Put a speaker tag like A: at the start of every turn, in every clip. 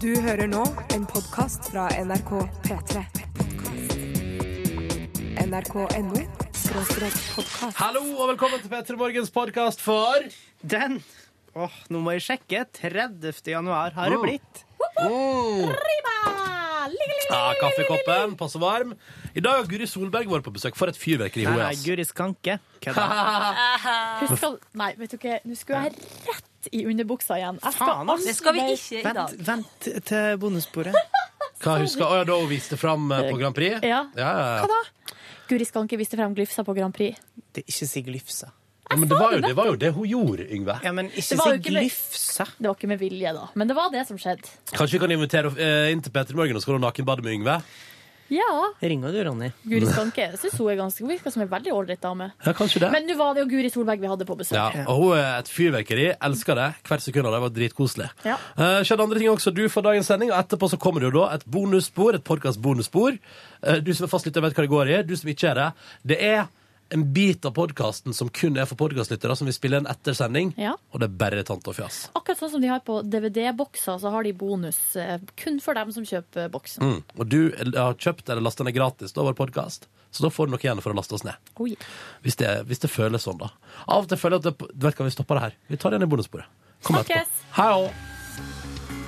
A: Du hører nå en podkast fra NRK P3. NRK.no podkast.
B: Hallo og velkommen til P3 Morgens podkast for
C: Den Åh, nå må jeg sjekke. 30. januar har det
B: Oh.
C: blitt.
B: ja, Kaffekoppen, passe varm. I dag har Guri Solberg vært på besøk. For et fyrverkeri hun
C: Nei,
B: er.
C: nei,
B: ass.
C: Guri Skanke. Kødda.
D: Husk å Nei, vet du ikke, nå skulle jeg rett i underbuksa igjen. Jeg skal
C: Faen, ass.
E: Det skal vi
D: aldri-
E: ikke i
C: Vent,
E: dag.
C: vent til bonussporet.
B: Hva husker Å ja, da hun viste fram eh, på Grand Prix?
D: Ja.
B: ja, ja.
D: Hva da? Guri Skanke viste frem glyfsa på Grand Prix.
C: Det er ikke si glyfsa.
B: ja men det var, jo, det var jo det hun gjorde, Yngve.
C: Ja, men ikke
D: Det var
C: si
D: jo ikke det.
C: glyfsa.
D: Det var ikke med vilje, da. Men det var det som skjedde.
B: Kanskje vi kan invitere eh, inn til P3 Morgen og skal ha nakenbade med Yngve?
D: Ja,
C: Ringer du, Ronny?
D: Guri Skanke jeg synes hun er ganske hun virker som en veldig ålreit dame.
B: Ja, kanskje det.
D: Men nå var det jo Guri Solberg vi hadde på besøk.
B: ja, og hun er et fyrverkeri. Elsker det. Hvert sekund av det var dritkoselig.
D: Ja.
B: Eh, skjedde andre ting også du for dagens sending, og etterpå så kommer det jo da et bonusspor, et podkast-bonusspor. Eh, du som er fastlytter, vet hva det går i. Du som ikke er det. Det er en bit av podkasten som kun er for podkastlyttere, som vi spiller en ettersending,
D: Ja.
B: og det er bare tant og fjas.
D: Akkurat sånn som de har på DVD-bokser, så har de bonus eh, kun for dem som kjøper boksen.
B: Mm. Og du eh, har kjøpt eller lasta ned gratis da vår podkast, så da får du noe igjen for å laste oss ned.
D: Oi.
B: Hvis det, hvis det føles sånn, da. Av og til føler jeg at det, Du vet hva, vi stopper det her. Vi tar det igjen i bonussporet. Kom
D: Snakkes.
B: etterpå. Hei òg.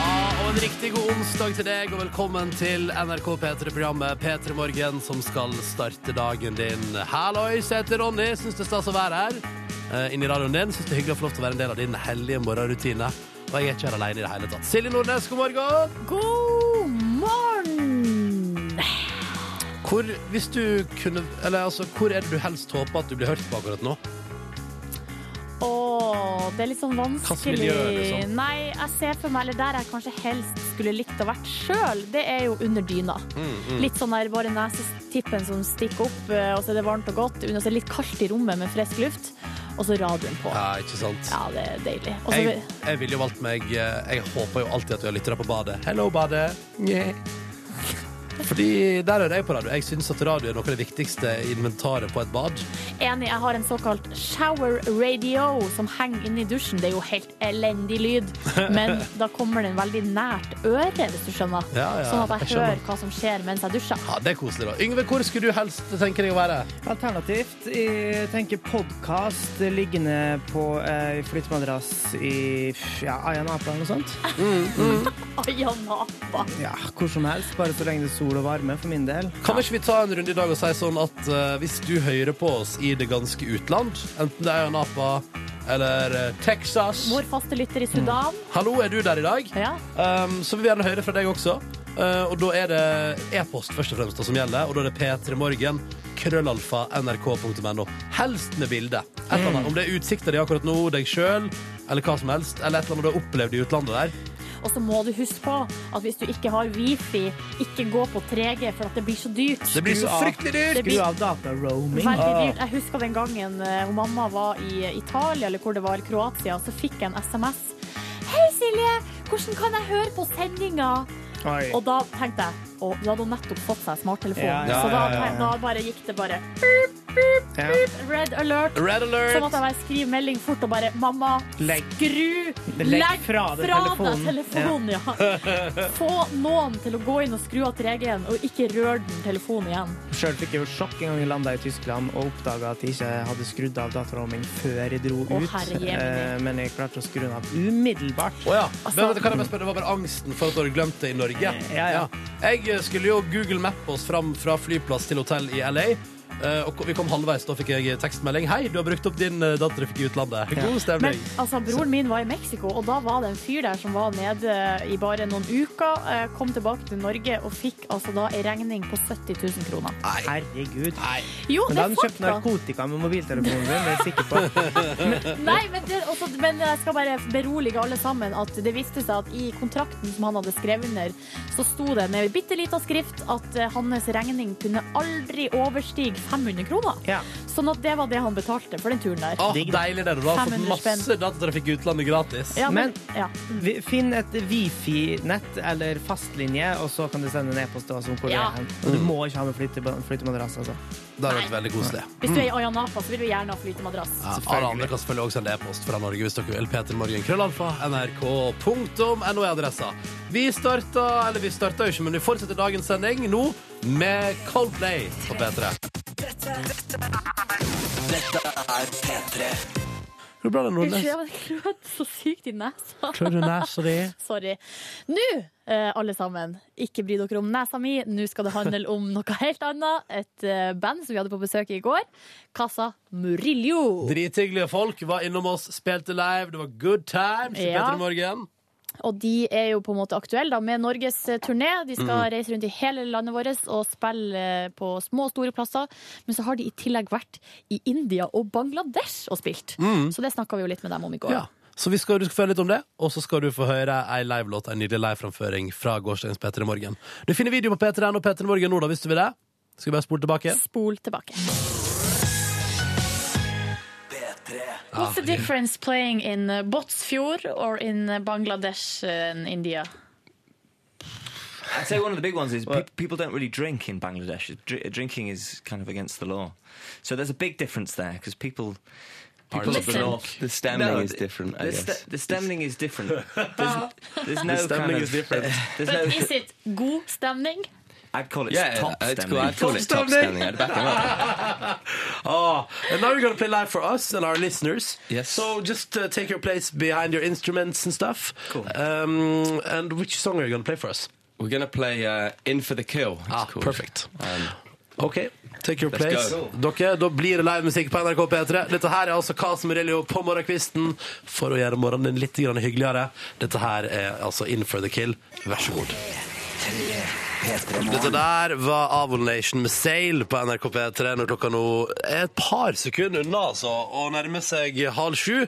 B: Og en riktig god onsdag til deg, og velkommen til NRK P3-programmet P3 Morgen, som skal starte dagen din. Hallois, jeg heter Ronny. Syns det er stas å være her. eh, Inni radioen din. Syns det er hyggelig å få lov til å være en del av din hellige morgenrutine. Og jeg er ikke her alene i det hele tatt. Silje Nordnes, god morgen.
D: God morgen!
B: Hvor, hvis du kunne, eller altså, hvor er det du helst håper at du blir hørt på akkurat nå?
D: Åh, det er litt sånn vanskelig.
B: miljø, liksom?
D: Nei, jeg ser for meg, eller der jeg kanskje helst skulle likt å vært sjøl, det er jo under dyna.
B: Mm,
D: Litt sånn der bare nesetippen som stikker opp, eh, og så er det varmt og godt. Under, så er det litt kaldt i rommet med frisk luft, og så radioen på.
B: Ja, ikke sant?
D: Ja, det er deilig. Og så
B: Jeg, jeg ville jo valgt meg eh, Jeg håper jo alltid at du har lyttere på badet. Hello, badet. Yeah. Fordi der er jeg på radio. Jeg syns at radio er noe av det viktigste inventaret på et bad.
D: Enig, jeg har en såkalt shower radio som henger inne i dusjen. Det er jo helt elendig lyd, men da kommer den veldig nært øret, hvis du skjønner.
B: Ja, ja,
D: sånn at jeg,
B: jeg skjønner.
D: hører hva som skjer mens jeg dusjer.
B: Ja, Det er koselig, da. Yngve, hvor skulle du helst tenke deg å være?
C: Alternativt, jeg tenker podkast liggende på ei flyttemadrass i ja, Ayanapa eller noe sånt.
D: Aja, napa.
C: Ja, hvor som helst, bare så lenge det er sol og varme, for min del.
B: Kan ikke vi ta en runde i dag og si sånn at eh, hvis du hører på oss i det ganske utland, enten det er Napa eller eh, Texas
D: Vår faste lytter i Sudan.
C: Mm.
B: Hallo, er du der i dag?
D: Ja.
B: Um, så vi vil gjerne høre fra deg også. Uh, og da er det e-post først og fremst da, som gjelder. Og da er det p3morgen, krøllalfa, nrk.no. Helst med bilde. Et eller
C: Mm.
B: annet. Om det er utsikter de har akkurat nå, deg sjøl, eller hva som helst. Eller et eller annet du har opplevd i utlandet der.
D: Og så må du huske på at hvis du ikke har wifi, ikke gå på 3G, for at det blir så dyrt.
B: Det blir så
C: Skru av.
B: fryktelig dyrt!
D: Det
C: Skru
D: blir-
C: av dataroaming.
D: Veldig dyrt. Jeg husker den gangen eh, hun mamma var i Italia, eller hvor det var, i Kroatia, så fikk jeg en SMS. Hei, Silje! Hvordan kan jeg høre på sendinga?
C: Oi.
D: Og da tenkte jeg og da hadde hun nettopp fått seg smarttelefon.
C: Ja, ja,
D: så da,
C: ja, ja, ja.
D: da bare gikk det bare
C: Ja.
D: red alert.
B: Red alert!
D: Så måtte jeg bare skrive melding fort og bare Mamma,
C: Legg-
D: skru!
C: Legg fra deg telefonen.
D: telefonen, ja. Få noen til å gå inn og skru av 3G-en, og ikke rør den telefonen igjen.
C: Sjøl fikk jeg jo sjokk en gang jeg landa i Tyskland og oppdaga at jeg ikke hadde skrudd av dataroaming før jeg dro
D: Å,
C: ut.
D: herre jemini.
C: Eh, Men jeg klarte å skru den av umiddelbart.
B: Å ja. Men vet du hva jeg bare spør? Det var bare angsten for at du hadde glemt det i Norge.
C: Altså- ja.
B: Jeg eh, skulle jo Google mappe oss fram fra flyplass til hotell i LA. eh, og vi kom halvveis, da fikk jeg tekstmelding. Hei, du har brukt opp din eh, datatrafikk i utlandet. God
D: Men
B: stemning.
D: altså, broren min var i Mexico, og da var det en fyr der som var nede i bare noen uker. eh, Kom tilbake til Norge og fikk altså da ei regning på 70 000 kroner.
C: Herregud.
B: Nei.
D: Jo,
C: Men da hadde
D: det er
C: han kjøpt
D: fakta.
C: narkotika med mobiltelefonen din. Det er jeg sikker på.
D: Nei, men, det, også, men jeg skal bare berolige alle sammen at det viste seg at i kontrakten som han hadde skrevet under, så sto det med bitte lita skrift at eh, hans regning kunne aldri overstige 500 kroner.
C: Ja.
D: Sånn at det var det han betalte for den turen der.
B: Åh,
C: Digg, da.
B: deilig det. Du har fått
D: 500
B: masse
D: spenn.
B: datatrafikk i utlandet gratis.
D: Ja, men, ja.
C: Vi- Finn et wifi-nett eller fastlinje, og så kan du sende en e-post til oss om hvor
D: Ja.
C: du er. hen. Og du må ikke ha med flytte- flyttemadrass, altså.
B: Det har vært veldig koselig.
D: Hvis du er i Ayanapa, så vil du gjerne ha flytemadrass.
B: Ja, alle andre kan selvfølgelig også sende e-post fra Norge hvis dere vil. Petermorgen, krøllalfa, nrk.no er adressa. Vi starta, eller vi starta jo ikke, men vi fortsetter dagens sending nå med Coldplay på P3. Hvor bra det er, Nordnes?
D: Unnskyld, jeg klødde så sykt i nesa.
B: Klør du nesa di?
D: Sorry. Nå, eh, alle sammen, ikke bry dere om nesa mi. Nå skal det handle om noe helt annet. Et eh, band som vi hadde på besøk i går. Casa Murillo.
B: Drithyggelige folk var innom oss, spilte live, det var good times i
D: Ja.
B: Petremorgen.
D: Og de er jo på en måte aktuelle da, med Norges eh, turné. De skal
B: Mm.
D: reise rundt i hele landet vårt og spille eh, på små og store plasser. Men så har de i tillegg vært i India og Bangladesh og spilt. Så det snakka vi jo litt med dem om i går.
B: Mm. Ja. Så vi skal, du skal føle litt om det, og så skal du få høre ei livelåt, ei nydelig liveframføring fra gårsdagens P3 Morgen. Du finner video på P3N og P3 Morgen nå, da, hvis du vil det. Skal vi bare spole tilbake?
D: Spol tilbake. What's the difference playing in uh, Båtsfjord or in uh, Bangladesh and India?
E: I'd say one of the big ones is pe- people don't really drink in Bangladesh. Dr- drinking is kind of against the law, so there's a big difference there because people. People
D: Listen.
E: law-
F: The stemming
E: No,
F: is
E: the-
F: different, I
E: the,
F: guess.
E: st- the stemming is different. There's, there's no
F: The stemming
E: kind of,
F: is different.
E: There's
D: But
E: no.
D: is it god stemning?
E: I'd call it
F: yeah,
E: top
F: I'd
E: stemming.
F: call, I'd call it top standing. I'd back him up.
B: Ah, and now you're gonna play live for us and our listeners.
F: Yes.
B: So just uh, take your place behind your instruments and stuff.
E: Cool.
B: Um, and which song are you gonna play for us?
F: We're gonna play uh, "In for the Kill." It's
B: Ah,
F: called.
B: perfect. OK, take your
F: Um, Let's
B: place.
F: go.
B: Dere, Da blir det live musikk på NRK P3. Dette her er altså Kas Morello på morgenkvisten for å gjøre morgenen din litt grann hyggeligere. Dette her er altså In for the kill. Vær så god. Dette der var Avon Nation med Sail på NRK P3 når klokka nå er et par sekunder unna, altså, og nærmer seg halv sju.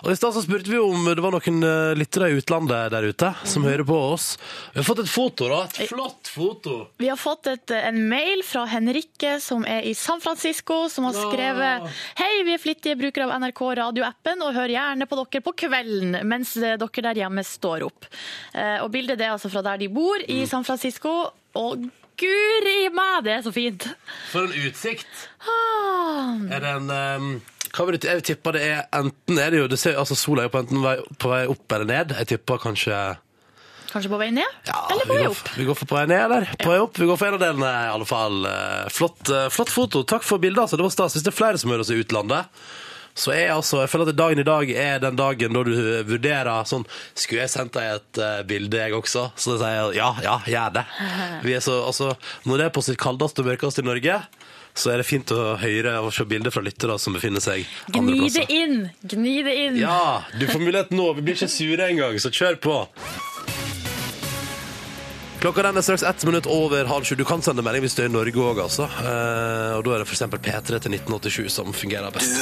B: Og i stad så spurte vi om det var noen eh, lyttere i utlandet der ute som hører på oss. Vi har fått et foto, da. Et flott foto.
D: Vi har fått et, en mail fra Henrikke som er i San Francisco, som har skrevet Hei, vi er flittige brukere av NRK radioappen og hører gjerne på dere på kvelden mens eh, dere der hjemme står opp. Eh, Og bildet det er altså fra der de bor i San Francisco. Og guri meg, det er så fint!
B: For en utsikt!
D: Ah.
B: Er det en ehm, hva vil du, Jeg tipper det er enten er det jo, det ser, altså Sola er jo på enten vei, på vei opp eller ned. Jeg tipper kanskje ja,
D: Kanskje på vei ned? Eller på
B: vi
D: vei
B: går,
D: opp?
B: f- Vi går for på vei ned, eller? På vei opp. Vi går for en av delene, i alle fall. Eh, Flott, eh, flott foto. Takk for bildet. Altså. Det var stas. Hvis det er flere som hører oss i utlandet, så er altså, jeg føler at dagen i dag er den dagen da du vurderer sånn Skulle jeg sendt deg et eh, bilde, jeg også? Så da sier jeg ja, ja, gjør det. Vi er så, altså, når det er på sitt kaldeste og mørkeste i Norge, så er det fint å høre og se bilder fra lyttere som befinner seg andre
D: Gni det
B: plasser.
D: inn! Gni det inn!
B: Ja, du får mulighet nå. Vi blir ikke sure engang, så kjør på. Klokka den er straks ett minutt over halv sju. Du kan sende melding hvis du er i Norge òg, altså. Eh, og da er det f.eks. P3 til 1987 som fungerer best.
A: Du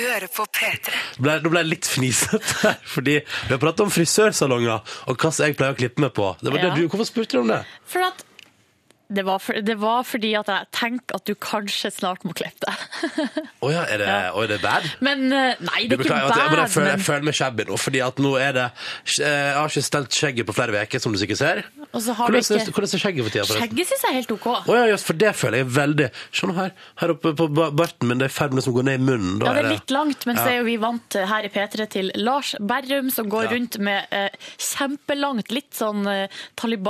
A: hører på P3.
B: ble, nå ble jeg litt fnisete, fordi vi har pratet om frisørsalonger og hva som jeg pleier å klippe meg på. Det var
D: Ja.
B: det du, hvorfor spurte du om det?
D: For at det var, for, det var fordi at jeg tenkte at du kanskje snart må klippe deg.
B: Å ja, er det, å, er det bad?
D: Men eh, nei,
B: Du
D: det er ikke
B: beklager, at jeg, men jeg,
D: bad,
B: føler,
D: men
B: jeg føler meg shabby nå, fordi at nå er det Jeg har ikke stelt skjegget på flere uker, som du sikkert ser.
D: Og så har
B: Hvordan,
D: du
B: er-
D: ikke-
B: hvordan er skjegget for tida, forresten?
D: skjegget syns jeg er helt OK.
B: Å ja, just for det føler jeg veldig Se nå her, her oppe på ba- barten min, det er ferdene som går ned i munnen. Da
D: Ja, det
B: er
D: er litt langt, men så er jo vi vant til her i P3 til Lars Berrum som går
B: Ja.
D: rundt med eh, kjempelangt, litt sånn eh,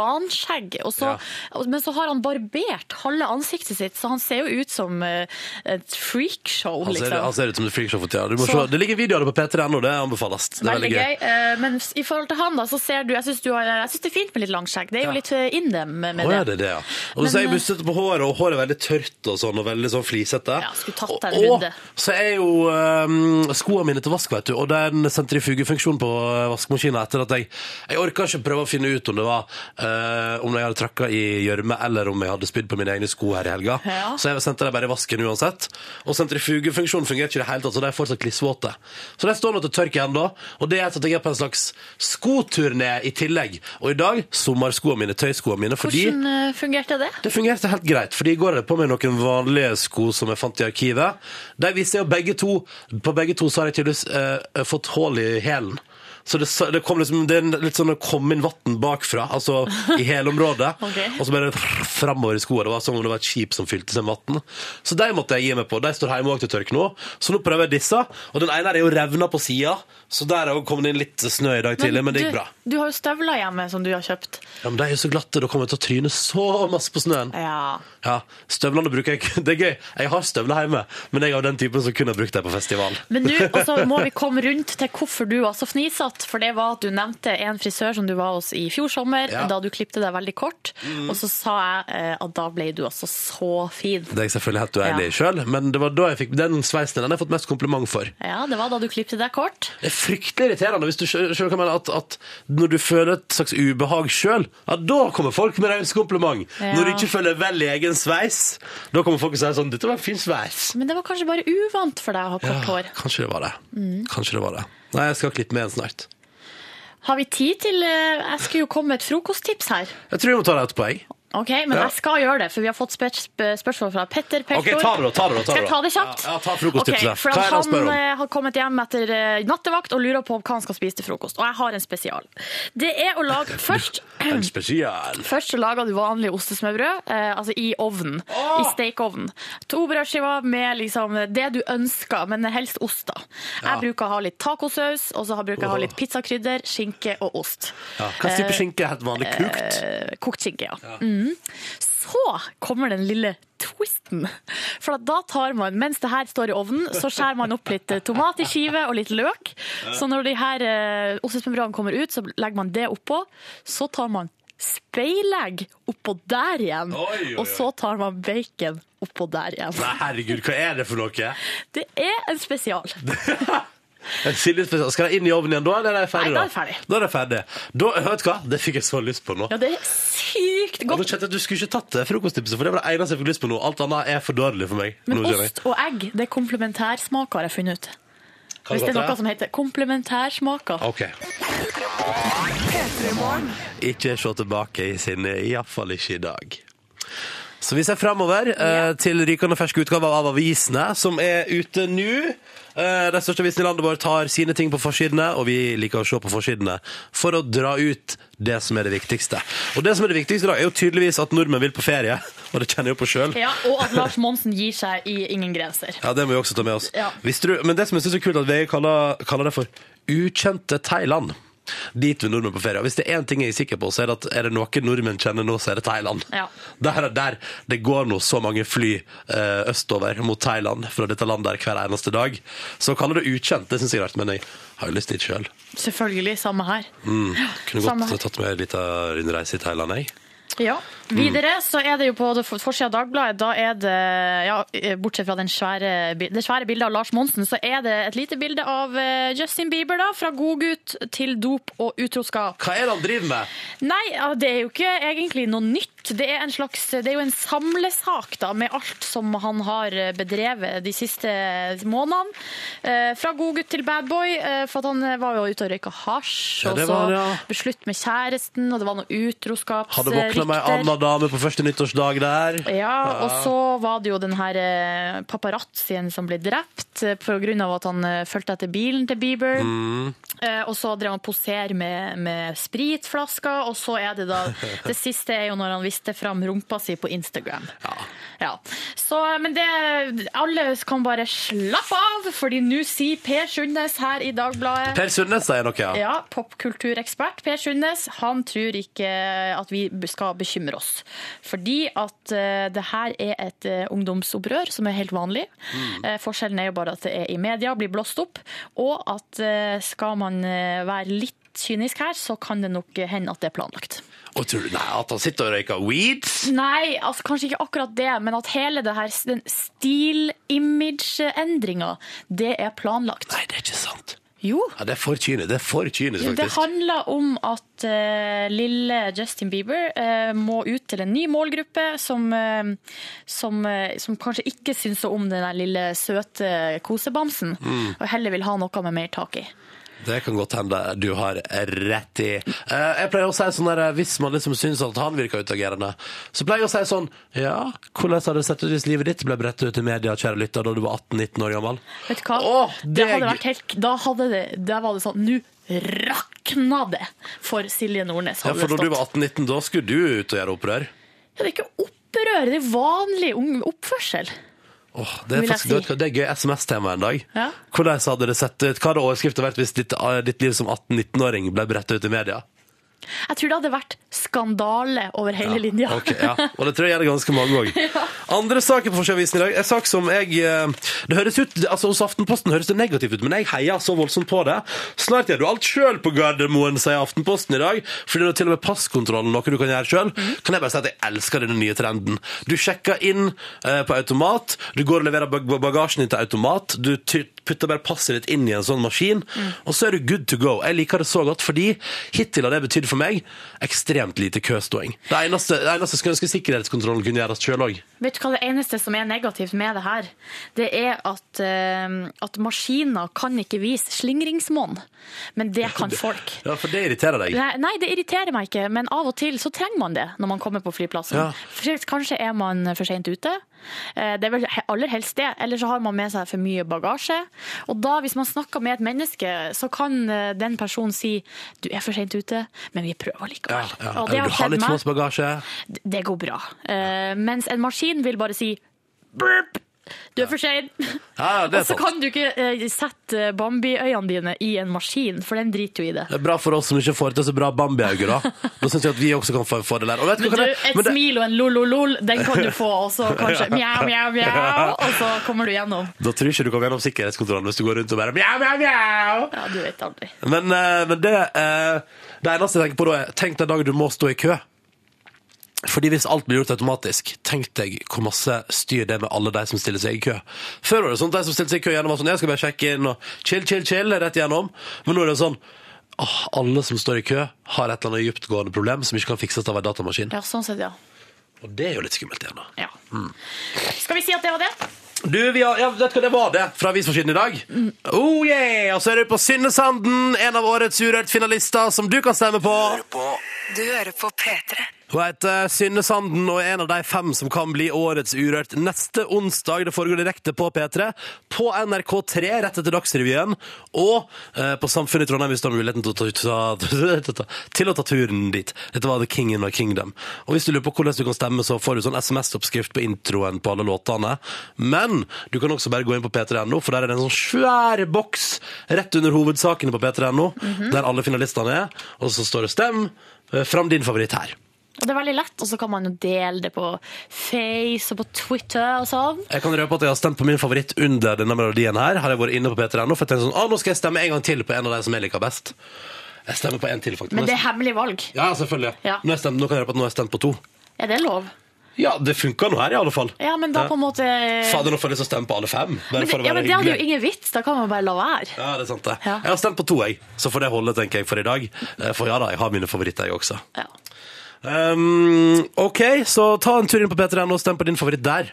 D: Taliban-skjegg. og så-
B: Ja.
D: og- Men så har han barbert halve ansiktet sitt, så han ser jo ut som eh, et freakshow,
B: Han ser, altså
D: liksom.
B: han ser ut som et freakshow for tida. Du må
D: Så-
B: se. Det ligger videoer på p3.no, det anbefales. Det er
D: Veldig gøy. Eh, Men s- i forhold til han, da, så ser du eh, Jeg syns det er fint med litt langt skjegg. Det er jo litt eh, in them med
B: Å, ja,
D: det.
B: det er det, ja. Og
D: Men,
B: så er jeg
D: eh,
B: bustete på håret, og håret er veldig tørt og sånn, og veldig sånn flisete.
D: Ja, skulle tatt
B: Og-
D: deg en runde.
B: Og så er jo um, skoene mine til vask, vet du, og det er en sentrifugefunksjon på eh, vaskemaskinen etter at jeg Jeg orka ikke prøve å finne ut om det var eh, om jeg hadde trakka i gjørme eller eller om jeg hadde spydd på mine egne sko her i helga.
D: Ja.
B: Så jeg sendte dem bare i vasken uansett. Og sentrifugefunksjonen fungerer ikke i det hele tatt, så de er fortsatt klissvåte. Så de står nå til tørk igjen, da. Og det er at jeg er på en slags skoturné i tillegg. Og i dag sommerskoene mine, tøyskoene mine, fordi
D: Hvordan eh, fungerte det?
B: det fungerte helt greit, fordi i går hadde jeg på meg noen vanlige sko som jeg fant i arkivet. De viste jeg jo begge to. På begge to så har jeg tydeligvis eh, fått hull i hælen. Så det, sa- det kom liksom, det er en- litt sånn å komme inn vann bakfra, altså i hælområdet.
D: Ok.
B: Og så bare framover i skoene. Det var som om det var et skip som fylte seg med vann. Så de måtte jeg gi meg på. De står hjemme òg til tørk nå. Så nå prøver jeg disse. Og den ene er jo revna på sida, så der er jo kommet inn litt snø i dag tidlig, men det gikk bra.
D: Du, du har jo støvler hjemme som du har kjøpt.
B: Ja, men de er jo så glatte, da kommer jeg til å tryne så masse på snøen.
D: Ja.
B: Ja, støvlene bruker jeg kun- Det er gøy. Jeg har støvler hjemme, men jeg er av den typen som kun har brukt dem på festival.
D: Men nå og så må vi komme rundt til hvorfor du var så fnisete. For det var at du nevnte en frisør som du var hos i fjor sommer,
B: Ja. Mm.
D: da du klipte deg veldig kort. Og så sa jeg eh, at da ble du altså så fin.
B: Det er jeg selvfølgelig helt uenig i
D: Ja.
B: sjøl, men det var da jeg fikk den sveisen den har jeg fått mest kompliment for.
D: Ja, det var da du klipte deg kort.
B: Det er fryktelig irriterende hvis du skjø- skjønner hva jeg mener, at, at når du føler et slags ubehag sjøl, ja, da kommer folk med raus kompliment.
D: Ja.
B: Når du ikke føler vel i egen sveis, da kommer folk og sier sånn 'Dette var en fin sveis'.
D: Men det var kanskje bare uvant for deg å ha
B: Ja,
D: kort hår. Mm.
B: kanskje det var det. Kanskje det var det. Nei, jeg skal klippe med en snart.
D: Har vi tid til eh, Jeg skulle jo komme med et frokosttips her.
B: Jeg tror vi må ta det etterpå, jeg.
D: Ok, Men
B: Ja.
D: jeg skal gjøre det, for vi har fått spør sp- spørsmål fra Petter
B: Ok,
D: Peltor.
B: ta det da, ta det da, ta
D: Skal
B: det
D: jeg
B: da.
D: ta det kjapt?
B: Ja, ja, ta frokosttipset.
D: Ok, for
B: Hva er det han
D: han
B: spør om?
D: eh, har kommet hjem etter eh, nattevakt og lurer på hva han skal spise til frokost. Og jeg har en spesial. Det er å lage først
B: En spesial.
D: Først så lager du vanlig ostesmørbrød, eh, altså i ovnen, i stekeovnen. To brødskiver med liksom det du ønsker, men helst ost da. Jeg bruker å ha litt tacosaus, og så har- bruker jeg å ha litt pizzakrydder, skinke og ost.
B: Ja, hva type skinke er helt vanlig kukt?
D: Eh, kokt skinke, ja. Mhm. Så kommer den lille twisten. For at da tar man, mens det her står i ovnen, så skjærer man opp litt eh, tomat i skive og litt løk. Så når de her eh, ostesmørbrødene kommer ut, så legger man det oppå. Så tar man speilegg oppå der igjen.
B: Oi, oi, oi.
D: Og så tar man bacon oppå der igjen.
B: Nei, herregud, hva er det for noe?
D: Det er en spesial.
B: En chili spesial. Skal de inn i ovnen igjen da, eller er de ferdig
D: Nei, da er de ferdig.
B: Da er de ferdig. Da, vet du hva? Det fikk jeg så lyst på nå.
D: Ja, det er sykt
B: Og nå
D: godt.
B: kjente jeg at Du skulle ikke tatt det frokosttipset, for det var det eneste jeg fikk lyst på nå. Alt annet er for dårlig for meg.
D: Men
B: nå, kjenner jeg.
D: ost og egg, det er komplementærsmaker har jeg funnet ut.
B: Kan
D: Hvis det er
B: godt
D: noe som heter komplementærsmaker.
B: Ok. Ikke se tilbake i sinne, iallfall ikke i dag. Så vi ser framover eh, til rykende fersk utgave av avisene, som er ute nå. Eh, de største avisene i landet vårt har sine ting på forsidene, og vi liker å se på forsidene for å dra ut det som er det viktigste. Og det som er det viktigste i dag, er jo tydeligvis at nordmenn vil på ferie, og det kjenner jeg jo på sjøl.
D: Ja, og at Lars Monsen gir seg i Ingen grenser.
B: Ja, det må vi også ta med oss.
D: Ja.
B: Visste du, men det som jeg synes er kult, at VG kaller, kaller det for ukjente Thailand. Dit vil nordmenn på ferie. Og hvis det er én ting jeg er sikker på, så er det at er det noe nordmenn kjenner nå, så er det Thailand.
D: Ja.
B: Der, der det går nå så mange fly eh, østover mot Thailand fra dette landet her hver eneste dag. Så å kalle det ukjent, det syns jeg er rart, men jeg har jo lyst dit sjøl.
D: Selvfølgelig, samme her.
B: Kunne
D: Samme
B: godt
D: her.
B: tatt med en liten rundreise i Thailand, jeg.
D: Ja. Videre så er det jo på forsida av Dagbladet, da er det, ja, eh, bortsett fra den svære, bi- det svære bildet av Lars Monsen, så er det et lite bilde av eh, Justin Bieber, da. Fra godgutt til dop og utroskap.
B: Hva er det han driver med?
D: Nei, ja, det er jo ikke egentlig noe nytt. Det er, en slags, det er jo en samlesak da, med alt som han har eh, bedrevet de siste månedene. Eh, fra god gutt til bad boy, eh, for at han var jo ute og røyka hasj.
B: Ja,
D: og
B: det
D: så
B: var det, ja.
D: beslutt med kjæresten, og det var noe
B: Hadde våkna med ei anna
D: utroskapsrykter.
B: dame på første nyttårsdag der.
D: Ja, og så var det jo den her eh, paparazzien som ble drept eh, på grunn av at han eh, fulgte etter bilen til Bieber. Eh, Og så drev han poser med, med spritflasker, og så er det da Det siste er jo når han viste fram rumpa si på Instagram. Ja. Så, men det Alle kan bare slappe av, fordi nå sier Per Sundnes her i Dagbladet
B: Per Sundnes sier noe, ja.
D: ja, Popkulturekspert Per Sundnes han tror ikke at vi skal bekymre oss. Fordi at eh, det her er et eh, ungdomsopprør som er helt vanlig. Eh, forskjellen er jo bare at det er i media, blir blåst opp. Og at eh, skal man eh, være litt kynisk her, så kan det nok hende at det er planlagt.
B: Og tror du nei, at han sitter og røyker weed?
D: Nei, altså kanskje ikke akkurat det, men at hele det her, den stil-image-endringa, det er planlagt.
B: Nei, det er ikke sant.
D: Jo.
B: Ja, det er for kynisk. Det er for kynisk,
D: Det
B: faktisk.
D: handler om at eh, lille Justin Bieber eh, må ut til en ny målgruppe som, eh, som, eh, som kanskje ikke syns så om den der lille søte kosebamsen,
B: Mm.
D: og heller vil ha noe med mer tak i.
B: Det kan godt hende du har rett i. Eh, jeg pleier å si sånn der, Hvis man liksom syns at han virker utagerende, så pleier jeg å si sånn Ja, hvordan hadde det sett ut hvis livet ditt ble brettet ut i media, kjære lytter, da du var 18-19 år gammel?
D: Vet du hva?
B: Åh,
D: det
B: deg!
D: hadde vært helt, da hadde det, der var det sånn, nå rakna det for Silje Nordnes.
B: Ja, For
D: hadde
B: da
D: det
B: du
D: stått.
B: var 18-19, da skulle du ut og gjøre opprør?
D: Ja, det er ikke opprør, det er vanlig ung- oppførsel.
B: Åh, det, er
D: Vil jeg
B: faktisk, du vet
D: si.
B: hva, det er gøy SMS-tema en dag.
D: Ja.
B: Hvordan hadde det sett ut? Hva hadde overskriften vært hvis ditt, eh, ditt liv som 18-19-åring ble brettet ut i media?
D: Jeg tror det hadde vært skandale over hele linja.
B: Ok, ja. Og det tror jeg gjelder ganske mange òg. Andre saker på Forsøksavisen i dag. En sak som jeg eh, Det høres ut altså Hos Aftenposten høres det negativt ut, men jeg heier så voldsomt på det. Snart gjør du alt sjøl på Gardermoen, sier Aftenposten i dag. Fordi nå er til og med passkontrollen noe du kan gjøre sjøl.
D: Mhm.
B: Kan jeg bare si at jeg elsker denne nye trenden. Du sjekker inn eh, på automat, du går og leverer bag bagasjen din til automat, du ty- putter bare passet ditt inn i en sånn maskin,
D: Mm.
B: og så er du good to go. Jeg liker det så godt, fordi hittil har det betydd for meg ekstremt lite køståing. Det eneste, det eneste skulle ønske sikkerhetskontrollen kunne gjøres sjøl òg.
D: Vet du hva det eneste som er negativt med det her? Det er at, eh, at maskiner kan ikke vise slingringsmonn, men det kan folk.
B: Ja, for det irriterer deg.
D: Nei, nei, det irriterer meg ikke, men av og til så trenger man det når man kommer på flyplassen.
B: Ja.
D: For Kanskje er man for sent ute. Eh, Det er vel he- aller helst det. Eller så har man med seg for mye bagasje. Og da, hvis man snakker med et menneske, så kan eh, den personen si du er for sent ute, men vi prøver
B: Ja,
D: likevel.
B: ja.
D: Og det
B: Eller
D: har
B: du har
D: skjedd
B: litt
D: meg.
B: småsbagasje.
D: D- Det går bra. Eh, Mens en maskin vil bare si burp. Du er for sein.
B: Ja, det
D: Og
B: er
D: så
B: sant.
D: kan du ikke eh, sette Bambi-øynene dine i en maskin, for den driter jo i det.
B: Det er bra for oss som ikke får til så bra Bambi-øyne, da. Da syns jeg at vi også kan få en fordel her. Og vet du, hva
D: Du,
B: kan jeg-
D: et
B: men det-
D: smil og en lol-lol-lol, den kan du få, og så kanskje mjau, mjau, mjau, og så kommer du gjennom.
B: Da tror jeg ikke du kommer gjennom sikkerhetskontrollen hvis du går rundt og bare mjau, mjau, mjau.
D: Ja, du vet aldri.
B: Men, eh, men det, eh, det eneste jeg tenker på da er Tenk den dagen du må stå i kø Fordi hvis alt blir gjort automatisk Tenk deg hvor masse styr det er med alle de som stiller seg i kø Før var det sånn, de som stiller seg i kø gjennom var sånn, Jeg skal bare sjekke inn og chill, chill, chill Rett gjennom Men nå er det sånn «Åh, alle som står i kø har et eller annet djuptgående problem Som ikke kan fikses av en datamaskin
D: Ja, sånn sett, ja.
B: Og det er jo litt skummelt igjen da
D: ja.
B: Hmm.
D: Skal vi si at det var det?
B: Du, vi har, ja, vet du hva det var det fra avisforsiden i dag? Oh yeah! Og så er du på Synnesanden, en av årets Urørt-finalister som du kan stemme på.
A: Du hører på P3.
B: Hun heter Synne Sanden og er en av de fem som kan bli Årets Urørt neste onsdag. Det foregår direkte på P3, på NRK3 rett etter Dagsrevyen, og eh, på Samfunnet i Trondheim hvis du har muligheten til å, ta, ta, til å ta turen dit. Dette var The King in my Kingdom. Og hvis du lurer på hvordan du kan stemme, så får du sånn SMS-oppskrift på introen på alle låtene. Men du kan også bare gå inn på p3.no, for der er det en sånn svær boks rett under hovedsakene på p3.no, der alle finalistene er, og så står det 'stem'. eh, Fram din favoritt her.
D: Og det er veldig lett, og så kan man jo dele det på Face og på Twitter og sånn.
B: Jeg kan røpe at jeg har stemt på min favoritt under denne melodien her. Har jeg vært inne på P3.no, for jeg tenkte sånn, «Å, nå skal jeg stemme en gang til på en av de som jeg liker best. Jeg stemmer på en til, faktisk.
D: Men det er hemmelig valg.
B: Ja, selvfølgelig.
D: Ja.
B: Nå, har jeg stemt, nå kan jeg røpe at nå har jeg stemt på to.
D: Er det lov?
B: Ja, det funker nå her, i alle fall.
D: Ja, men da på en måte eh,
B: Fader, nå får jeg lyst til å stemme på alle fem. Bare
D: men det,
B: for å
D: ja,
B: være
D: men det hadde jo
B: hyggelig.
D: ingen vits, da kan man bare la være.
B: Ja, det er sant det.
D: Ja.
B: Jeg har stemt på to, jeg. Så får det holde, tenker jeg, for i dag. Eh, For ja da, jeg har mine favoritter, jeg også.
D: Ja.
B: Um, ok, så ta en tur inn på P3.no og stem på din favoritt der.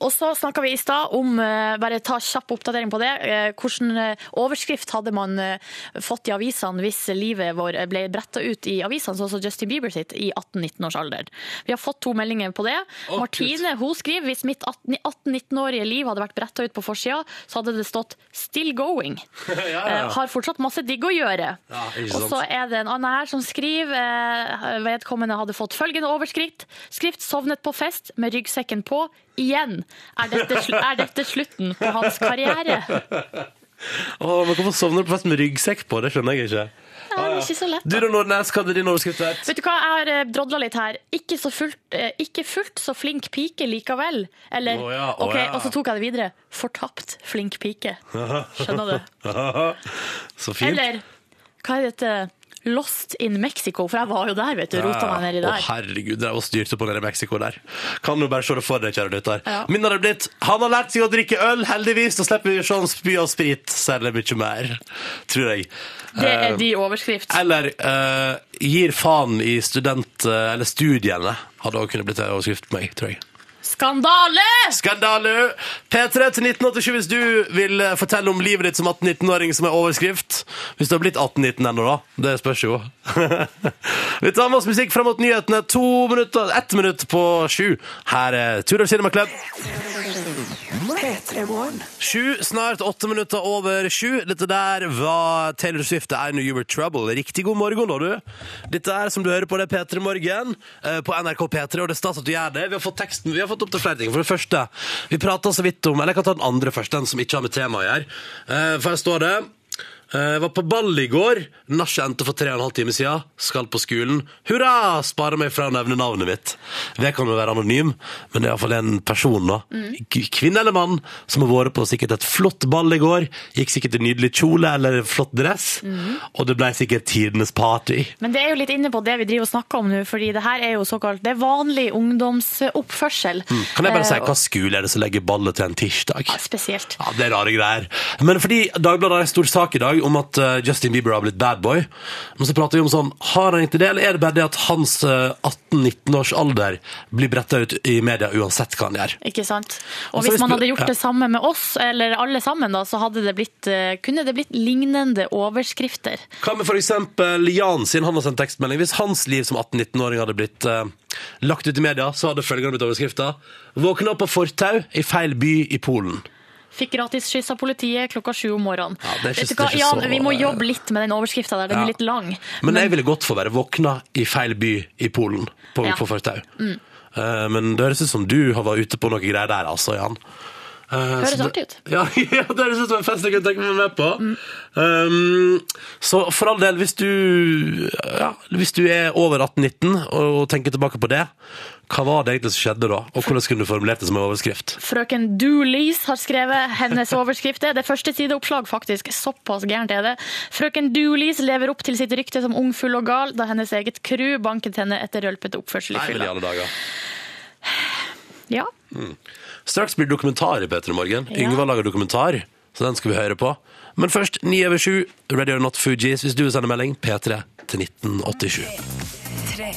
D: Og så snakka vi i stad om eh, bare ta kjapp oppdatering på det. eh, Hvilken eh, overskrift hadde man eh, fått i avisene hvis livet vår eh, ble bretta ut i avisene, sånn som Justin Bieber sitt, i 18-19 års alder? Vi har fått to meldinger på det. Martine hun skriver hvis mitt 18-19-årige liv hadde vært bretta ut på forsida, så hadde det stått 'still going'. Eh, Har fortsatt masse digg å gjøre.
B: Ja, ikke
D: Og
B: sant.
D: så er det en annen her som skriver eh, vedkommende hadde fått følgende overskrift. Skrift 'Sovnet på fest med ryggsekken på'. Igjen. Er dette, sl er dette slutten på hans karriere?
B: Å, men hvorfor sovner du på fest med ryggsekk på? Det skjønner jeg ikke.
D: Det er ikke så lett.
B: Du
D: Da.
B: da, Nordnes, hva hadde din overskrift vært?
D: Vet du hva, jeg har eh, drodla litt her. Ikke, så fullt, eh, ikke fullt så flink pike likevel. Eller
B: Å ja, å
D: OK,
B: ja.
D: og så tok jeg det videre. Fortapt flink pike. Skjønner du?
B: Så fint.
D: Eller hva er dette? Lost in Mexico, for jeg var jo der, vet du. Rota meg nedi
B: Å,
D: der.
B: herregud, drev og styrte på nede i Mexico der. Kan du bare se det for deg, kjære lytter.
D: Ja.
B: Min har det blitt Han har lært seg å drikke øl, heldigvis, da slipper vi å se han spy av sprit særlig mye mer, tror jeg.
D: Det
B: Um,
D: er de overskrift.
B: Eller eh, gir faen i student... eh, eller studiene, hadde også kunnet blitt en overskrift på meg, tror jeg.
D: Skandale!
B: Skandale! P3 til 1987 hvis du vil eh, fortelle om livet ditt som 18-19-åring som er overskrift. Hvis du har blitt 18-19 ennå, da. Det spørs jo. Vi tar med oss musikk fram mot nyhetene. To minutter, Ett minutt på sju. Her er Tudor Cinema Club.
A: P3 Morgen.
B: Sju, snart åtte minutter over sju. Dette der var Taylor Swift og I Knew You Were Trouble. Riktig god morgen, da, du. Dette er som du hører på, det er P3 Morgen eh, på NRK P3, og det er stas at du gjør det. Vi har fått teksten, vi har fått opp til flere ting. For det første, vi prata så vidt om Eller jeg kan ta den andre først, den som ikke har med temaet å gjøre. Eh, For her står det eh, var på ball i går. Nachet endte for tre og en halv time siden. Skal på skolen. Hurra! Sparer meg fra å nevne navnet mitt. Det kan jo være anonym, men det er iallfall en person, da. K- Kvinne eller mann som har vært på sikkert et flott ball i går. Gikk sikkert i nydelig kjole eller flott dress. Og det ble sikkert tidenes party.
D: Men det er jo litt inne på det vi driver og snakker om nå, fordi det her er jo såkalt Det er vanlig ungdomsoppførsel.
B: Mm, Kan jeg bare si
D: Eh,
B: hva skole er det som legger ballet til en tirsdag?
D: og- Spesielt.
B: Ja, det er rare greier. Men fordi Dagbladet har en stor sak i dag om at eh, Justin Bieber har blitt bad boy. Men så prater vi om sånn, har han ikke det, eller er det bare det at hans eh, 18-19 års alder blir bretta ut i media uansett hva han gjør?
D: Ikke sant?
B: Og så
D: Og hvis
B: Altså, hvis
D: man
B: du-
D: hadde gjort
B: ja.
D: det samme med oss, eller alle sammen, da, så hadde det blitt, eh, kunne det blitt lignende overskrifter.
B: Hva med for eksempel Jan sin, han har sendt tekstmelding. Hvis hans liv som 18-19-åring hadde blitt eh, lagt ut i media, så hadde følgende blitt overskrifta. Våkna opp på fortau i feil by i Polen.
D: Fikk gratis skyss av politiet klokka sju om morgenen.
B: Ja, det er ikke-
D: Vet du
B: det er
D: hva,
B: ikke
D: Jan,
B: så- eh,
D: vi må jobbe litt med den overskrifta der, den
B: Ja.
D: er litt lang.
B: Men jeg ville gått for å være våkna i feil by i Polen, på,
D: Ja.
B: på fortau. Eh, men det høres ut som du har vært ute på noe greier der, altså, Jan. Eh,
D: Høres
B: så det-
D: artig ut.
B: Ja, ja, det høres ut som en fest jeg kunne tenke meg å være med på. Um, så for all del, hvis du, ja, hvis du er over 18-19 og, og tenker tilbake på det, hva var det egentlig som skjedde da? Og hvordan kunne du formulert det som en overskrift?
D: Frøken Doolies har skrevet hennes overskrift. Det er første sideoppslag, faktisk. Såpass gærent er det. Frøken Doolies lever opp til sitt rykte som ung, full og gal, da hennes eget crew banket henne etter rølpete oppførsel i
B: Nei, men i
D: fylla.
B: alle dager.
D: Ja.
B: Straks blir det dokumentar i Peter i Morgen.
D: Ja.
B: Yngve lager dokumentar, så den skal vi høre på. Men først 9 over 7, Radio Not Fugees, hvis du vil sende melding, P3 til 1987.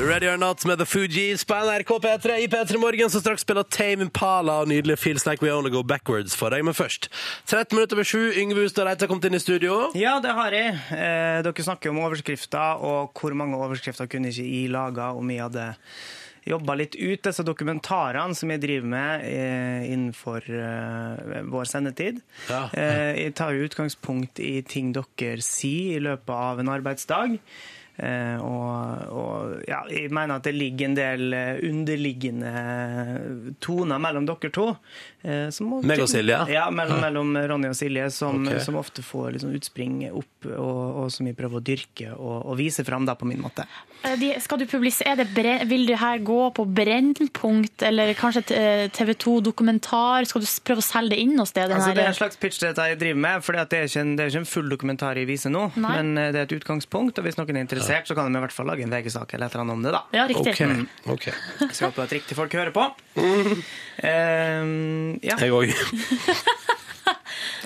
B: Ready or Not med The Fugees på NRK P3 i P3 Morgen, som straks spiller Tame Impala og nydelig Feels Like We Only Go Backwards for deg. Men først, 13 minutter over 7, Yngve Hustad Reite har kommet inn i studio.
G: Ja, det har jeg. Eh, dere snakker om overskrifter, og hvor mange overskrifter kunne ikke jeg laga om jeg hadde jobba litt ut disse dokumentarene som jeg driver med eh, innenfor eh, vår sendetid.
B: Ja.
G: Eh, jeg tar jo utgangspunkt i ting dere sier i løpet av en arbeidsdag. Eh, og, og ja, jeg mener at det ligger en del eh, underliggende toner mellom dere to. Eh, som må-
B: Meg og Silje?
G: Ja, mellom, mellom Ronny og Silje, som,
B: Ok.
G: som ofte får liksom utspring opp, og, og som jeg prøver å dyrke og, og vise fram da, på min måte.
D: Eh, De, skal du publisere det, bre- Vil du her gå på Brennpunkt eller kanskje eh, TV 2 dokumentar? Skal du s- prøve å selge det inn noe sted? den
G: Altså,
D: her-
G: det er en slags pitch dette jeg driver med, for det er ikke en, det er ikke en full dokumentar jeg viser nå,
D: Nei.
G: men eh, det er et utgangspunkt, og hvis noen er interessert, så kan de i hvert fall lage en VG-sak eller et eller annet om det, da.
D: eh? Ja, riktig.
B: Ok, ok.
G: Så jeg håper at riktig folk hører på. Eh, ja.
B: Jeg òg.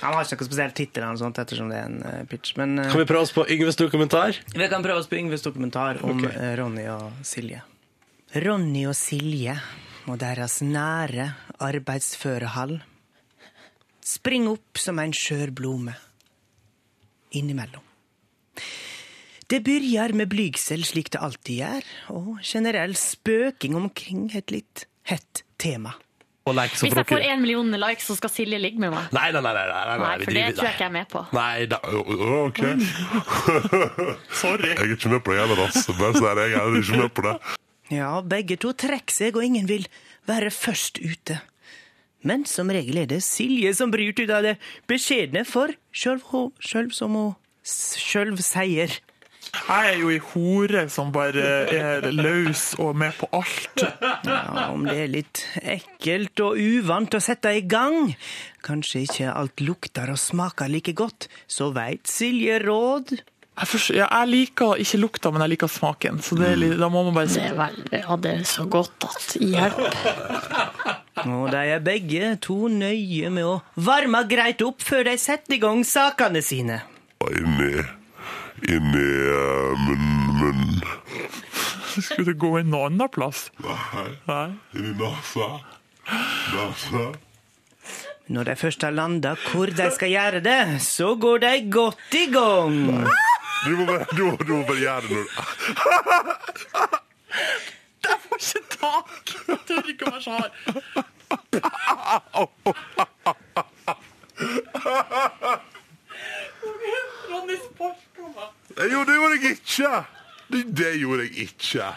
G: Han har ikke noe spesiell tittel eller noe sånt, ettersom det er en eh, pitch, men eh,
B: Kan vi prøve oss på Yngves dokumentar?
G: Vi kan prøve oss på Yngves dokumentar om
B: Ok.
G: eh, Ronny og Silje. Ronny og Silje og deres nære arbeidsføre hall spring opp som en skjør blome innimellom. Det begynner med blygsel, slik det alltid gjør, og generell spøking omkring et litt hett tema.
B: Og leke som
D: Hvis jeg
B: for
D: får
B: dere.
D: én million likes, så skal Silje ligge med meg.
B: Nei, nei, nei, nei, nei, nei,
D: Nei,
B: vi
D: for
B: driver-
D: det tror jeg ikke jeg er med på. Mm.
B: Nei da Å, å, OK. Sorry.
H: Jeg er ikke med på det heller, altså. Bare så er det, jeg er ikke med på det.
G: Ja, begge to trekker seg, og ingen vil være først ute. Men som regel er det Silje som bryter ut av det beskjedne, for sjølv, ho- sjølv som hun s- sjølv sier.
I: Jeg er jo ei hore som bare er løs og med på alt.
G: Ja, om det er litt ekkelt og uvant å sette i gang. Kanskje ikke alt lukter og smaker like godt, så veit Silje råd.
I: Jeg, forstår, ja, jeg liker ikke lukta, men jeg liker smaken. Så det, er litt- da må man bare
D: Det er vel, ja, det er så godt at hjelp.
G: Og de er begge to nøye med å varme greit opp før de setter i gang sakene sine.
J: Og inni inni eh, munnen, munnen.
I: Skulle det gå en annen plass? Nei.
J: Inni nesa. Nesa.
G: Når de først har landa hvor de skal gjøre det, så går de godt i gang.
J: Du må bare, du, må- du må bare gjøre det når
I: får ikke tak! Jeg tør ikke å være så hard. Ronny sparka meg.
J: Nei, Jo, det gjorde jeg ikke! Det, det gjorde jeg ikke.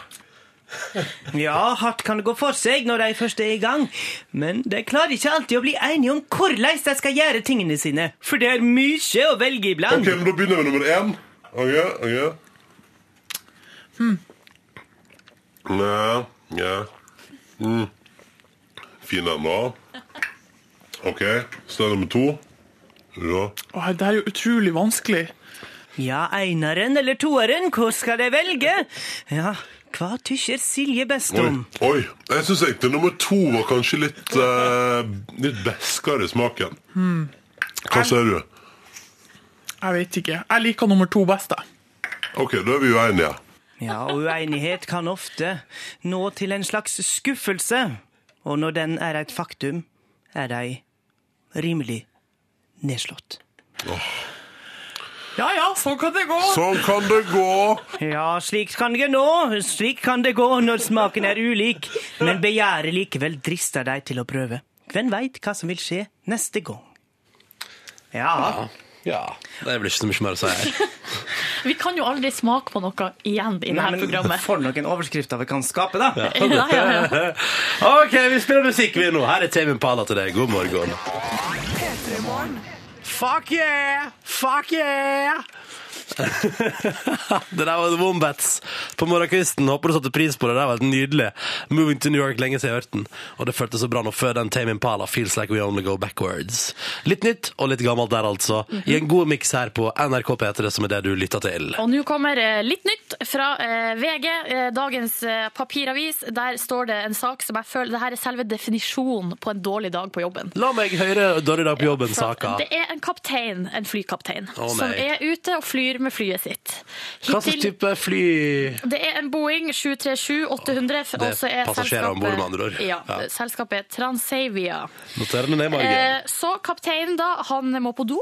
G: Ja, hardt kan det gå for seg når de først er i gang, men de klarer ikke alltid å bli enige om hvordan de skal gjøre tingene sine, for det er mye å velge iblant.
J: Ok, men Da begynner vi med nummer én. Ok, ok. Nei, Hmm. ja. Mm. Fin den, da. Ok, så er det nummer to. Ja.
I: Åh, det her er jo utrolig vanskelig.
G: Ja, eineren eller toeren, hva skal jeg velge? Ja, hva tykker Silje best
J: Oi.
G: om?
J: Oi. Jeg syns egentlig nummer to var kanskje litt eh, Litt beskere i smaken. Hva sier du?
I: Jeg vet ikke. Jeg liker nummer to best, jeg.
J: Ok, da er vi uenige.
G: Ja, uenighet kan ofte nå til en slags skuffelse, og når den er et faktum, er de rimelig nedslått.
I: Ja ja, sånn kan det gå.
J: Sånn kan det gå.
G: Ja, slik kan det nå, slik kan det gå når smaken er ulik, men begjæret likevel drister deg til å prøve. Hvem veit hva som vil skje neste gang? Ja,
B: Ja, det er vel ikke så mye mer å si her.
D: Vi kan jo aldri smake på noe igjen i dette programmet.
G: for noen overskrifter vi kan skape, da.
D: Ja, ja, ja.
B: OK, vi spiller musikk, vi nå. Her er Tame Impala til deg. God morgen. Fuck yeah! Fuck yeah! det der var The Wombats på morgenkvisten. Håper du satte pris på det. Det var helt nydelig. Moving to New York lenge siden jeg hørte den. Og det føltes så bra nå før den Tame Impala Feels Like We Only Go Backwards. Litt nytt og litt gammelt der, altså. I en god miks her på NRK P3, som er det du lytter til.
D: Og nå kommer eh, litt nytt fra eh, VG, eh, dagens eh, papiravis. Der står det en sak som jeg føler Det her er selve definisjonen på en dårlig dag på jobben.
B: La meg høre Dårlig dag på jobben-saka.
D: Det er en kaptein, en flykaptein,
B: Å, nei.
D: som er ute og flyr med flyet sitt.
B: Hva slags
D: Hittil-
B: type fly
D: Det er en Boeing 737-800.
B: Det er passasjerer om bord, med andre ord.
D: Ja,
B: Ja.
D: selskapet er Transavia.
B: Noterer den ned i margen.
D: Eh, så kapteinen da, han må på do.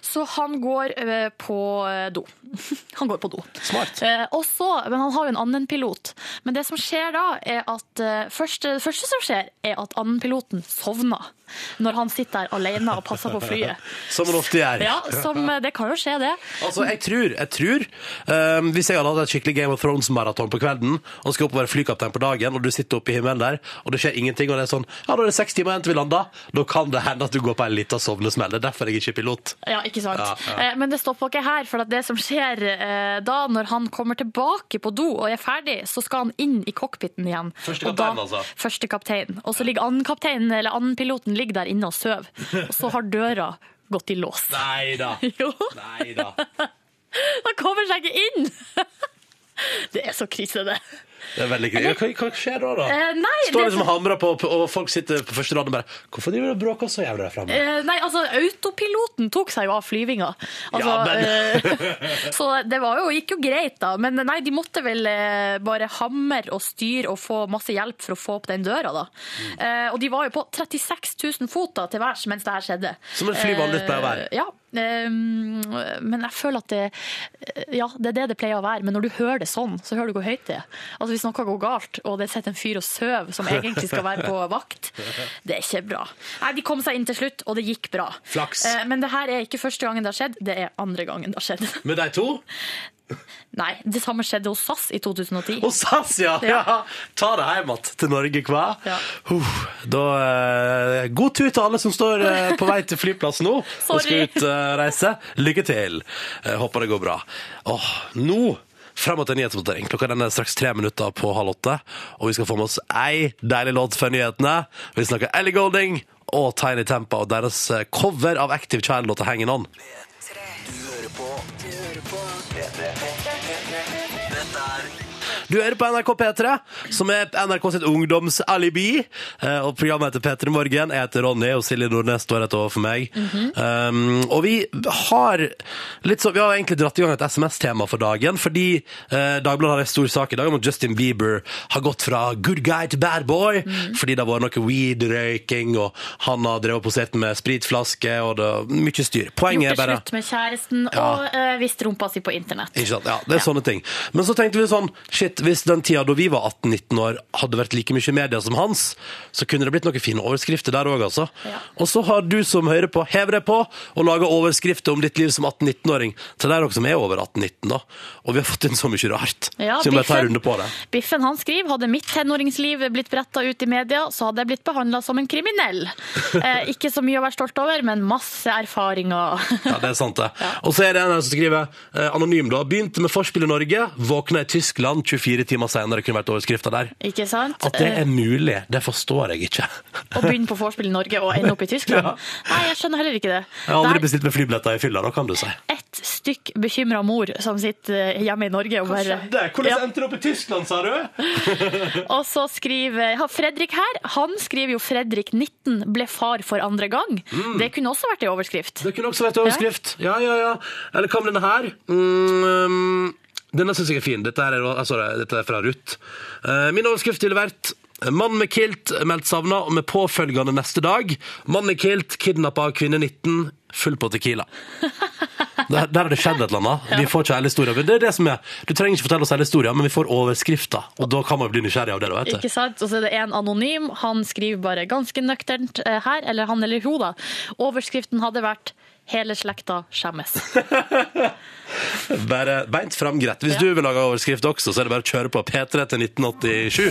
D: Så han går eh, på eh, do. Han går på do.
B: Smart.
D: Eh, og så, men han har jo en annen pilot. Men det som skjer da, er at eh, første, det første som skjer, er at annen piloten sovner. Når han sitter der alene og passer på flyet.
B: Som man ofte gjør.
D: Ja, som, eh, det kan jo skje, det.
B: Altså, jeg tror, jeg tror ehm, Hvis jeg hadde hatt et skikkelig Game of Thrones-maraton på kvelden, og skal opp og være flykaptein på dagen, og du sitter oppe i himmelen der, og det skjer ingenting, og det er sånn Ja, da er det seks timer igjen til vi lander. Da kan det hende at du går på en liten sovnesmell. Det er derfor jeg ikke er pilot.
D: Ja, ikke sant.
B: Ja, ja.
D: Eh, Men det stopper ikke her, for at det som skjer eh, da, når han kommer tilbake på do og er ferdig, så skal han inn i cockpiten igjen.
B: Første
D: Og da-
B: kaptein, altså.
D: Første kaptein. Og så ligger annen kaptein, eller annen piloten ligger der inne og sover. Og så har døra gått i lås.
B: Nei da.
D: Jo,
B: Nei da.
D: han kommer seg ikke inn! Det er så krise, det.
B: Det er veldig gøy. Ja, Hva, hva skjer da, da?
D: Eh, nei, det-
B: Står liksom og hamrer på, og folk sitter på første rad og bare Hvorfor driver du og bråker så jævlig der framme?
D: Eh, Nei, altså, autopiloten tok seg jo av flyvinga. Altså,
B: Ja,
D: eh, så det var jo, gikk jo greit, da. Men nei, de måtte vel eh, bare hamre og styre og få masse hjelp for å få opp den døra, da.
B: Mm.
D: Eh, og de var jo på 36 000 fot da, til værs mens det her skjedde.
B: Som en fly vanligvis pleier å være.
D: Eh, Ja. eh, Men jeg føler at det Ja, det er det det pleier å være, men når du hører det sånn, så hører du hvor høyt det er. Altså Hvis noe går galt, og det sitter en fyr og sover som egentlig skal være på vakt, det er ikke bra. Nei, De kom seg inn til slutt, og det gikk bra.
B: Flaks.
D: Eh, Men det her er ikke første gangen det har skjedd, det er andre gangen det har skjedd.
B: Med de to?
D: Nei, det samme skjedde hos SAS i 2010.
B: Hos SAS, ja.
D: Ja.
B: ja! Ta det hjem igjen til Norge, hva?
D: Ja.
B: Uff, da, eh, god tur til alle som står eh, på vei til flyplass nå og skal
D: Sorry.
B: ut eh, reise. Lykke til. Jeg håper det går bra. Åh, nå frem til nyhetsvotering. Klokka den er straks tre minutter på halv åtte, og vi skal få med oss ei deilig låt før nyhetene. Vi snakker Ellie Golding og Tiny Tempa og deres eh, cover av Active Child-låta Hanging On. Du hører på NRK P3, som er NRK sitt ungdomsalibi. Eh, Og programmet heter P3 Morgen. Jeg heter Ronny, og Silje Nordnes står rett overfor meg.
D: Mhm.
B: um, og vi har litt så, Vi har egentlig dratt i gang et SMS-tema for dagen, fordi eh, Dagbladet har en stor sak i dag om at Justin Bieber har gått fra good guy til bad boy,
D: Mhm.
B: fordi det har vært noe weed-røyking, og han har drevet og posert med spritflaske, og det er mye styr. Poenget er
D: Gjort det
B: bare
D: slutt med kjæresten og eh, vist rumpa si på internett.
B: ikke sant? Ja, det er sånne ting. Men så tenkte vi sånn, shit, hvis den tida da vi var 18-19 år hadde vært like mye i media som hans, så kunne det blitt noen fine overskrifter der òg, altså.
D: Ja.
B: Og så har du som hører på, hever deg på og laga overskrifter om ditt liv som 18-19-åring til dere som er over 18-19, da. Og vi har fått inn så mye rart.
D: Ja,
B: så vi må bare ta en
D: Biffen.
B: runde på det.
D: Biffen han skriver hadde mitt tenåringsliv blitt bretta ut i media, så hadde jeg blitt behandla som en kriminell. Eh, ikke så mye å være stolt over, men masse erfaringer.
B: Ja, det er sant det. Og så er det en her som skriver eh, anonym, da. Begynte med Forspill i Norge, våkna i Tyskland 24 timer senere, kunne vært overskrifta der.
D: ikke sant?
B: At det
D: Eh,
B: er mulig, det forstår jeg ikke.
D: Å begynne på vorspiel i Norge og ende opp i Tyskland? Nei, jeg skjønner heller ikke det.
B: Jeg har aldri
D: det
B: bestilt meg flybilletter i fylla, da kan du si.
D: er ett stykk bekymra mor som sitter eh, hjemme i Norge og bare Ja.
B: endte du opp i Tyskland, sa du?
D: Og så skriver ja, Fredrik her. Han skriver jo 'Fredrik 19 ble far for andre gang'.
B: Mm.
D: Det kunne også vært ei overskrift.
B: Det kunne også vært overskrift. Ja, ja, ja. Eller hva med denne her? Mm, denne syns jeg er fin. Dette, her er, altså, dette er fra Ruth. Eh, min overskrift ville vært Mann med kilt meldt savna, og med påfølgende neste dag. Mann med kilt kidnappa av kvinne 19, full på Tequila. Der, der har det skjedd et eller annet. Vi får ikke hele historien. Men det er det som er. Du trenger ikke fortelle oss hele historien, men vi får overskrifter. Og da kan man bli nysgjerrig av det. da, vet du.
D: Ikke sant? Og så er det en anonym. Han skriver bare ganske nøkternt eh, her, eller han eller hun, da. Overskriften hadde vært 'Hele slekta skjemmes'.
B: Bare beint fram greit. Hvis du vil lage overskrift også, så er det bare å kjøre på P3 til 1987.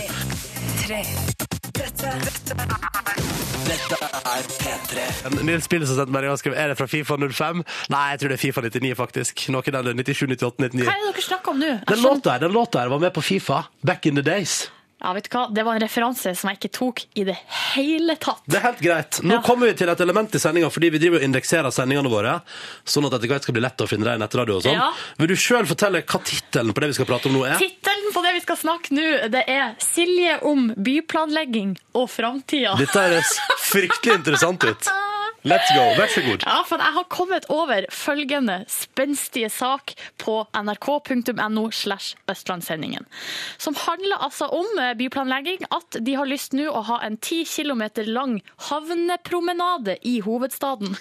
B: En Nils Pille som sendte melding og skrev er det fra Fifa 05. Nei, jeg tror det er Fifa 99, faktisk. Noe der 97, 98,
D: Hva
B: 99.
D: er det dere snakker om nå? Jeg
B: Den
D: skjønner-
B: låta her, den låta her var med på Fifa back in the days.
D: Ja, vet du hva? Det var en referanse som jeg ikke tok i det hele tatt.
B: Det er helt greit. Nå
D: Ja.
B: kommer vi til et element i sendinga, fordi vi driver og indekserer sendingene våre, sånn at det etter hvert skal bli lett å finne deg i nettradio og sånn.
D: Ja.
B: Vil du sjøl fortelle hva tittelen på det vi skal prate om nå er?
D: Tittelen på det vi skal snakke nå, det er 'Silje om byplanlegging og framtida'.
B: Dette høres fryktelig interessant ut. Let's go. Vær så god.
D: Ja, for jeg har kommet over følgende spenstige sak på nrk.no slash østlandssendingen, som handler altså om eh, byplanlegging, at de har lyst nå å ha en 10 kilometer lang havnepromenade i hovedstaden,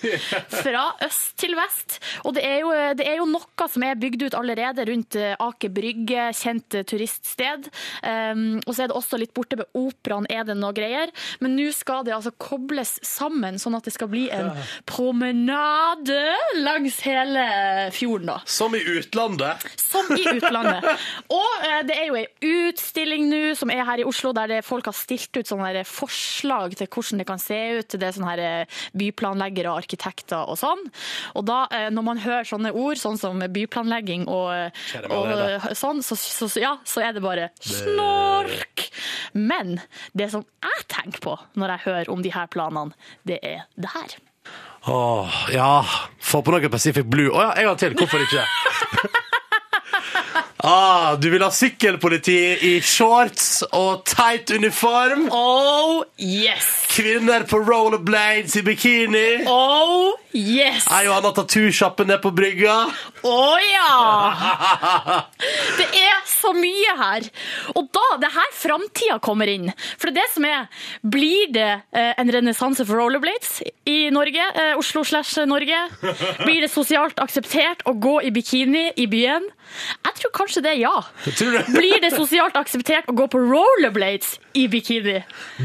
D: fra øst til vest. Og det er jo, det er jo noe som er bygd ut allerede rundt eh, Aker Brygge, kjent eh, turiststed. Um, og så er det også litt borte ved operaen, er det noe greier. Men nå skal det altså kobles sammen, sånn at det skal bli en promenade langs hele fjorden, da.
B: Som i utlandet.
D: Som i utlandet. Og eh, det er jo ei utstilling nå som er her i Oslo, der det, folk har stilt ut sånne her forslag til hvordan det kan se ut. Det er sånne her eh, byplanleggere og arkitekter og sånn. Og da, eh, når man hører sånne ord, sånn som byplanlegging og,
B: Kjenner meg
D: og
B: allerede.
D: sånn, så, så, så, ja, så er det bare snork! Men det som jeg tenker på når jeg hører om de her planene, det er det her.
B: Åh, ja. Få på noe Pacific Blue. Å ja, en gang til. Hvorfor ikke? ah, du vil ha sykkelpoliti i shorts og teit uniform.
D: Oh yes!
B: Kvinner på rollerblades i bikini.
D: Oh yes!
B: Ei og anna tattusjappe ned på brygga.
D: Å ja! Det er så mye her. Og da, det er her framtida kommer inn. For det er det som er Blir det eh, en renessanse for rollerblades i Norge? Eh, Oslo slash Norge? Blir det sosialt akseptert å gå i bikini i byen? Jeg tror kanskje det er ja. Blir det sosialt akseptert å gå på rollerblades i bikini?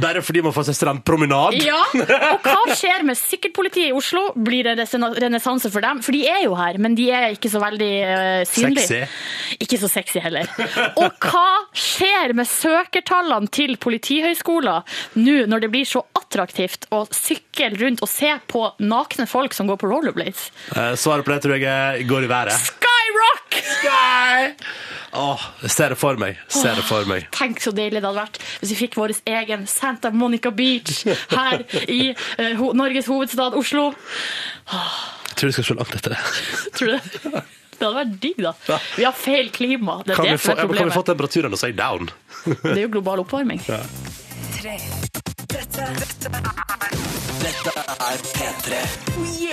B: Bare fordi man får seg strandpromenad?
D: Ja, og hva skjer med sykkelpolitiet i Oslo? Blir det resen- renessanse for dem? For de er jo her, men de er ikke så veldig eh, synlige.
B: Sexy.
D: Ikke så sexy heller. Og hva skjer med søkertallene til Politihøgskolen nå når det blir så attraktivt å sykle rundt og se på nakne folk som går på rollerblades?
B: Eh, Svaret på det tror jeg er går i været.
D: Skyrock!
B: Åh, jeg ser det for meg. Ser det for meg.
D: Tenk så deilig det hadde vært hvis vi fikk vår egen Santa Monica Beach her i eh, ho Norges hovedstad Oslo.
B: Jeg tror vi skal se langt etter det.
D: Tror du det? Det hadde vært digg, da. Vi har feil klima. Det er
B: Kan vi
D: det
B: få,
D: som er
B: ja, men kan vi få
D: problemet.
B: temperaturen og si down?
D: Det er jo global oppvarming.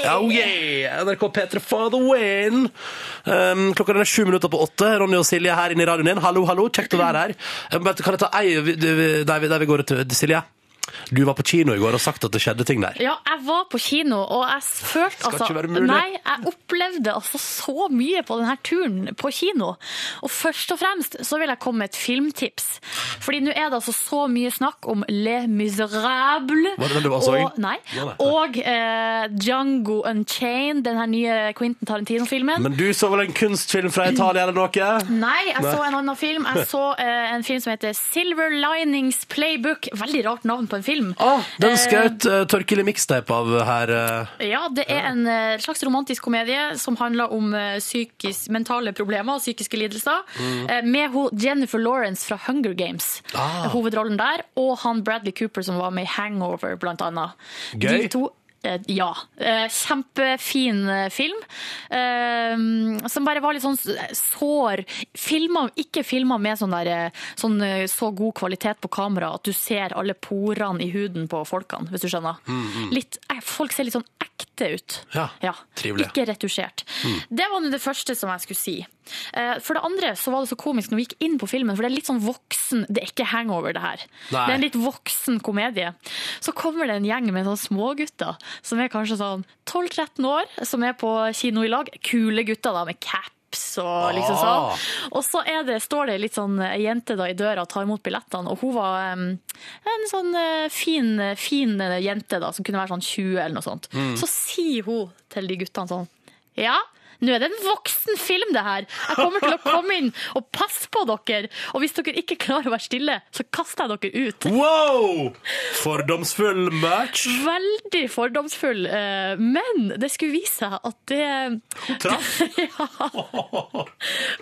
B: Oh yeah! NRK P3 for the win! Um, klokka den er sju minutter på åtte. Ronny og Silje her inne i radioen din. Hallo, hallo, kjekt å være her. Um, vet du, kan jeg ta ei vi- du- der vi, der vi går ut, Silje? Du var på kino i går og sagt at det skjedde ting der.
D: Ja, jeg var på kino, og jeg følte
B: Skal ikke være
D: altså
B: mulig.
D: Nei, jeg opplevde altså så mye på denne turen på kino. Og først og fremst så vil jeg komme med et filmtips. Fordi nå er det altså så mye snakk om Les Miserables.
B: Var det den du var så i?
D: og, nei,
B: Ja, nei.
D: og eh, Django Unchained, den her nye Quentin Tarantino-filmen.
B: Men du så vel en kunstfilm fra Italia eller noe?
D: Nei, jeg så en annen film. Jeg så eh, en film som heter Silver Linings Playbook. Veldig rart navn på en film.
B: Ah, den
D: Eh,
B: skjøt uh, Torkili Mixtape av her. eh.
D: Ja, det er en eh, slags romantisk komedie som handler om eh, psykis- mentale problemer og psykiske lidelser. eh, Med ho- Jennifer Lawrence fra Hunger Games,
B: Ah.
D: hovedrollen der, og han Bradley Cooper som var med i Hangover, blant annet.
B: Gøy.
D: De to eh, ja. eh, Kjempefin eh, film. eh, Som bare var litt sånn s- sår filmer, Ikke filmer med sånn, der, eh, sånn eh, så god kvalitet på kamera at du ser alle porene i huden på folkene, hvis du skjønner. Litt, eh, folk ser litt sånn ekte ut.
B: Mhm. Ja, trivelig. Mhm.
D: Ikke retusjert. Det var nå det første som jeg skulle si. Eh, For det andre så var det så komisk når vi gikk inn på filmen, for det er litt sånn voksen Det er ikke hangover, det her.
B: Nei.
D: Det er en litt voksen komedie. Så kommer det en gjeng med sånne smågutter som er kanskje sånn 12-13 år, som er på kino i lag. Kule gutter da, med caps og liksom sånn.
B: Ah.
D: Og så er det, står det litt sånn ei jente da i døra og tar imot billettene, og hun var em, en sånn eh, fin, fin eh, jente da, som kunne være sånn 20 eller noe sånt. Så sier hun til de guttene sånn, ja, nå er det en voksen film det her. Jeg kommer til å komme inn og passe på dere, og hvis dere ikke klarer å være stille, så kaster jeg dere ut.
B: Wow! Fordomsfull merch.
D: Veldig fordomsfull, eh, men det skulle vise seg at det
B: Traff.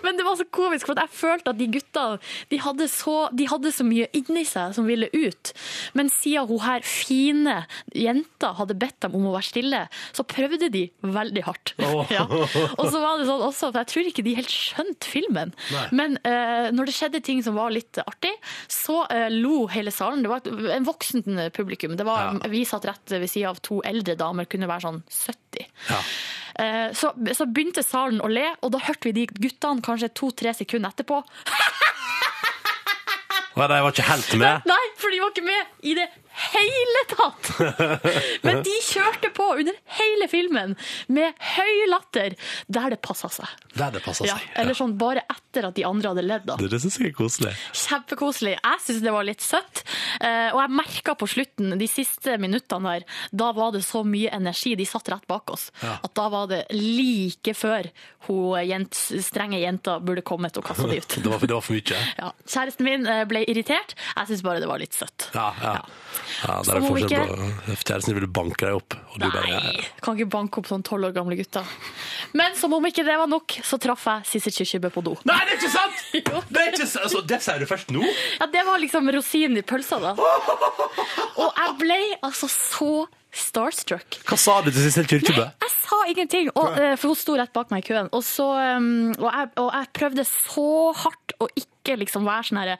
D: Men det var så komisk, for at jeg følte at de gutta de hadde, så, de hadde så mye inni seg som ville ut. Men siden hun her fine jenta hadde bedt dem om å være stille, så prøvde de veldig hardt. Ja. Og så var det sånn også, for jeg tror ikke de helt skjønte filmen. Men eh, når det skjedde ting som var litt artig, så eh, lo hele salen. Det var et, en voksen publikum. Det var, Vi satt rett ved siden av to eldre damer, kunne være sånn 70. Eh, Så, så begynte salen å le, og da hørte vi de guttene kanskje to-tre sekunder etterpå.
B: Nei, de var ikke helt med.
D: Nei, for de var ikke med i det hele tatt! Men de kjørte på under hele filmen med høy latter der det passa seg.
B: Der det passet
D: Ja,
B: seg.
D: eller sånn bare etter at de andre hadde ledd. da.
B: Det, det syns jeg er koselig.
D: Kjempekoselig. Jeg syns det var litt søtt. Eh, Og jeg merka på slutten, de siste minuttene der, da var det så mye energi. De satt rett bak oss. At da var det like før hun jent, strenge jenta burde kommet og kasta de ut.
B: Det var, det var for mye.
D: Ja. Kjæresten min eh, ble irritert. Jeg syns bare det var litt søtt.
B: Ja, ja. ja der
D: Så
B: er
D: må vi
B: forskjell på Kjæresten ville banke deg opp, og du bare ja,
D: Nei, kan ikke banke opp sånn tolv år gamle gutter. Men som om ikke det var nok, så traff jeg Sissel Kyrkjebø på do.
B: Nei, det er ikke sant! Det, er ikke, sant! altså, det sier du først nå?
D: Ja, det var liksom rosinen i pølsa, da. Og jeg ble altså så starstruck.
B: Hva sa du til Sissel Kyrkjebø?
D: Jeg sa ingenting, og, eh, for hun sto rett bak meg i køen. Og, så, um, og, jeg, og jeg prøvde så hardt å ikke liksom være sånn herre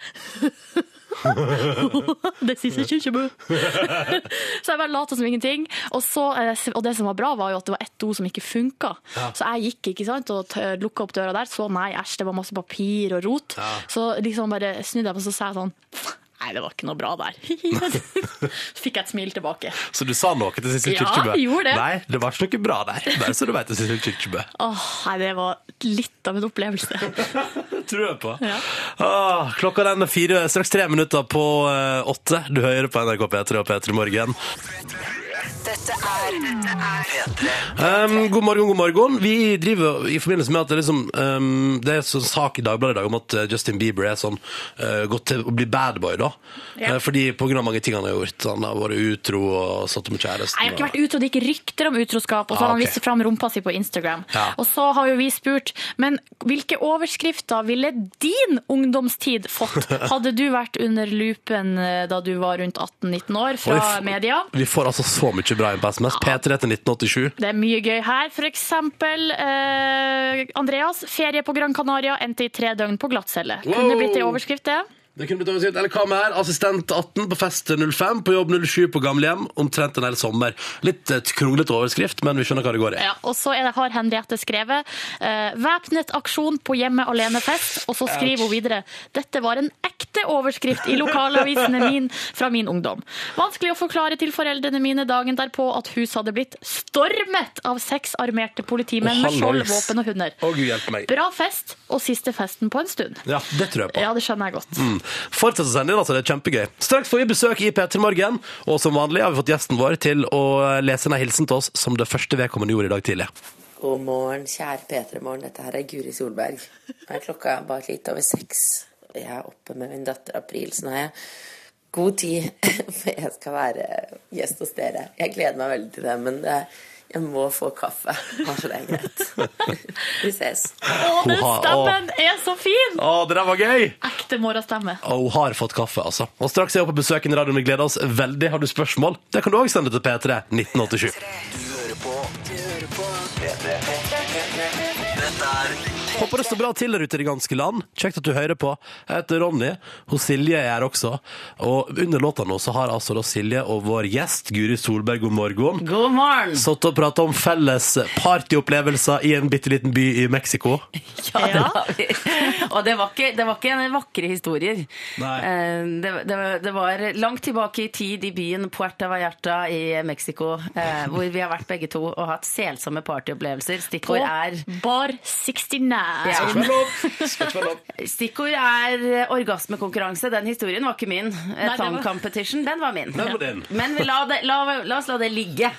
D: det siste kjøkkenbø. så jeg bare lot som ingenting. Og, så, eh, og det som var bra, var jo at det var ett do som ikke funka. Så jeg gikk ikke sant, og t- lukka opp døra der. Så nei, æsj, det var masse papir og rot. Så liksom bare snudde jeg meg og så sa jeg sånn «Nei, Nei, det var ikke noe bra der. Fikk jeg et smil tilbake.
B: Så du sa noe til Sissel
D: Ja,
B: Kyrkjebø?
D: jeg gjorde det.
B: Nei, det var ikke noe bra der. Bare så du vet det, Sissel Kyrkjebø.
D: Åh, nei, det var litt av en opplevelse.
B: Tror jeg på.
D: Ja.
B: Ah, klokka den er fire, straks tre minutter på eh, åtte. Du hører på NRK P3 og P3 Morgen. Um, god morgen, god morgen. Vi driver i forbindelse med at det, liksom, um, det er sånn sak i Dagbladet i dag om at eh, Justin Bieber er sånn eh, gått til å bli bad boy, da.
D: Ja.
B: Eh, fordi på grunn av mange ting han har gjort. Han har vært utro og satt med kjæresten.
D: Nei, Jeg har ikke
B: og-
D: vært utro, det gikk rykter om utroskap, og så har
B: Ah,
D: han
B: ok.
D: vist fram rumpa si på Instagram.
B: Ja.
D: Og så har jo vi spurt, men hvilke overskrifter ville din ungdomstid fått? Hadde du vært under lupen eh, da du var rundt 18-19 år fra
B: Oi, f-
D: media?
B: Vi får altså så mye bra inn på SMS. P3 til 1987.
D: Det er mye gøy her. For eksempel eh, Andreas, ferie på Gran Canaria endte i tre døgn på glattcelle. Kunne
B: Wow!
D: blitt en overskrift, det.
B: Det kunne blitt overskrift. Eller hva med her? Assistent 18 på fest 05, på jobb 07 på gamlehjem. Omtrent en hel sommer. Litt eh, kronglete overskrift, men vi skjønner hva det går i.
D: Ja, og så er det, har Henriette skrevet eh, 'Væpnet aksjon på hjemme alene-fest', og så skriver hun videre 'Dette var en ekte overskrift i lokalavisene min fra min ungdom'. Vanskelig å forklare til foreldrene mine dagen derpå at huset hadde blitt stormet av seks armerte politimenn
B: Å,
D: med skjold,
B: hallois.
D: våpen og hunder.
B: Å, Gud hjelpe meg.
D: Bra fest, og siste festen på en stund.
B: Ja, det tror jeg på.
D: Ja, det skjønner jeg godt.
B: Mm. Fortsett å sende inn, altså. Det er kjempegøy. Straks får vi besøk i P3 Morgen, og som vanlig har vi fått gjesten vår til å lese en hilsen til oss som det første vedkommende gjorde i dag tidlig.
K: God morgen, kjære P3-morgen. Dette her er Guri Solberg. Nå er klokka bare litt over seks. Jeg er oppe med min datter April, så nå har jeg god tid. For jeg skal være gjest hos dere. Jeg gleder meg veldig til det, men det, jeg må få kaffe. Bare så det er greit. Vi ses.
D: Å, den
B: Oha, å.
D: stemmen er så fin!
B: Å, det der var gøy!
D: Ekte morgenstemme.
B: Og hun har fått kaffe, altså. Og straks er hun på besøk i radioen. Vi gleder oss veldig. Har du spørsmål? Det kan du òg sende til P3 1987. Håper det står bra til der ute i det ganske land. Kjekt at du hører på. Jeg heter Ronny. Hun Silje er her også. Og under låta nå så har altså da Silje og vår gjest Guri Solberg god morgen.
L: God morgen!
B: Satt og prata om felles partyopplevelser i en bitte liten by i Mexico.
L: Ja, det var vi. Og det var ikke, det var ikke en vakre historier.
B: Nei.
L: Eh, Det, det, det var langt tilbake i tid i byen Puerta Vallarta i Mexico, eh, hvor vi har vært begge to og hatt selsomme partyopplevelser.
D: På
L: Stikkord er
D: Bar 69.
L: Ja. Stikkord er eh, orgasmekonkurranse. Den historien var ikke min. Eh,
D: det var-
L: Thong competition, den var min.
B: Den var din.
L: Men vi la, det, la, la oss la det ligge.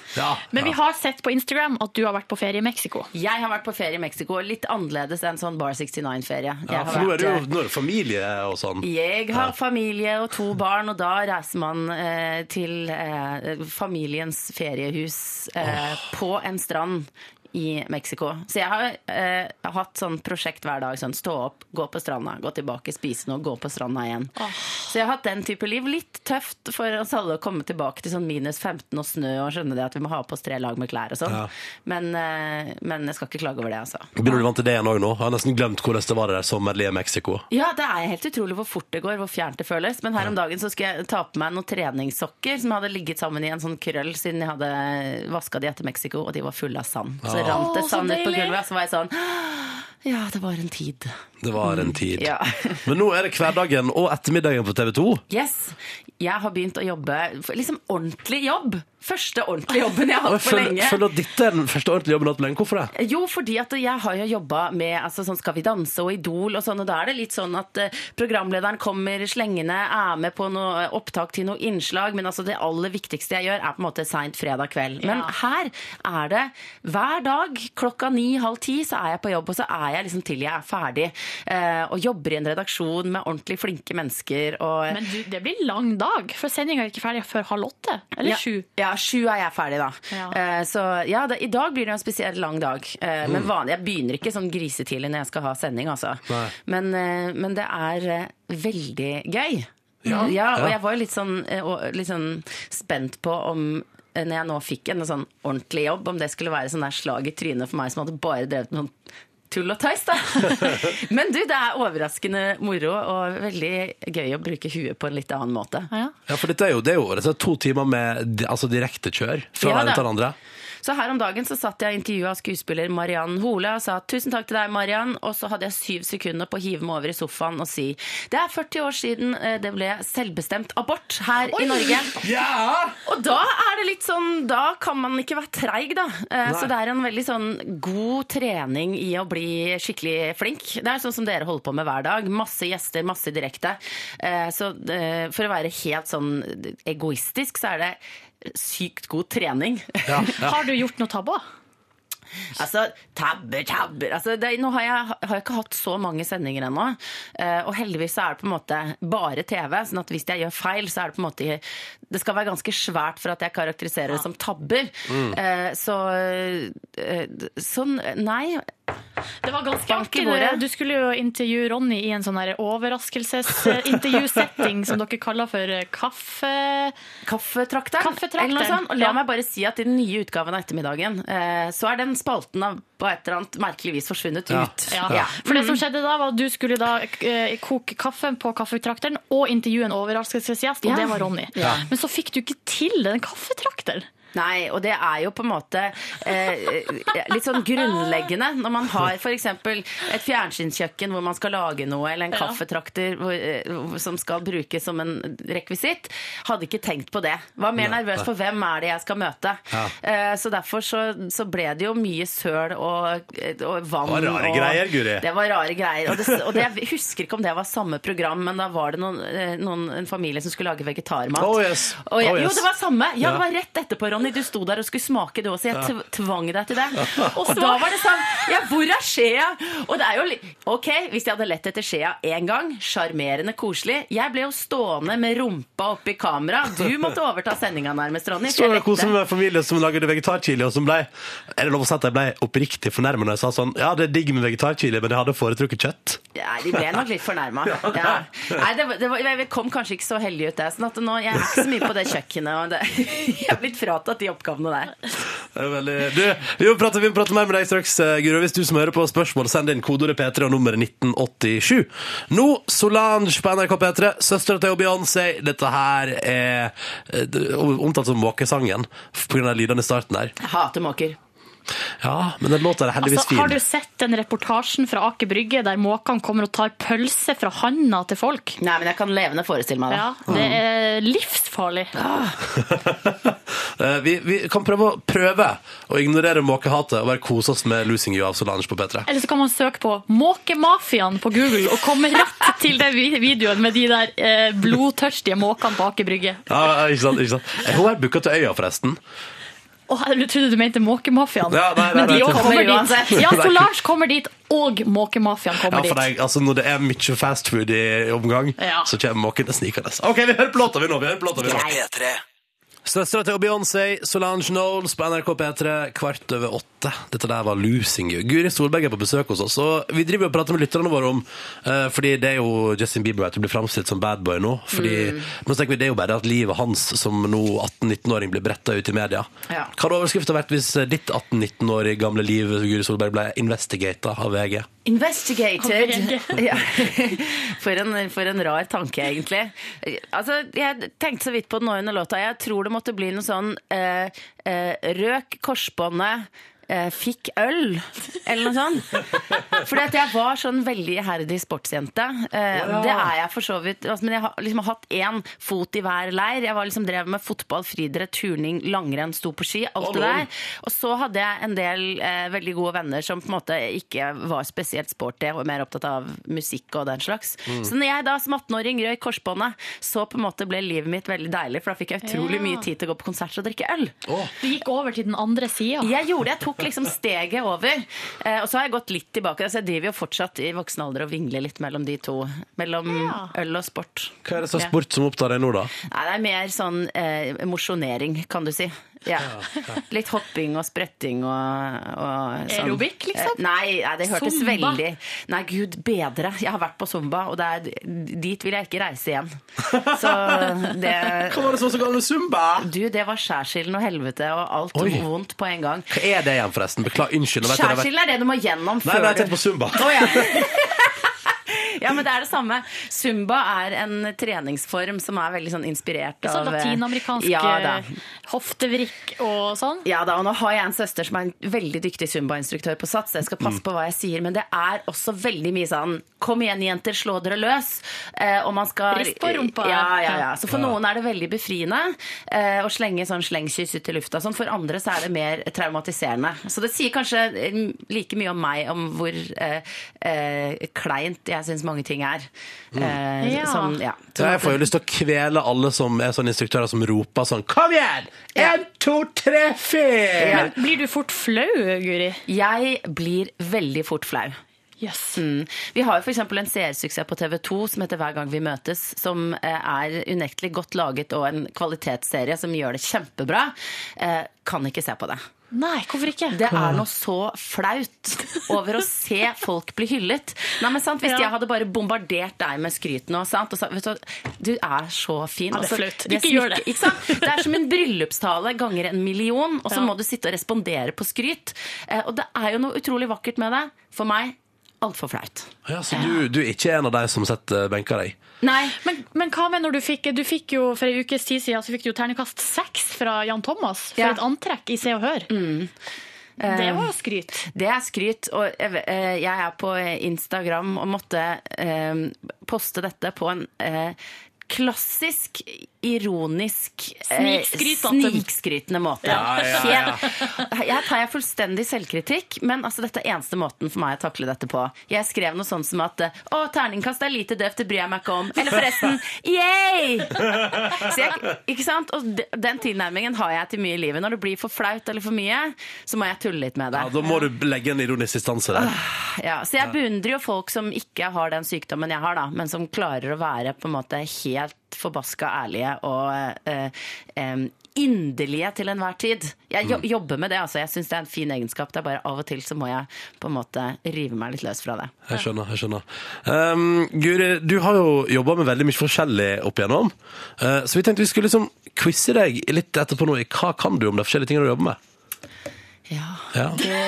D: Men vi har sett på Instagram at du har vært på ferie i Mexico.
L: Jeg har vært på ferie i Mexico, litt annerledes enn sånn Bar 69-ferie.
B: Ja, for nå er det jo nå er det familie og sånn.
L: Jeg har familie og to barn, og da reiser man eh, til eh, familiens feriehus eh, på en strand i Mexico. Så jeg har eh, hatt sånn prosjekt hver dag. Sånn, stå opp, gå på stranda, gå tilbake, spise noe, gå på stranda igjen. Så jeg har hatt den type liv. Litt tøft for oss alle å komme tilbake til sånn minus 15 og snø og skjønne det at vi må ha på oss tre lag med klær og sånn. Men, eh, men jeg skal ikke klage over det, altså.
B: Begynner du vant til det igjen òg nå? Jeg har nesten glemt hvordan det var det der sommerlige Mexico.
L: Ja, det er helt utrolig hvor fort det går, hvor fjernt det føles. Men her om dagen så skulle jeg ta på meg noen treningssokker som hadde ligget sammen i en sånn krøll siden jeg hadde vaska de etter Mexico, og de var fulle av sand. Så rant det
D: Å, så
L: sand ut på
D: deilig.
L: gulvet, og så var jeg sånn Ja, det var en tid.
B: Det var en tid.
L: Ja.
B: Men nå er det hverdagen og ettermiddagen på TV 2.
L: Yes. Jeg har begynt å jobbe liksom ordentlig jobb. Første ordentlige jobben jeg har hatt for
B: føler,
L: lenge.
B: føler at dette er den første ordentlige jobben du har hatt på lenge. Hvorfor det?
L: Jo, fordi at jeg har jo jobba med altså, sånn Skal vi danse og Idol og sånn, og da er det litt sånn at eh, programlederen kommer slengende, er med på noe eh, opptak til noe innslag, men altså det aller viktigste jeg gjør, er på en måte seint fredag kveld. Men
D: Ja.
L: her er det hver dag klokka ni-halv ti så er jeg på jobb, og så er jeg liksom til jeg er ferdig. eh, og jobber i en redaksjon med ordentlig flinke mennesker og
D: Men du, det blir lang dag, for sendinga er ikke ferdig før halv åtte. Eller
L: ja,
D: sju.
L: Ja, sju er jeg ferdig da.
D: Ja.
L: Eh, så ja, det, i dag blir det jo en spesiell lang dag. Eh, Men vanlig, jeg begynner ikke sånn grisetidlig når jeg skal ha sending, altså.
B: Nei.
L: Men, eh, men det er eh, veldig gøy. Ja. og jeg var jo litt sånn, eh, og- litt sånn spent på om eh, når jeg nå fikk en sånn ordentlig jobb, om det skulle være sånn der slag i trynet for meg som hadde bare drevet med noen tull og tøys, da. Men du, det er overraskende moro og veldig gøy å bruke huet på en litt annen måte.
D: Ja.
B: Ja, for dette er jo, det er jo dette er to timer med di- altså, direktekjør fra
L: Ja,
B: den
L: da.
B: til den andre.
L: Så her om dagen så satt jeg og intervjua skuespiller Mariann Hole og sa tusen takk til deg, Mariann. Og så hadde jeg syv sekunder på å hive meg over i sofaen og si det er 40 år siden eh, det ble selvbestemt abort her i Norge. Og da er det litt sånn Da kan man ikke være treig, da. Eh,
M: Nei.
L: Så det er en veldig sånn god trening i å bli skikkelig flink. Det er sånn som dere holder på med hver dag. Masse gjester, masse direkte. Eh, Så eh, for å være helt sånn egoistisk, så er det sykt god trening.
D: Har du gjort noe tabber?
L: Altså, tabber, tabber altså, det, Nå har jeg, har jeg ikke hatt så mange sendinger ennå. eh, og heldigvis så er det på en måte bare TV, sånn at hvis jeg gjør feil, så er det på en måte Det skal være ganske svært for at jeg karakteriserer det som tabber.
M: Mm.
L: Eh, så eh, sånn Nei.
D: Det var ganske
L: Bank i
D: artig.
L: bordet.
D: det. eh, Du skulle jo intervjue Ronny i en sånn her overraskelsesintervjusetting som dere kaller for eh, kaffe...
L: Kaffetrakteren.
D: Kaffetrakteren.
L: Eller noe sånt. Og la
D: Ja.
L: meg bare si at i den nye utgaven av Ettermiddagen, eh, så er den spalten av på et eller annet merkelig vis forsvunnet
D: Ja.
L: ut.
D: Ja. For det som
L: Mm.
D: skjedde da, var at du skulle da eh, koke kaffen på kaffetrakteren og intervjue en overraskelsesgjest, og
L: Ja.
D: det var Ronny.
L: Ja.
D: Men så fikk du ikke til den kaffetrakteren.
L: Nei, og det er jo på en måte eh, litt sånn grunnleggende når man har f.eks. et fjernsynskjøkken hvor man skal lage noe, eller en
M: Ja.
L: kaffetrakter hvor, eh, som skal brukes som en rekvisitt. Hadde ikke tenkt på det. Var mer
M: Nei.
L: nervøs for hvem er det jeg skal møte.
M: Ja.
L: Eh, så derfor så, så ble det jo mye søl og, og vann.
B: Det var rare
L: og,
B: greier, Guri.
L: Det var rare greier. Og, det, og det, jeg husker ikke om det var samme program, men da var det noen, eh, noen, en familie som skulle lage vegetarmat.
B: Oh, yes.
L: Og jeg,
B: Oh,
L: Jo,
B: yes.
L: det var samme. Ja,
B: Ja.
L: det var rett etterpå, Ronny. Du sto der og skulle smake, du også. Jeg
M: Ja.
L: tv- tvang deg til det.
M: Ja.
L: Og da var det sånn Ja, hvor er skjea? Og det er jo li- OK, hvis jeg hadde lett etter skjea én gang, sjarmerende koselig. Jeg ble jo stående med rumpa oppi kamera. Du måtte overta sendinga nærmest, Ronny. for
B: Står
L: jeg
B: og koser meg
L: lekte.
B: med en familie som lagde vegetarchili, og som ble Er det lov å si at jeg ble oppriktig fornærmet når jeg sa sånn Ja, det er digg med vegetarchili, men jeg hadde foretrukket kjøtt.
L: Nei, de ble nok litt fornærma. Ja. Nei, det, var- det var, jeg kom kanskje ikke så heldig ut, jeg. Sånn at nå, jeg er ikke så mye på det kjøkkenet. Og det, jeg er blitt fratatt de oppgavene der.
B: Det er veldig... Du, vi må prate, vi må prate mer med deg straks, eh, Guro. Hvis du som hører på har spørsmål, send inn kodeordet P3 og nummeret 1987. Nå Solange på NRK P3, søstera til Beyoncé. Dette her er eh, det- omtalt som måkesangen pga. den lydende starten der.
L: Jeg hater måker.
B: Ja, men den låta er heldigvis
D: Altså, har
B: fin.
D: du sett den reportasjen fra Aker Brygge der måkene kommer og tar pølse fra handa til folk?
L: Nei, men jeg kan levende forestille meg det.
D: Ja, det er livsfarlig.
B: Eh, vi, vi kan prøve å, prøve å ignorere måkehatet og bare kose oss med 'Losing You' av Solange på P3.
D: Eller så kan man søke på 'Måkemafiaen' på Google og komme rett til den vi- videoen med de der eh, blodtørstige måkene på Aker Brygge.
B: Ja, ja, ikke sant, ikke sant. Eh, Hun er booka til Øya, forresten.
D: Åh, jeg trodde du mente Måkemafiaen.
B: Ja, nei, nei,
D: Men de
B: nei,
D: også
B: nei.
D: kommer
B: Kommer uansett.
D: dit. Ja, Solange kommer dit, og
B: Ja,
D: Måkemafiaen kommer
B: for
D: dit.
B: det, er- altså, når det er mye fast food i omgang,
D: Ja.
B: så kommer måkene snikende. OK, vi hører på låta vi nå. vi hører på låta vi nå. Søstera til Beyoncé, Solange Knowles på NRK P3, kvart over åtte. Dette der var Losing You. Guri Solberg er på besøk hos oss, og vi driver og prater med lytterne våre om eh, Fordi det er jo Justin Bieber vet du, blir framstilt som bad boy nå. Fordi
D: Mm.
B: nå tenker vi det er jo bare at livet hans som nå 18-19-åring blir bretta ut i media.
L: Ja.
B: Hva hadde overskriften vært hvis ditt 18-19-årige gamle liv Guri Solberg ble investigata av VG?
L: Investigated. Ja. For, en, for en rar tanke, egentlig. Altså, jeg tenkte så vidt på den nå under låta. Jeg tror det måtte bli noe sånn eh, eh, Røk korsbåndet, eh, fikk øl, eller noe sånt. Fordi at jeg var sånn veldig iherdig sportsjente. Eh,
M: Ja.
L: Det er jeg for så vidt. Altså, men jeg har liksom hatt én fot i hver leir. Jeg var liksom drev med fotball, friidrett, turning, langrenn, sto på ski. Alt det
M: Hallo.
L: der. Og så hadde jeg en del eh, veldig gode venner som på en måte ikke var spesielt sporty og mer opptatt av musikk og den slags.
M: Mm.
L: Så når jeg da som 18-åring røyk korsbåndet, så på en måte ble livet mitt veldig deilig, for da fikk jeg utrolig
D: Ja.
L: mye tid til å gå på konsert og drikke øl.
D: Du gikk over til den andre sida.
L: Jeg gjorde det, jeg tok liksom steget over. Eh, og så har jeg gått litt tilbake. Altså jeg driver jo fortsatt i voksen alder og vingler litt mellom de to. Mellom øl og sport.
B: Hva er det slags
L: Ja.
B: sport som opptar deg nå, da?
L: Nei, det er mer sånn eh, mosjonering, kan du si. Ja. Litt hopping og spretting og, og sånn.
D: Aerobikk, liksom?
L: Eh, Nei, nei, det hørtes
D: Zumba?
L: veldig Nei, gud bedre. Jeg har vært på Zumba, og det er, dit vil jeg ikke reise igjen. Så det
B: Hva var det som var så galt med Zumba?
L: Du, det var skjærsilden og helvete og alt
B: Oi.
L: vondt på en gang.
B: Hva er det igjen, forresten? Beklager, unnskyld. nå vet jeg det har vært-
L: Skjærsilden er det du må gjennom
B: Nei,
L: før
B: nei, jeg
L: du
B: tenkte på Zumba.
L: Å, ja. Ja, men det er det samme. Zumba er en treningsform som er veldig sånn inspirert
D: Litt sånn
L: av eh,
D: latinamerikansk
L: ja, da.
D: eh, hoftevrikk og sånn.
L: Ja da, og nå har jeg en søster som er en veldig dyktig zumba-instruktør på Sats. så Jeg skal passe på hva jeg sier, men det er også veldig mye sånn Kom igjen, jenter, slå dere løs. Eh, og man skal
D: Rist på rumpa.
L: Ja, ja, ja. Så for
D: Ja.
L: noen er det veldig befriende eh, å slenge sånn slengkyss ut i lufta. og Sånn. For andre så er det mer traumatiserende. Så det sier kanskje eh, like mye om meg om hvor eh, eh, kleint jeg syns mange ting er. Eh,
B: Ja.
L: Som, ja.
B: Ja, jeg får jo lyst til å kvele alle som er sånne instruktører som roper sånn Kom igjen! En, to, tre, fire!
L: Men blir du fort flau, Guri? Jeg blir veldig fort flau. Mm. Vi har jo for eksempel en seersuksess på TV 2 som heter Hver gang vi møtes, som eh, er unektelig godt laget og en kvalitetsserie som gjør det kjempebra. Eh, Kan ikke se på det.
D: Nei, hvorfor ikke?
L: Det er noe så flaut over å se folk bli hyllet. Nei, men sant, Hvis jeg hadde bare bombardert deg med skryt nå sant? Og sa, vet du, hva, du er så fin.
D: Ja, det er
L: og så-
D: flaut. Ikke gjør det.
L: smykket- Ikke sant? Det er som en bryllupstale ganger en million, og så
D: Ja.
L: må du sitte og respondere på skryt. Eh, Og det er jo noe utrolig vakkert med det. For meg altfor flaut.
B: Ja, så du, du er ikke en av de som setter eh, benker deg?
D: Men, men hva med når du fikk Du fikk jo for en ukes tid siden Så fikk du jo terningkast seks fra Jan Thomas for et antrekk i Se og Hør. Det var jo skryt.
L: Det er skryt. Og jeg, ve- eh, jeg er på Instagram og måtte eh, poste dette på en eh, klassisk, ironisk, eh,
D: Snikskrytete.
L: snikskrytende måte.
D: Ja, ja, ja.
L: Helt- Her tar jeg fullstendig selvkritikk, men altså, dette er eneste måten for meg å takle dette på. Jeg skrev noe sånt som at eh, å, terningkast er lite døvt, det bryr jeg meg ikke om. Eller forresten, yay! Så jeg, ikke sant? Og de, den tilnærmingen har jeg til mye i livet. Når det blir for flaut eller for mye, så må jeg tulle litt med det.
B: Ja, da må du legge en ironisk distanse der.
L: Ah. Ja, så jeg beundrer jo folk som ikke har den sykdommen jeg har, da, men som klarer å være på en måte helt forbaska ærlige og eh, eh, inderlige til enhver tid. Jeg
B: Mm.
L: jo jobber med det, altså. Jeg syns det er en fin egenskap. Det er bare av og til så må jeg på en måte rive meg litt løs fra det.
B: Jeg skjønner. jeg skjønner. Um, Guri, du har jo jobba med veldig mye forskjellig opp igjennom. Uh, så vi tenkte vi skulle liksom quize deg litt etterpå nå i hva kan du om de forskjellige tingene du jobber med. Ja.
L: Det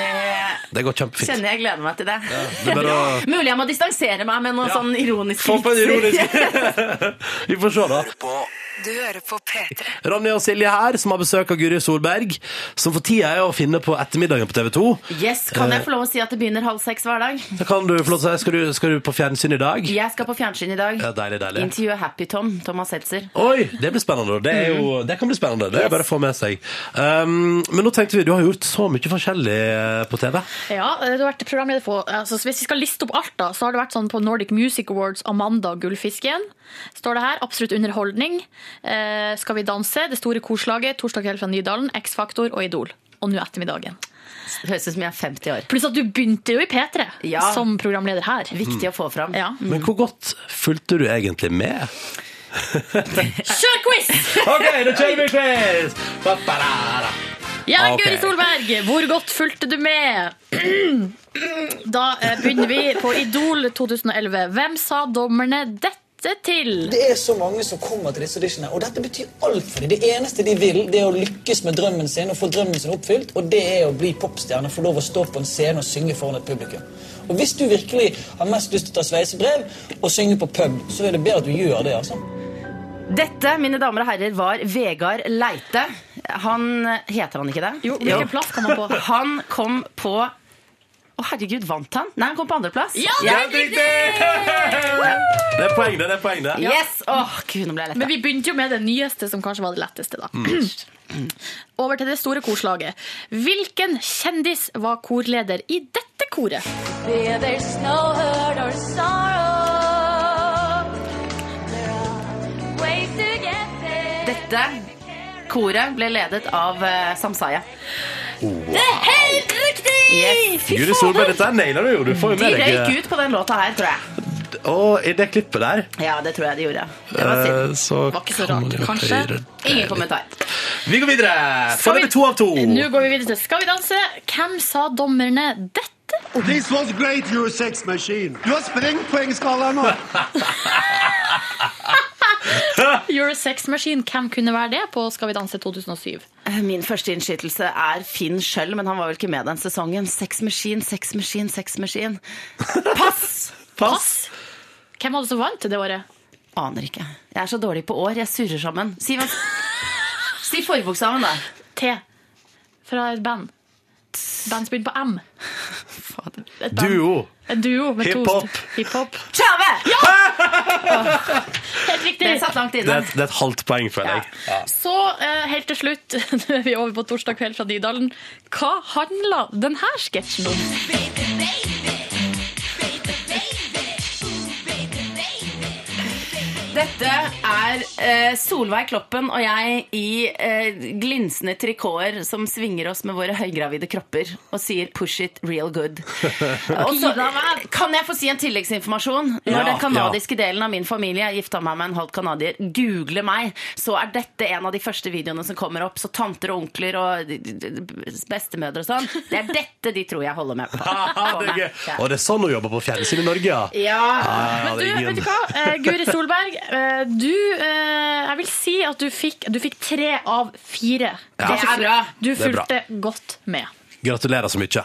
B: Det går kjempefint.
L: kjenner jeg gleder meg til det.
B: det er bare å-
L: Mulig jeg må distansere meg med noe sånn ironisk.
B: Få på en ironisk Vi får se, da.
A: Du hører på P3.
B: Ronny og Silje her, som har besøk av Guri Solberg, som for tida er å finne på ettermiddagen på TV 2.
L: Yes, Kan
B: Eh.
L: jeg få lov å si at det begynner halv seks hver dag?
B: Da kan du få lov til å si, skal du, skal du på fjernsyn i dag?
L: Jeg skal på fjernsyn i dag.
B: Ja, deilig, deilig.
L: Intervjue Happy Tom. Thomas Seltzer.
B: Oi, det blir spennende. Det, er
M: Mm.
B: jo, det kan bli spennende. Det er bare å få med seg. Um, men nå tenkte vi, du har gjort så mye forskjellig eh, på TV.
D: Ja, du har vært programleder på altså, Hvis vi skal liste opp alt, da, så har det vært sånn på Nordic Music Awards Amanda og Gullfisken. Står det her. Absolutt underholdning. Eh, skal vi danse? Det store korslaget. Torsdag kveld fra Nydalen. X-Faktor og Idol. Og nå ettermiddagen.
L: Høres ut som jeg er 50 år.
D: Pluss at du begynte jo i P3
L: Ja.
D: som programleder her.
L: Viktig å få fram.
D: Ja.
M: Mm.
B: Men hvor godt fulgte du egentlig med?
D: Kjør quiz!
B: OK, da kjører vi quiz! Ba-ba-da-da.
D: Ja,
B: Ok.
D: Guri Solberg, hvor godt fulgte du med? Da eh, begynner vi på Idol 2011. Hvem sa dommerne dette til?
M: Det er så mange som kommer til disse auditionene, og dette betyr alt for dem. Det eneste de vil, det er å lykkes med drømmen sin og få drømmen sin oppfylt, og det er å bli popstjerne, få lov å stå på en scene og synge foran et publikum. Og hvis du virkelig har mest lyst til å ta sveisebrev og synge på pub, så er det bedre at du gjør det, altså.
L: Dette, mine damer og herrer, var Vegard Leite. Han Heter han ikke det? Jo,
D: hvilken plass kom han på?
L: Han kom på Å, herregud, vant han? Nei, han kom på andreplass.
D: Ja, helt
B: Det er poeng, det. det er poeng det.
L: Yes! Åh, gud, nå ble jeg letta.
D: Men vi begynte jo med det nyeste, som kanskje var det letteste,
B: Mm.
D: da. Over til det store korslaget. Hvilken kjendis var korleder i dette koret?
L: Dette koret ble ledet av eh, Samsaya.
B: Wow.
D: er helt riktig!
L: Yes.
B: Guri Solberg, dette her nailer du jo. Du får jo
L: De
B: med deg
L: røyk ut på den låta her, tror jeg.
B: Og i det klippet der
L: Ja, det tror jeg de gjorde.
B: eh, så
D: Var ikke så
B: kan
D: rart,
B: man jo
D: kanskje.
B: høre.
L: Ingen kommentar.
B: Vi går videre!
D: Skal
B: For det
D: vi-
B: blir to av to.
D: Nå går vi videre til Skal vi danse. Hvem sa dommerne dette?
N: This was great, you sex machine. Du har sprengt poengskalaen nå.
D: You're a sex machine. Hvem kunne være det på Skal vi danse 2007?
L: Eh, Min første innskytelse er Finn Schjøll, men han var vel ikke med den sesongen. Sex Machine, Sex Machine, Sex Machine. Pass!
B: Pass.
D: Hvem var det som vant det året?
L: Aner ikke. Jeg er så dårlig på år. Jeg surrer sammen. Si, hva- si forbokstaven, da.
D: T. Fra et band. Band som begynner på M. Et band.
B: Duo.
D: En duo med to
B: Hiphop.
D: Hiphop.
L: Tjave!
D: Ja! Helt riktig.
L: Den satt langt
B: Det er, et- det er et halvt poeng, føler jeg.
D: Så eh, helt til slutt, nå er vi over på torsdag kveld fra Nydalen. Hva handla denne sketsjen om?
L: Dette er eh, Solveig Kloppen og jeg i eh, glinsende trikåer som svinger oss med våre høygravide kropper og sier 'push it real good'. Og så kan jeg få si en tilleggsinformasjon. Når
G: Ja,
L: den kanadiske delen av min familie gifta meg med en halvt canadier, google meg, så er dette en av de første videoene som kommer opp. Så tanter og onkler og d- d- d- bestemødre og sånn, det er dette de tror jeg holder med på.
B: det er gøy.
L: Ja.
B: Og det er sånn hun jobber på fjernsyn i Norge, ja?
D: Men du,
B: herregud.
D: vet du hva? Eh, Guri Solberg, eh, du eh, Jeg vil si at du fikk, du fikk tre av fire.
B: Ja.
D: Altså,
B: Det er bra.
D: Du
B: Det er bra.
D: fulgte godt med.
B: Gratulerer så mye.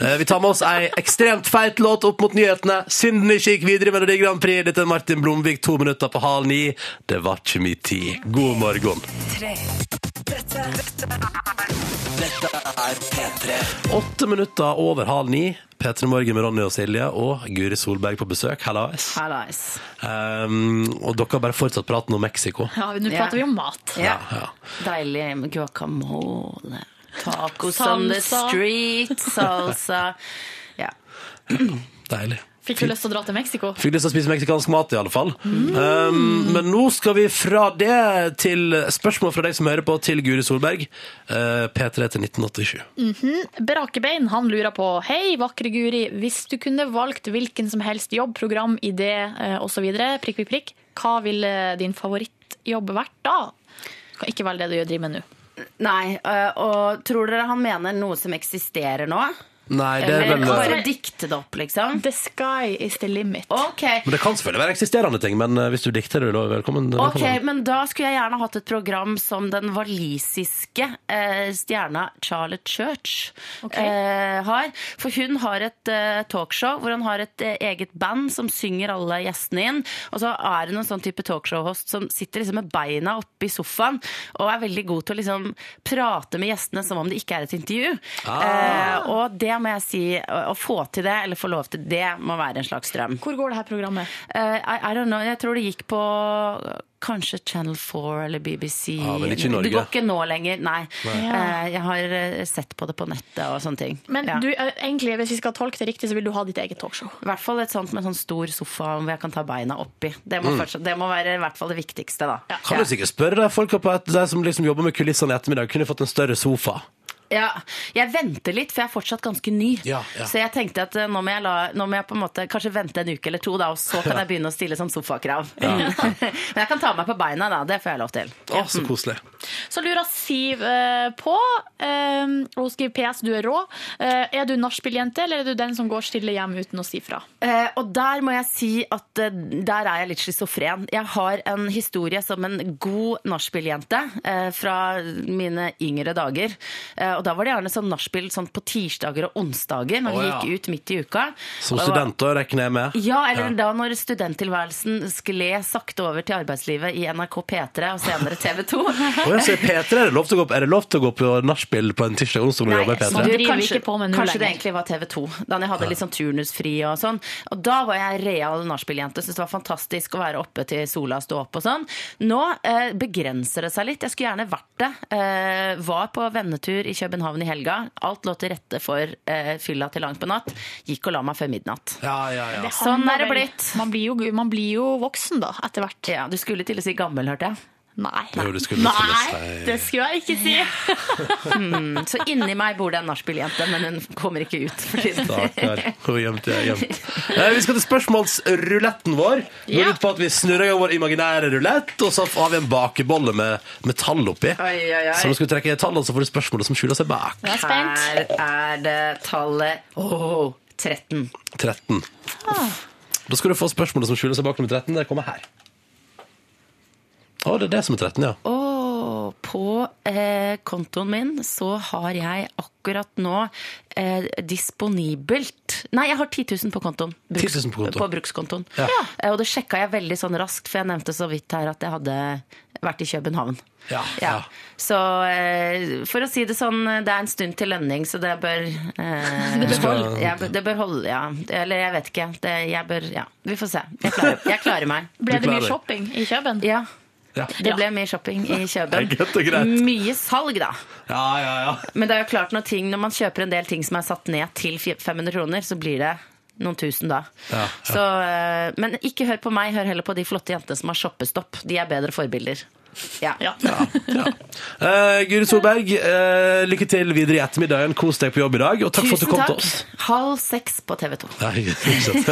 B: Eh, Vi tar med oss ei ekstremt feit låt opp mot nyhetene. Synden ikke gikk videre i Melodi Grand Prix. Dette er Martin Blomvik, to minutter på halv ni. Det var ikke min tid. God morgen.
N: Dette er P3.
B: Åtte minutter over halv ni. P3 Morgen med Ronny og Silje og Guri Solberg på besøk. Hallais.
L: Hallais.
B: Um, og dere har bare fortsatt praten om Mexico.
D: Ja, Nå
L: Ja.
D: prater vi om mat.
L: Ja. Deilig guacamole. Tacos on the
D: Salsa.
L: street, salsa. Ja.
B: Deilig.
D: Fikk du lyst til å dra til Mexico?
B: Fikk lyst til å spise meksikansk mat, i alle fall. Um, men nå skal vi fra det til spørsmål fra deg som hører på, til Guri Solberg. Eh, P3 til 1987.
D: Mhm. Brakebein han lurer på Hei, vakre Guri, hvis du kunne valgt hvilken som helst jobb, program, idé eh, osv., prikk, prikk, prikk, hva ville din favorittjobb vært da? Det Kan ikke velge det du gjør- driver med nå.
L: Nei, øh, og tror dere han mener noe som eksisterer nå?
B: Nei, det er
L: Eller
B: vel eh,
L: bare dikte det opp, liksom?
D: The sky is the limit.
L: Ok,
B: Men Det kan selvfølgelig være eksisterende ting, men eh, hvis du dikter det, da er velkommen.
L: Ok, men da skulle jeg gjerne hatt et program som den walisiske eh, stjerna Charlotte Church eh, har. For hun har et eh, talkshow hvor hun har et eh, eget band som synger alle gjestene inn. Og så er hun en sånn type talkshow-host som sitter liksom med beina oppe i sofaen og er veldig god til å liksom prate med gjestene som om det ikke er et intervju.
D: Ah.
L: Eh, og det må jeg si, å, å få til det, eller få lov til det, må være en slags drøm.
D: Hvor går det her programmet?
L: Eh, I, I don't know, jeg tror det gikk på eh, kanskje Channel 4 eller BBC.
B: Ja, men ikke i Norge.
L: Det går ikke nå lenger, nei.
B: Nei.
D: Ja.
L: Eh, jeg har eh, sett på det på nettet og sånne ting.
D: Men
L: Ja.
D: du, eh, egentlig, hvis vi skal tolke det riktig, så vil du ha ditt eget talkshow.
L: I hvert fall et sånt med sånn stor sofa hvor jeg kan ta beina oppi. Det må,
B: Mm.
L: fortsatt, det må være i hvert fall det viktigste, da. Ja.
B: Kan du sikkert spørre de folka på et, de som liksom jobber med kulissene i ettermiddag, kunne fått en større sofa?
L: Ja, jeg venter litt, for jeg er fortsatt ganske ny.
B: Ja, ja.
L: Så jeg tenkte at eh, nå må jeg, la, nå må jeg på en måte kanskje vente en uke eller to, da, og så kan jeg begynne å stille sånn sofakrav.
B: Ja.
L: Men jeg kan ta meg på beina, da. Det får jeg lov til.
B: Å, så koselig.
D: Så lurer Siv eh, på, eh, og hun skriver PS, du er rå. Eh, er du nachspieljente, eller er du den som går stille hjem uten å si fra?
L: Eh, og der må jeg si at eh, der er jeg litt schizofren. Jeg har en historie som en god nachspieljente eh, fra mine yngre dager. Eh, og da var det gjerne sånn nachspiel sånn på tirsdager og onsdager når
B: Å,
L: vi
B: ja.
L: gikk ut midt i uka.
B: Som
L: Og det var-
B: student, da, regner jeg med?
L: Ja, eller da når studenttilværelsen skled sakte over til arbeidslivet i NRK P3 og senere TV 2.
B: Å, ja, så i P3 er det lov til å gå, er det lov til å gå på nachspiel på en tirsdag og onsdag når du jobber i
L: Så
B: P3?
L: du, kanskje, kanskje det
D: lenger.
L: egentlig var TV 2, da jeg hadde litt sånn turnusfri og sånn. Og da var jeg real nachspieljente, syntes det var fantastisk å være oppe til sola stå opp og sånn. Nå eh, begrenser det seg litt. Jeg skulle gjerne vært det. Eh, var på vennetur i København i helga. Alt lå til rette for eh, fylla til langt på natt. Gikk og la meg før midnatt.
D: Det
L: Sånn
D: handler
L: er det
D: vel-
L: blitt.
D: Man blir, jo, man blir jo voksen, da, etter hvert.
L: Ja, Du skulle til å si gammel, hørte jeg.
D: Nei.
B: Jo, du skulle
D: Nei,
B: si-
D: det skulle jeg ikke si.
L: Mm, så inni meg bor det en nachspieljente, men hun kommer ikke ut for tiden.
B: Stakkar. Hvor gjemt jeg er gjemt. Eh, Vi skal til spørsmålsruletten vår. Nå er det på at Vi snurrer jo vår imaginære rulett, og så har vi en bakebolle med, med tall oppi.
L: Oi, oi, oi.
B: Så nå skal vi trekke tall, og så får du spørsmålet som skjuler seg bak.
D: Jeg er spent.
L: Her er det tallet Åh, 13.
B: 13.
L: Ah.
B: Da skal du få spørsmålet som skjuler seg bak nummer 13. Det kommer her. Å, det er det som er 13, ja.
L: Åh, på eh, kontoen min så har jeg akkurat nå eh, disponibelt Nei, jeg har 10 000 på kontoen.
B: 10 000 på kontoen.
L: brukskontoen.
B: Ja.
L: Eh, Og det sjekka jeg veldig sånn raskt, for jeg nevnte så vidt her at jeg hadde vært i København.
B: Ja,
L: Ja. Så eh, for å si det sånn, det er en stund til lønning, så det bør eh,
D: Det bør holde.
L: Jeg, bør- det bør holde, ja. Eller jeg vet ikke. Det, jeg bør Ja, vi får se. Jeg klarer, jeg klarer meg.
D: Ble det mye shopping i Kjøben?
L: Ja.
B: Ja.
L: Det ble mye shopping i
B: Det er godt og greit.
L: Kjøben. Mye salg, da.
B: Ja, ja, ja.
L: Men det er jo klart når, ting, når man kjøper en del ting som er satt ned til 500 kroner, så blir det noen tusen da.
B: ja.
L: Så, eh, men ikke hør på meg, hør heller på de flotte jentene som har shoppestopp. De er bedre forbilder. Ja.
B: Eh, Guri Solberg, eh, lykke til videre i ettermiddagen. Kos deg på jobb i dag, og takk for at du
L: Tusen
B: kom
L: takk.
B: til oss.
L: Halv seks på TV 2.
B: Herregud, fortsett.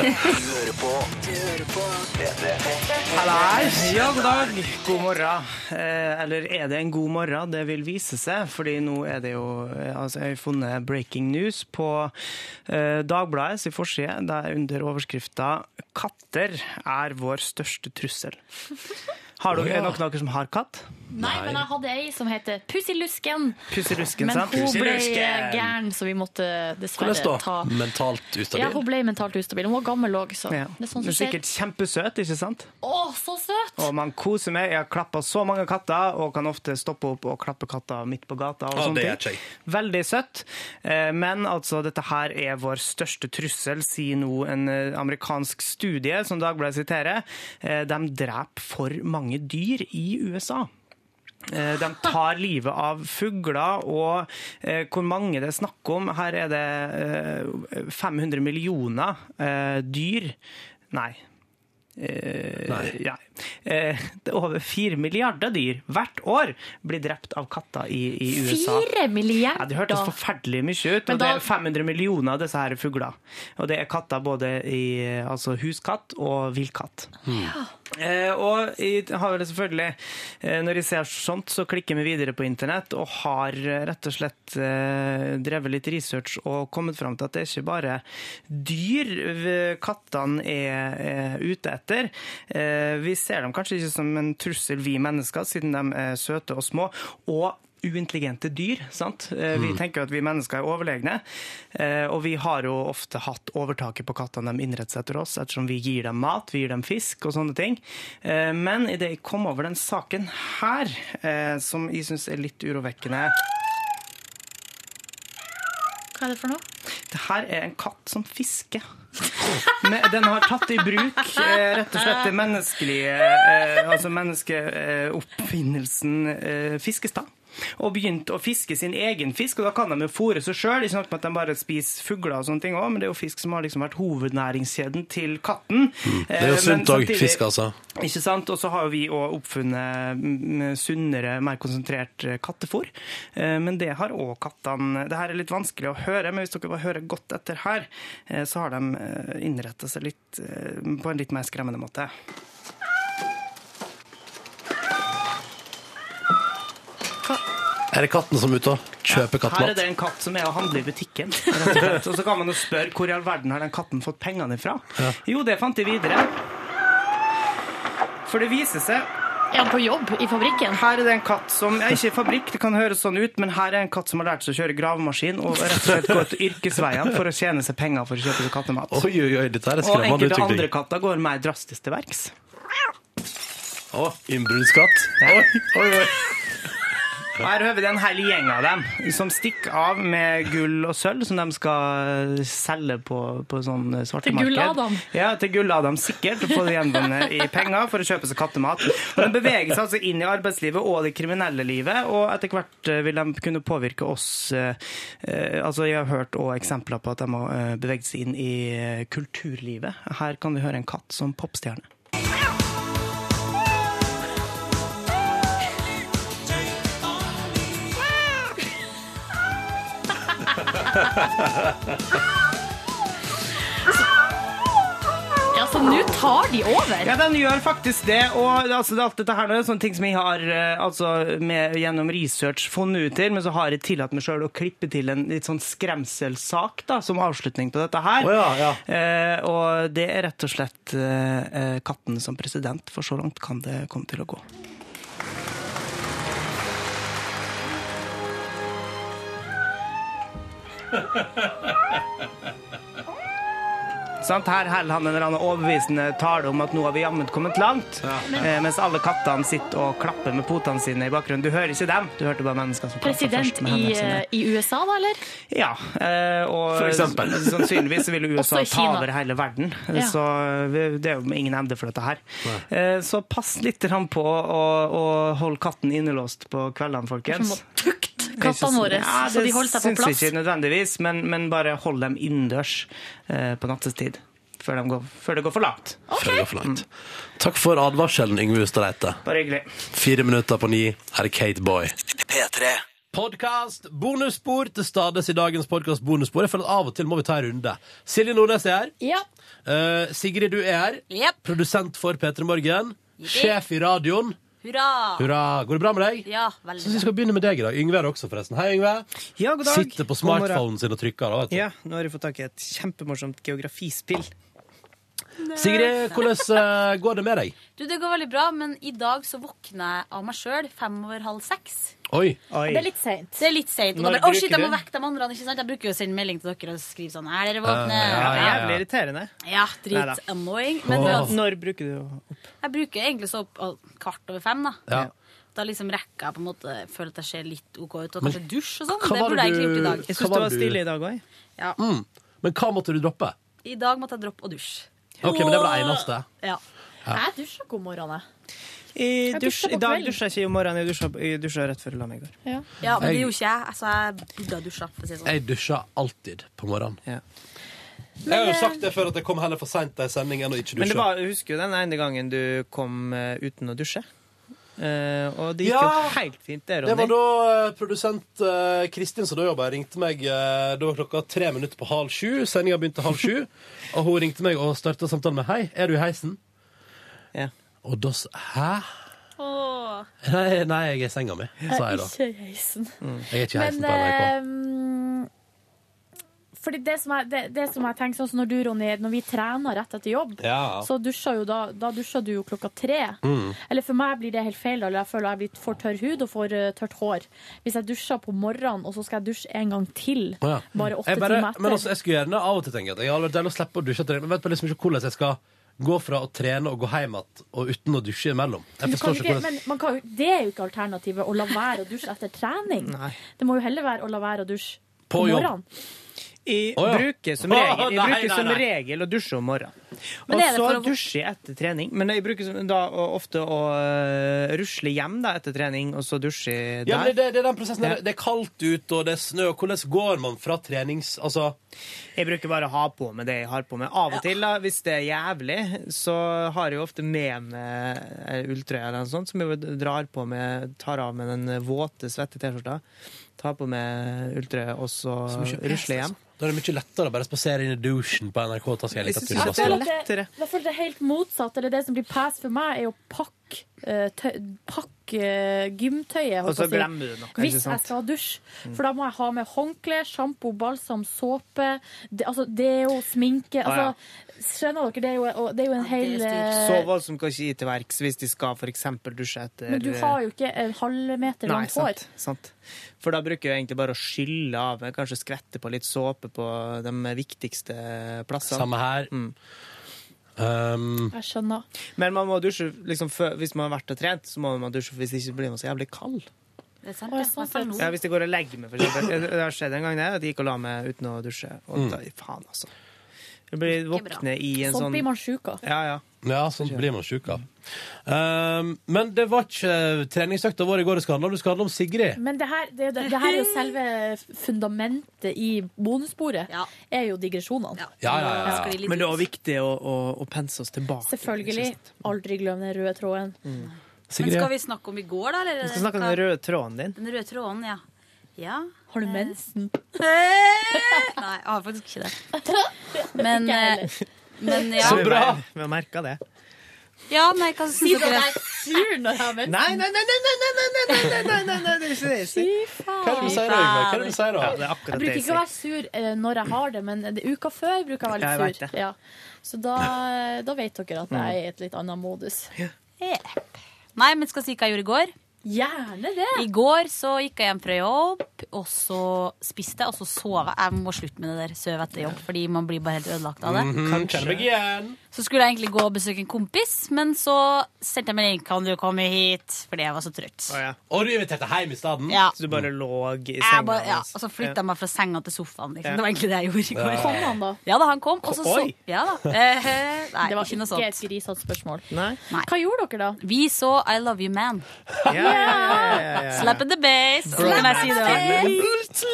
G: Hallais! Ja, god dag. God morgen. Eh, eller er det en god morgen? Det vil vise seg. Fordi nå er det jo eh, Altså, jeg har funnet breaking news på eh, Dagbladet sin forside. Det er under overskrifta 'Katter er vår største trussel'. Har dere,
D: Å, ja.
G: er det noen av dere som har katt?
D: Nei, men jeg hadde ei som heter Pusselusken.
G: Pusselusken,
D: Men
G: sant?
D: hun ble
G: Pusselusken.
D: gæren, så vi måtte
B: Hvordan
D: dessverre ta
B: da? Mentalt
D: Ja,
B: ustabil?
D: hun ble mentalt ustabil. Hun var gammel òg, så
G: Ja.
D: det er sånn
G: Du er
D: som skjer.
G: sikkert kjempesøt, ikke sant?
D: Å, så søt!
G: Og man koser med. Jeg har klappa så mange katter, og kan ofte stoppe opp og klappe katter midt på gata.
B: Ja,
G: og
B: det
G: sånne
B: er
G: ting.
B: kjekt.
G: Veldig søtt. Eh, Men altså, dette her er vår største trussel, sier nå en eh, amerikansk studie, som Dagbladet siterer. Eh, De dreper for mange dyr i USA. Eh, De tar livet av fugler, og eh, hvor mange det er snakk om Her er det eh, 500 millioner eh, dyr. Nei. Eh, ja. Eh, det er over fire milliarder dyr hvert år blir drept av katter i, i USA.
D: Fire
G: Ja, det
D: milliarder!
G: hørtes forferdelig mye ut.
D: Men
G: Og det
D: da-
G: er 500 millioner av disse her fugler. Og det er katter både i eh, altså huskatt og villkatt.
D: Hmm.
G: Eh, og jeg har vel selvfølgelig, eh, når jeg ser sånt, så klikker vi videre på internett og har eh, rett og slett eh, drevet litt research og kommet fram til at det er ikke bare dyr eh, kattene er, er ute etter. Eh, vi ser dem kanskje ikke som en trussel, vi mennesker, siden de er søte og små. og uintelligente dyr. sant? Eh, Vi
O: Mm.
G: tenker jo at vi mennesker er overlegne, eh, og vi har jo ofte hatt overtaket på kattene de innretter seg etter oss, ettersom vi gir dem mat, vi gir dem fisk og sånne ting. Eh, Men idet jeg kom over den saken her, eh, som jeg syns er litt urovekkende
D: Hva er det for noe?
G: Det her er en katt som fisker. Men Den har tatt i bruk eh, rett og slett det menneskelige eh, Altså menneskeoppfinnelsen eh, fiskestad. Og begynt å fiske sin egen fisk, og da kan de jo fôre seg sjøl. Ikke nok med at de bare spiser fugler og sånne ting også, men det er jo fisk som har liksom vært hovednæringskjeden til katten.
B: Mm. Det er jo
G: Eh, men
B: sunt òg.
G: samtidig-
B: Fisk, altså.
G: ikke sant? Og så har jo vi òg oppfunnet mm, sunnere, mer konsentrert eh, kattefôr. Eh, Men det har òg kattene. Det her er litt vanskelig å høre, men hvis dere bare hører godt etter her, eh, så har de innretta seg litt eh, på en litt mer skremmende måte.
B: Er det katten som er ute og kjøper
G: Her er
B: kattemat?
G: det en katt som er og handler i butikken. rett Og slett. Og så kan man jo spørre hvor i all verden har den katten fått pengene fra? Jo, det fant de videre. For det viser seg
D: Er han på jobb i fabrikken?
G: Her er det en katt som ja, Ikke i fabrikk, det kan høres sånn ut, men her er en katt som har lært seg å kjøre gravemaskin og rett og slett gå ut yrkesveiene for å tjene seg penger for å kjøpe seg kattemat.
B: Oi, oi, oi, dette her er
G: Og
B: skremmende
G: enkelte andre
B: utvikling.
G: katter går mer drastisk til verks.
B: Å, innbruddskatt. Oi, oi.
G: Og Her hører vi en hel gjeng av dem som stikker av med gull og sølv som de skal selge på, på sånn svarte
D: Til
G: marked.
D: Gull-Adam.
G: Ja, til Gull-Adam sikkert, og få det gjenvunnet i penger for å kjøpe seg kattemat. Og de beveger seg altså inn i arbeidslivet og det kriminelle livet, og etter hvert eh, vil de kunne påvirke oss. eh, eh, Altså, jeg har hørt også eksempler på at de har eh, beveget seg inn i eh, kulturlivet. Her kan vi høre en katt som popstjerne.
D: Ja, så nå tar de over.
G: Ja, den gjør faktisk det. Og altså, det er alt dette her nå er sånne ting som jeg har eh, altså, med, gjennom research funnet ut til, men så har jeg tillatt meg sjøl å klippe til en litt sånn skremselsak da, som avslutning på dette her. Eh, og det er rett og slett eh, eh, katten som president, for så langt kan det komme til å gå. Sant? Her holder han en eller annen overbevisende tale om at nå har vi jammen kommet langt. Eh, mens alle kattene sitter og klapper med potene sine i bakgrunnen. Du hører ikke dem, du hørte bare menneskene som klapper først
D: President
G: med
D: i,
G: hendene sine.
D: eh, i USA, da, eller?
G: Ja, eh, og
D: For eksempel.
G: s- sannsynligvis ville USA
D: Også i
G: ta
D: Kina.
G: over hele verden.
D: Ja.
G: Så vi- det er jo ingen ende for dette her. Eh, Så pass litt grann på å, å holde katten innelåst på kveldene, folkens.
D: Tukt kattene våre, så de holder seg på
G: Det
D: plass.
G: syns jeg ikke nødvendigvis, men, men bare hold dem innendørs eh, på nattetid. Før, de går, før det går for langt.
B: Før det går for langt. Takk for advarselen, Yngve Hustad Reite.
G: Bare hyggelig.
B: Fire minutter på ni, her er Kate Boy. Podkast, bonusspor til stades i dagens podkast bonusspor. Jeg føler at av og til må vi ta en runde. Silje Nordnes er her. Eh, Sigrid, du er her. Produsent for P3 Morgen. Sjef i radioen.
J: Hurra!
B: Hurra. Går det bra med deg?
J: Ja,
B: Så vi
J: veldig bra.
B: skal begynne med deg i dag. Yngve er her også, forresten. Hei, Yngve.
G: Ja, god dag.
B: Sitter på
G: God morgen.
B: smartphonen sin og trykker. Da, vet du.
G: Ja, nå har jeg fått tak i et kjempemorsomt geografispill.
B: Sigrid, hvordan eh, går det med deg?
J: Du, det går veldig bra, men i dag så våkner jeg av meg sjøl fem over halv seks.
B: Oi.
J: Det er litt seint. Det er litt sent. Og da
G: Når
J: bare, å shit,
G: bruker
J: jeg må
G: du?
J: vekke de andre. Ikke sant? Jeg bruker jo å sende melding til dere og skrive sånn Er dere
G: Ja,
J: våkne?
G: Ah, ja, ja. Jævlig irriterende.
J: Ja,
G: Neida.
J: drit annoying. Men
G: Åh.
J: altså,
G: Når bruker du å
J: jeg bruker egentlig så opp å, kvart over fem, da.
G: Ja.
J: Da liksom rekker jeg på en måte Føler at jeg ser litt OK ut, og
B: Men
J: kanskje dusj og sånn.
B: hva
J: Det
B: var
J: burde jeg
B: det
J: egentlig gjort i
B: du-
J: dag.
B: Jeg synes hva det var var du- stille i
G: dag òg.
J: Ja.
B: Mm. Men hva måtte du droppe?
J: I dag måtte jeg droppe å dusje.
B: Ok, men det var det eneste.
J: Ja.
G: Ja.
D: Jeg dusjer god morgen, jeg.
G: I, dusj,
D: Jeg dusjer på
G: I dag
D: kvelden.
G: dusja jeg ikke om morgenen, jeg dusja, jeg dusja rett før jeg la meg i går.
D: Ja.
J: Ja, men det gjorde ikke jeg. Altså, jeg burde ha dusja. For å si det sånn.
B: Jeg dusjer alltid på morgenen.
G: Men,
B: jeg har jo
G: eh,
B: sagt det før at jeg kom heller for seint til en sending enn å ikke
G: Men
B: dusje.
G: det var, jeg husker jo den ene gangen du kom eh, uten å dusje. Eh, og det gikk
B: Ja.
G: jo helt fint, det, Ronny.
B: Det var da eh, produsent eh, Kristin som da jobba, ringte meg eh, Da var klokka tre minutter på halv sju. Sendinga begynte halv sju. og hun ringte meg og starta samtalen med 'Hei, er du i heisen?'
G: Ja.
B: Og da sa 'Hæ?
D: Åh,
B: Nei, nei, jeg er i senga mi',
D: jeg
B: sa
D: er
B: jeg da.
D: ikke i heisen.
B: Jeg er ikke i heisen
D: Men
B: på NRK.
D: ehm, fordi det som, jeg, det, det som jeg tenker sånn som Når du, Ronny, når vi trener rett etter jobb,
B: Ja.
D: så dusjer jo da, da dusjer du jo klokka tre.
B: Mm.
D: Eller for meg blir det helt feil. da, Eller jeg føler jeg blir for tørr hud og for eh, tørt hår. Hvis jeg dusjer på morgenen, og så skal jeg dusje en gang til,
B: Å, ja.
D: bare åtte
B: Jeg bare-
D: timer etter
B: Men altså, jeg skulle gjerne av og til tenke at jeg hadde vært deilig å slippe å dusje etter det, men vet bare liksom ikke hvordan jeg skal gå fra å trene og gå hjem igjen, og uten å dusje imellom. Jeg
D: Du kan
B: forstår ikke
D: ikke,
B: hvordan
D: men man kan, jo- det er jo ikke alternativet å la være å dusje etter trening. Det må jo heller være å la være å dusje på,
G: På jobb.
D: morgenen.
G: Jeg
D: Å, ja.
G: bruker som regel,
D: Å,
G: jeg
D: nei,
G: bruker
D: nei,
G: som
D: nei.
G: regel å dusje om morgenen.
D: Men
G: Og
D: er det
G: så
D: for å-
G: dusjer jeg etter trening. Men jeg bruker som, da å- ofte å eh, rusle hjem da, etter trening, og så dusje der.
B: Ja, men det, det er den prosessen.
G: Ja.
B: der. Det er kaldt ute, og det er snø. Hvordan går man fra trenings... Altså
G: Jeg bruker bare å ha på meg det jeg har på meg. Av og til, da, hvis det er jævlig, så har jeg jo ofte med meg ei ulltrøye eller noe sånt, som jeg drar på meg, tar av meg den våte, svette T-skjorta, tar på meg ulltrøye, og så
B: så mye
G: rusler
D: altså.
G: hjem.
B: Da er det mye lettere å bare spasere inn i douchen på NRK. og Ta seg en
G: Jeg
B: liten tur
G: synes
B: Sånn i
G: at det er
B: badstua.
D: Jeg føler at det- jeg føler det er helt motsatt. Eller det som blir pass for meg, er å pakke eh, tøy- pakke, eh, gymtøyet. holdt
G: Og så
D: på å si.
G: glemmer du noe, ikke
D: Hvis jeg
G: sant?
D: skal ha dusj.
G: Mm.
D: For da må jeg ha med håndkle, sjampo, balsam, såpe, de, altså deo, sminke.
G: Ah,
D: Altså,
G: ja.
D: skjønner dere, det er jo, og det er jo en hel eh,
G: Så voldsomt kan ikke gi til verks hvis de skal for eksempel dusje etter eh,
D: Men du har jo ikke en halvmeter
G: Nei,
D: langt hår.
G: sant, sant. For da bruker jeg egentlig bare å skylle av meg, kanskje skvette på litt såpe på de viktigste plassene.
B: Samme her. Um,
D: Jeg skjønner.
G: Men man må dusje liksom, før, hvis man har vært og trent, så må man dusje hvis ikke blir man så jævlig kald.
J: Det er sant,
D: Å,
J: det.
D: sånn
J: I hvert fall nå.
G: Ja, hvis jeg går og legger meg, for eksempel. Det- Det har skjedd en gang det, at jeg gikk og la meg uten å dusje. Og da, faen, altså. Jeg blir våkne i en sånn
D: Sånn blir man sjuk av.
G: Ja, ja.
B: ja, sånt blir man sjuk av. Um, men det var ikke eh, treningsøkta vår i går det skal handle om. Det skal handle om Sigrid.
D: Men det her, det, det her er jo selve fundamentet i bonussporet. Er jo digresjonene.
B: Ja, ja, ja, ja.
G: Men det er også viktig å, å, å pense oss tilbake.
D: Selvfølgelig. Aldri glem den røde tråden.
J: Men skal vi snakke om i går, da? Eller?
G: Vi skal snakke om den røde tråden din.
J: Den røde tråden, ja. ja.
D: Har du mensen?
J: Nei, jeg har faktisk ikke det. Men, eh, men ja.
G: Så bra! Vi har merka det.
J: Ja, nei, hva syns
D: Si det
J: dere?
D: jeg sur når jeg har mensen.
G: Nei, nei, nei, nei, nei, nei, nei, nei, nei, nei, nei, nei, det er ikke det jeg sier.
D: Hva er det du sier
B: da, Yngve? Hva er det du sier da?
G: Ja, det er
D: Jeg
G: akkurat det
D: bruker
G: jeg
D: ikke
G: sier.
D: å være sur eh, når jeg har det, men det, uka før bruker jeg å
G: Ja,
D: være
G: jeg
D: litt
G: vet Mm.
D: sur. Ja. Så da, da vet dere at jeg er i et litt annet modus.
J: Nei, men skal jeg si hva jeg gjorde i går?
D: Gjerne det.
J: I går så gikk jeg hjem fra jobb, og så spiste jeg, og så sov jeg. Jeg må slutte med det der søv etter jobb, fordi man blir bare helt ødelagt av det. Så skulle jeg egentlig gå og besøke en kompis, men så sendte jeg melding Kan du komme hit? Fordi jeg var så trøtt.
B: Og du inviterte hjem i stedet?
J: Ja.
G: Så du bare lå i senga?
J: Jeg bare, ja,
G: hans.
J: og så flytta jeg meg fra senga til sofaen. Liksom.
G: Ja.
J: Det var egentlig det jeg gjorde i går.
G: Ja. Kom han
D: da?
J: Ja da, han kom. Og så så
D: Oi.
J: ja, da. Eh, nei,
D: Det var
J: ikke noe
D: ikke et
J: sånt.
D: grisete spørsmål.
J: Hva
D: gjorde dere da?
J: Vi så I Love You Man.
D: Ja, ja, ja,
G: ja, ja.
J: Slap in the base. Og så kan jeg si det også.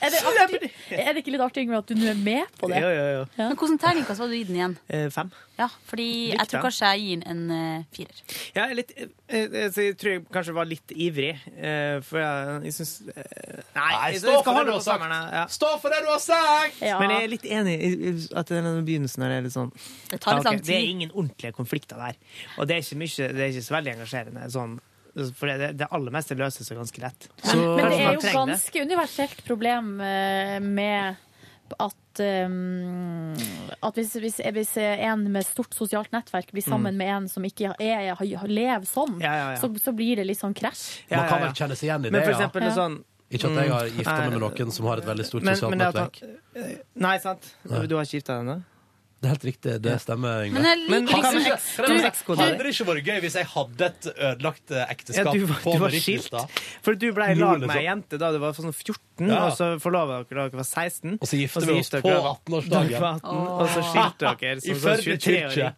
D: Er det, artig, er det ikke litt artig Yngve, at du nå er med på det?
G: Jo, jo, jo.
J: Men hvordan terningkast var du i den igjen?
G: Eh, fem.
J: Ja, fordi jeg
G: Likt,
J: tror
G: da.
J: kanskje jeg gir den en eh, firer.
G: Ja, jeg, er litt, eh, eh, så jeg tror jeg kanskje var litt ivrig, eh, for jeg, jeg syns eh, Nei,
B: Nei,
G: jeg,
B: stå
G: jeg
B: for det
G: skal
B: du
G: holde
B: har
G: på
B: sagt.
G: sommerne. Ja.
B: Stå for det du har sagt!
G: Men jeg er litt enig i i at den begynnelsen her er litt sånn
J: Det tar
G: Ja,
J: litt
G: ok,
J: lang tid.
G: Det er ingen ordentlige konflikter der. Og det er ikke, mye, det er ikke så veldig engasjerende. Sånn, for det, det aller meste løser seg ganske lett.
D: Men, men det
G: Kanskje
D: er
G: man
D: jo
G: trenger det.
D: ganske universelt problem eh, med at um, at hvis, hvis, hvis en med stort sosialt nettverk blir sammen
B: Mm.
D: med en som ikke er, har- lever sånn,
B: Ja, ja, ja.
D: Så, så blir det litt sånn krasj.
B: Man kan vel kjenne seg igjen i det,
G: Men for eksempel
B: ja.
G: sånn-
B: Ikke at jeg har
G: Mm.
B: gifta meg med
G: Nei.
B: noen som har et veldig stort
G: Men-
B: sosialt
G: men det at
B: nettverk.
G: han- eh, Nei, sant?
B: Nei.
G: Du har ikke gifta deg ennå?
B: Det er helt riktig. Det stemmer, Yngve.
G: Men jeg liker liksom
B: hadde
G: ikke-
B: ikke- hadde ikke-
G: Du- du-
B: hadde det ikke vært gøy hvis jeg hadde et ødelagt eh, ekteskap
G: Ja, du var,
B: på
G: du var
B: Mauritius,
G: skilt.
B: da?
G: For du ble i
B: Nå,
G: lag med
B: liksom.
G: ei jente da du var sånn 14,
B: Ja.
G: og så forlova dere da dere var 16.
B: Og så gifter vi oss
G: gifta
B: på
G: dere-
B: 18-årsdagen.
G: Da dere var 18,
B: Åh.
G: Og så skilte dere
B: I
G: som sånn
B: Førde
G: 23-åring.
B: kirke.
D: Men
G: Ja,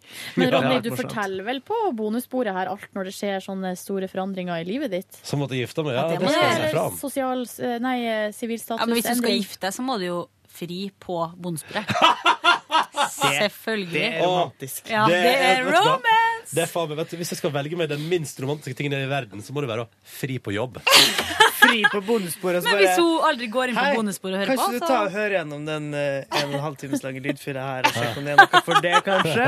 G: det
D: Ronny,
G: var
D: du
G: morsomt.
D: forteller vel på bonussporet her alt når det skjer sånne store forandringer i livet ditt?
B: Som måtte gifte meg? Ja,
D: At
B: det skal jeg si
D: Eller
B: fra om.
D: Sosial, eh, nei, eh, sivilstatus.
J: Ja, men hvis du skal
D: endring.
J: gifte deg, så må du jo fri på bondesporet.
B: Det
J: Selvfølgelig.
B: er romantisk.
J: Ja, det er
B: vet du hva?
J: romance!
B: Det er faen meg, vet du, Hvis jeg skal velge meg den minst romantiske tingen i verden, så må det være å fri på jobb.
G: Fri på bondesporet. og så
J: Men
G: bare-
J: hvis hun aldri går inn på
G: Hei,
J: bondesporet og hører
G: Kanskje du
J: på,
G: tar og
J: så
G: hører gjennom den eh, en og en halv times lange lydfyra her og sjekker om det er noe for det, kanskje?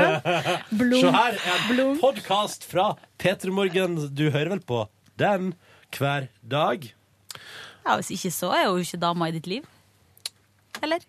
B: Se her, en podkast fra P3 Morgen. Du hører vel på den hver dag?
J: ja, Hvis ikke, så er hun jo ikke dama i ditt liv. Eller?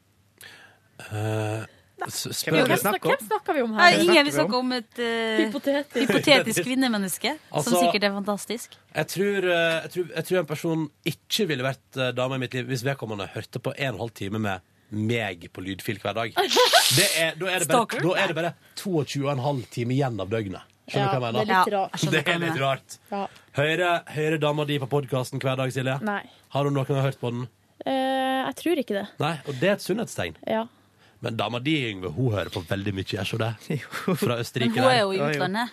B: Eh, s-
D: Jo,
B: spør
D: Hvem snakker, hvem snakker vi om
J: Nei,
D: her?
J: ingen vil snakke om et eh,
D: Hypotetisk.
J: hypotetisk kvinnemenneske, som
B: Altså-
J: sikkert er fantastisk.
B: Jeg tror, eh, jeg, tror, jeg tror en person ikke ville vært eh, dame i mitt liv hvis vedkommende hørte på en og en halv time med meg på lydfil hver dag. Det er, da, er det bare,
J: Stalker?
B: da er det bare 22 og en halv time igjen av døgnet. Skjønner du
D: Ja,
B: hva jeg mener?
D: det er litt Ja, rart. jeg skjønner
B: Det
D: hva
B: er
D: du
B: litt
D: mener.
B: rart.
D: Ja.
B: Hører, hører dama di på podkasten hver dag, Silje?
D: Nei.
B: Har hun noen gang hørt på den?
D: Eh, jeg tror ikke det.
B: Nei, og det er et sunnhetstegn.
D: Ja.
B: Men dama di, Yngve, hun hører på veldig mye, jeg så det. Fra Østerrike.
J: Men hun er jo i
G: Ja, jo.
J: utlandet.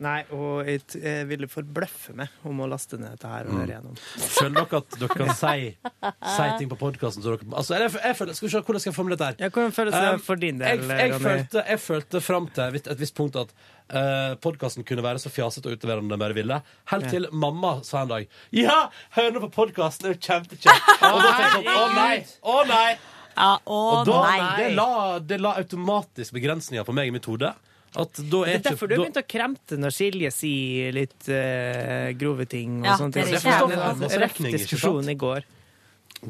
G: Nei, og jeg, t- jeg ville forbløffe meg om å laste ned dette her og høre
B: Mm.
G: gjennom.
B: Føler dere at dere kan si, si ting på podkasten? Altså, jeg, jeg føler, skal vi se hvordan jeg skal formulere dette her.
G: Hvordan føles det
B: Um,
G: for din
B: jeg,
G: del?
B: jeg,
G: Ronny?
B: følte, jeg følte fram til et, et visst punkt at uh, podkasten kunne være så fjasete og utleverende den bare ville. Helt til mamma sa en dag Ja, hør nå på podkasten! Det er jo kjempekjekt! Og da tenkte jeg sånn Å nei! Å nei! og da, Det, la, det la automatisk begrensninger på meg i mitt hode. At da
G: Det
B: er
G: er derfor du begynte å kremte når Silje sier litt eh, grove ting. Og
B: Ja,
G: sånne
B: det
G: ting.
B: er
G: Det
B: riktig.
G: forstår
B: Det
G: jeg.
B: er masse regning,
G: En Rett
B: ikke sant?
G: diskusjon i går.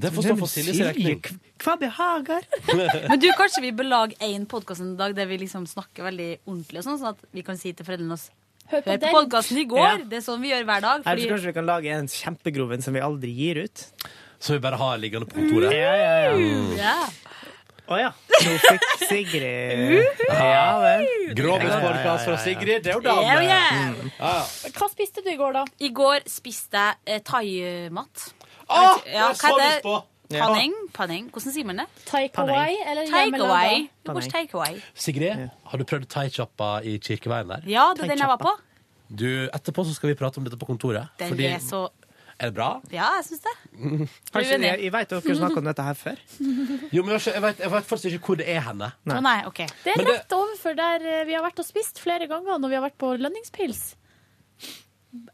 B: Det får stå for Siljes regning.
G: Hva behager?
J: Men du, kanskje vi bør lage én podkast en dag der vi liksom snakker veldig ordentlig, og sånn, sånn at vi kan si til foreldrene oss Hør på,
D: den!»
J: podkasten i går!
G: Ja.
J: Det er sånn vi gjør hver dag.
G: Eller så
J: Fordi
G: kanskje vi kan lage en kjempegrov en som vi aldri gir ut.
B: Som vi bare har liggende på kontoret.
G: Ja, ja, ja.
B: Mm.
J: ja.
G: Å ja. Nå fikk Sigrid Ja vel.
B: Grovis podcast fra Sigrid, det er jo dame.
J: Yeah, yeah.
B: Mm. Ja, ja.
D: Hva spiste du i går, da?
J: I går spiste jeg eh, thaimat.
D: Åh,
J: Jeg vet ikke- ja,
D: det har jeg så
J: hva er
D: lyst
J: det?
D: på. Ja.
J: Paneng? Paneng? Hvordan sier man det?
D: Take
B: Paneng.
D: away eller
J: Take
D: hjemmelaga?
J: away. Det går take away.
B: Sigrid, har du prøvd thai-chappa i Kirkeveien der?
J: Ja, det er den jeg var på.
B: Du, etterpå så skal vi prate om dette på kontoret.
J: Den
B: fordi-
J: er så
B: Er det bra?
J: Ja, jeg syns det. Blir
G: Kanskje
J: vi
G: jeg,
J: enige?
G: jeg vet dere snakket om dette her før.
B: Jo, men jeg vet- Jeg vet, jeg vet faktisk ikke hvor det er henne.
J: Å nei, OK.
D: Det
B: Men
D: er
B: det-
D: rett overfor der eh, vi har vært og spist flere ganger når vi har vært på lønningspils.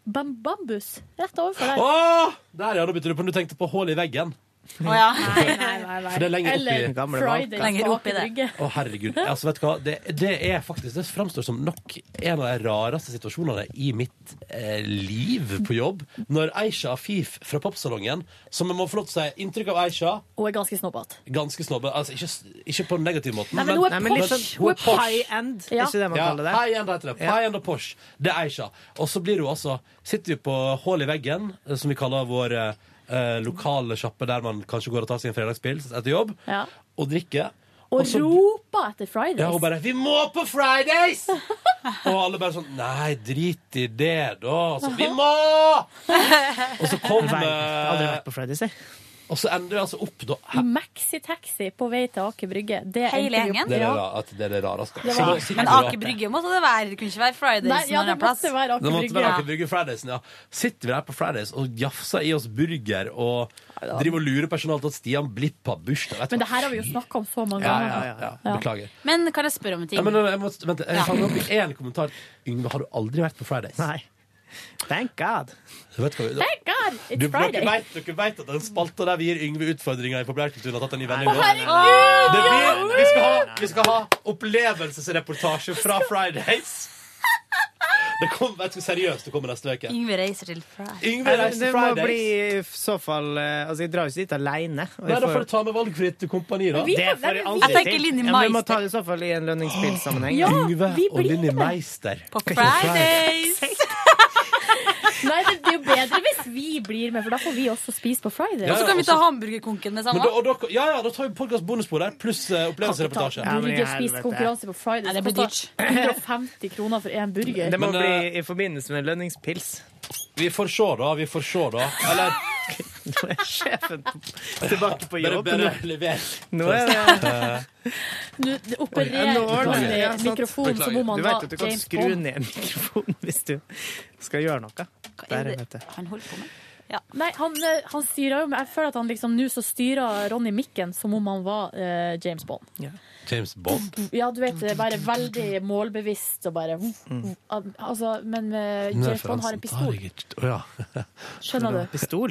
D: Bam bambus. Rett overfor der.
B: Åh! Der, ja, da begynte du på Du tenkte på hull i veggen.
J: Å ja.
D: Nei, nei, nei, nei.
B: For det er lenger opp i-
D: Eller
B: Den gamle
D: Fridays
B: banken. Lenger opp
D: bak i brygge.
B: Å, herregud. Altså, vet du hva? Det, det er faktisk Det framstår som nok en av de rareste situasjonene i mitt eh, liv på jobb. Når Aisha Afif fra Popsalongen, som jeg må få lov til å si Inntrykk av Aisha
D: Hun er ganske snobbete.
B: Ganske snobbe. Altså, ikke, s- ikke på den negative måten.
D: Nei, men hun er posh.
B: sånn-
D: Hun er high end.
G: Er ikke det man kaller det?
B: Ja, high end heter det. High end og posh. Det er Aisha. Og så blir hun altså Sitter vi på hull i veggen, eh, som vi kaller vår eh, lokale sjappe der man kanskje går og tar seg en fredagspils etter jobb,
D: Ja.
B: og drikker.
D: Og
B: så-
D: roper etter Fridays.
B: Ja, hun bare 'Vi må på Fridays!' Og alle bare sånn Nei, drit i det, da. Og Så, vi må! Og så kom
G: Nei, aldri vært
B: på Fridays, jeg. Og så ender vi altså opp da
D: Maxi-taxi på vei til Aker Brygge. Det
J: Hele
D: endte vi
J: gjengen?
D: opp-
B: Det er det,
D: Ja.
B: ra- at det, er det rareste.
D: Det var-
B: Så sitter
J: Men
B: vi da-
J: Aker Brygge måtte det være. Det kunne ikke være Fridays.
D: Nei, ja,
J: når
D: det
J: er plass.
D: måtte være
B: Det måtte være Aker
J: Ja.
B: Brygge Fridaysen, ja. Sitter vi der på Fridays og jafser i oss burger og driver og lurer personalet til at Stian Blipp har bursdag. vet du hva?
J: Men det her har vi jo snakket om så mange
B: ja,
J: ganger.
B: ja, ja, ja.
J: Ja.
B: Beklager.
J: Men kan jeg spørre om en ting?
B: Ja, men eh, jeg må, vent, jeg
J: Ja.
B: fant opp én kommentar. Yngve, har du aldri vært på Fridays? Nei. Thank God. Vet du hva,
D: Thank God, it's
B: du,
D: Friday.
B: Dere vet, dere vet at den spalta der vi gir Yngve utfordringer i populærkulturen, har tatt en ny vending.
D: Å,
B: nå.
D: herregud!
B: Det blir- Vi skal ha, vi skal ha opplevelsesreportasje fra Fridays. Det kommer, vet du, seriøst, det kommer neste uke.
J: Yngve reiser til Fridays.
B: Yngve
G: Nei,
B: reiser
G: Det må
B: Fridays.
G: bli i så fall eh, Altså, jeg drar jo ikke dit alene. og jeg
B: Nei, da får du ta med valgfritt kompani, da.
G: Det får jeg aldri til. Ja, men vi må ta det i så fall i en lønningspilsammenheng.
B: Ja, Yngve og Linni Meister. På
D: Fridays! Nei, men det er jo bedre hvis vi blir med, for da får vi også spise på Fridays.
B: Ja, Og så kan vi ta ja, og så-
J: hamburgerkonken med
B: Men da, og da, ja, ja, da tar vi podkast bonusspor der, pluss eh, opplevelsesreportasje.
D: Burgerspisekonkurranse på Fridays.
J: Nei, det blir dyrt.
D: koster 150 kroner for én burger.
G: Det må
B: Men,
G: bli i forbindelse med lønningspils.
B: Vi får se, da. Vi får se, da. Eller
G: Nå er sjefen tilbake på
B: Bare,
G: jobb.
B: bare lever.
G: Nå er det
D: Nå det opererer
G: Nå er det-
D: med
G: ja, sant.
D: mikrofonen som om
G: Du
D: han
G: vet
D: var
G: at du kan
D: James
G: skru
D: Bond.
G: ned mikrofonen hvis du skal gjøre noe. Der, vet du.
J: Han holder på med
D: Nei, han, eh, han styrer jo men Jeg føler at han liksom nå så styrer Ronny mikken som om han var eh, James Bond.
B: James Bond.
D: Ja, du vet, bare veldig målbevisst og bare
G: Mm.
D: mm, Altså, men eh, James Bond har en pistol. Skjønner du?
G: Pistol?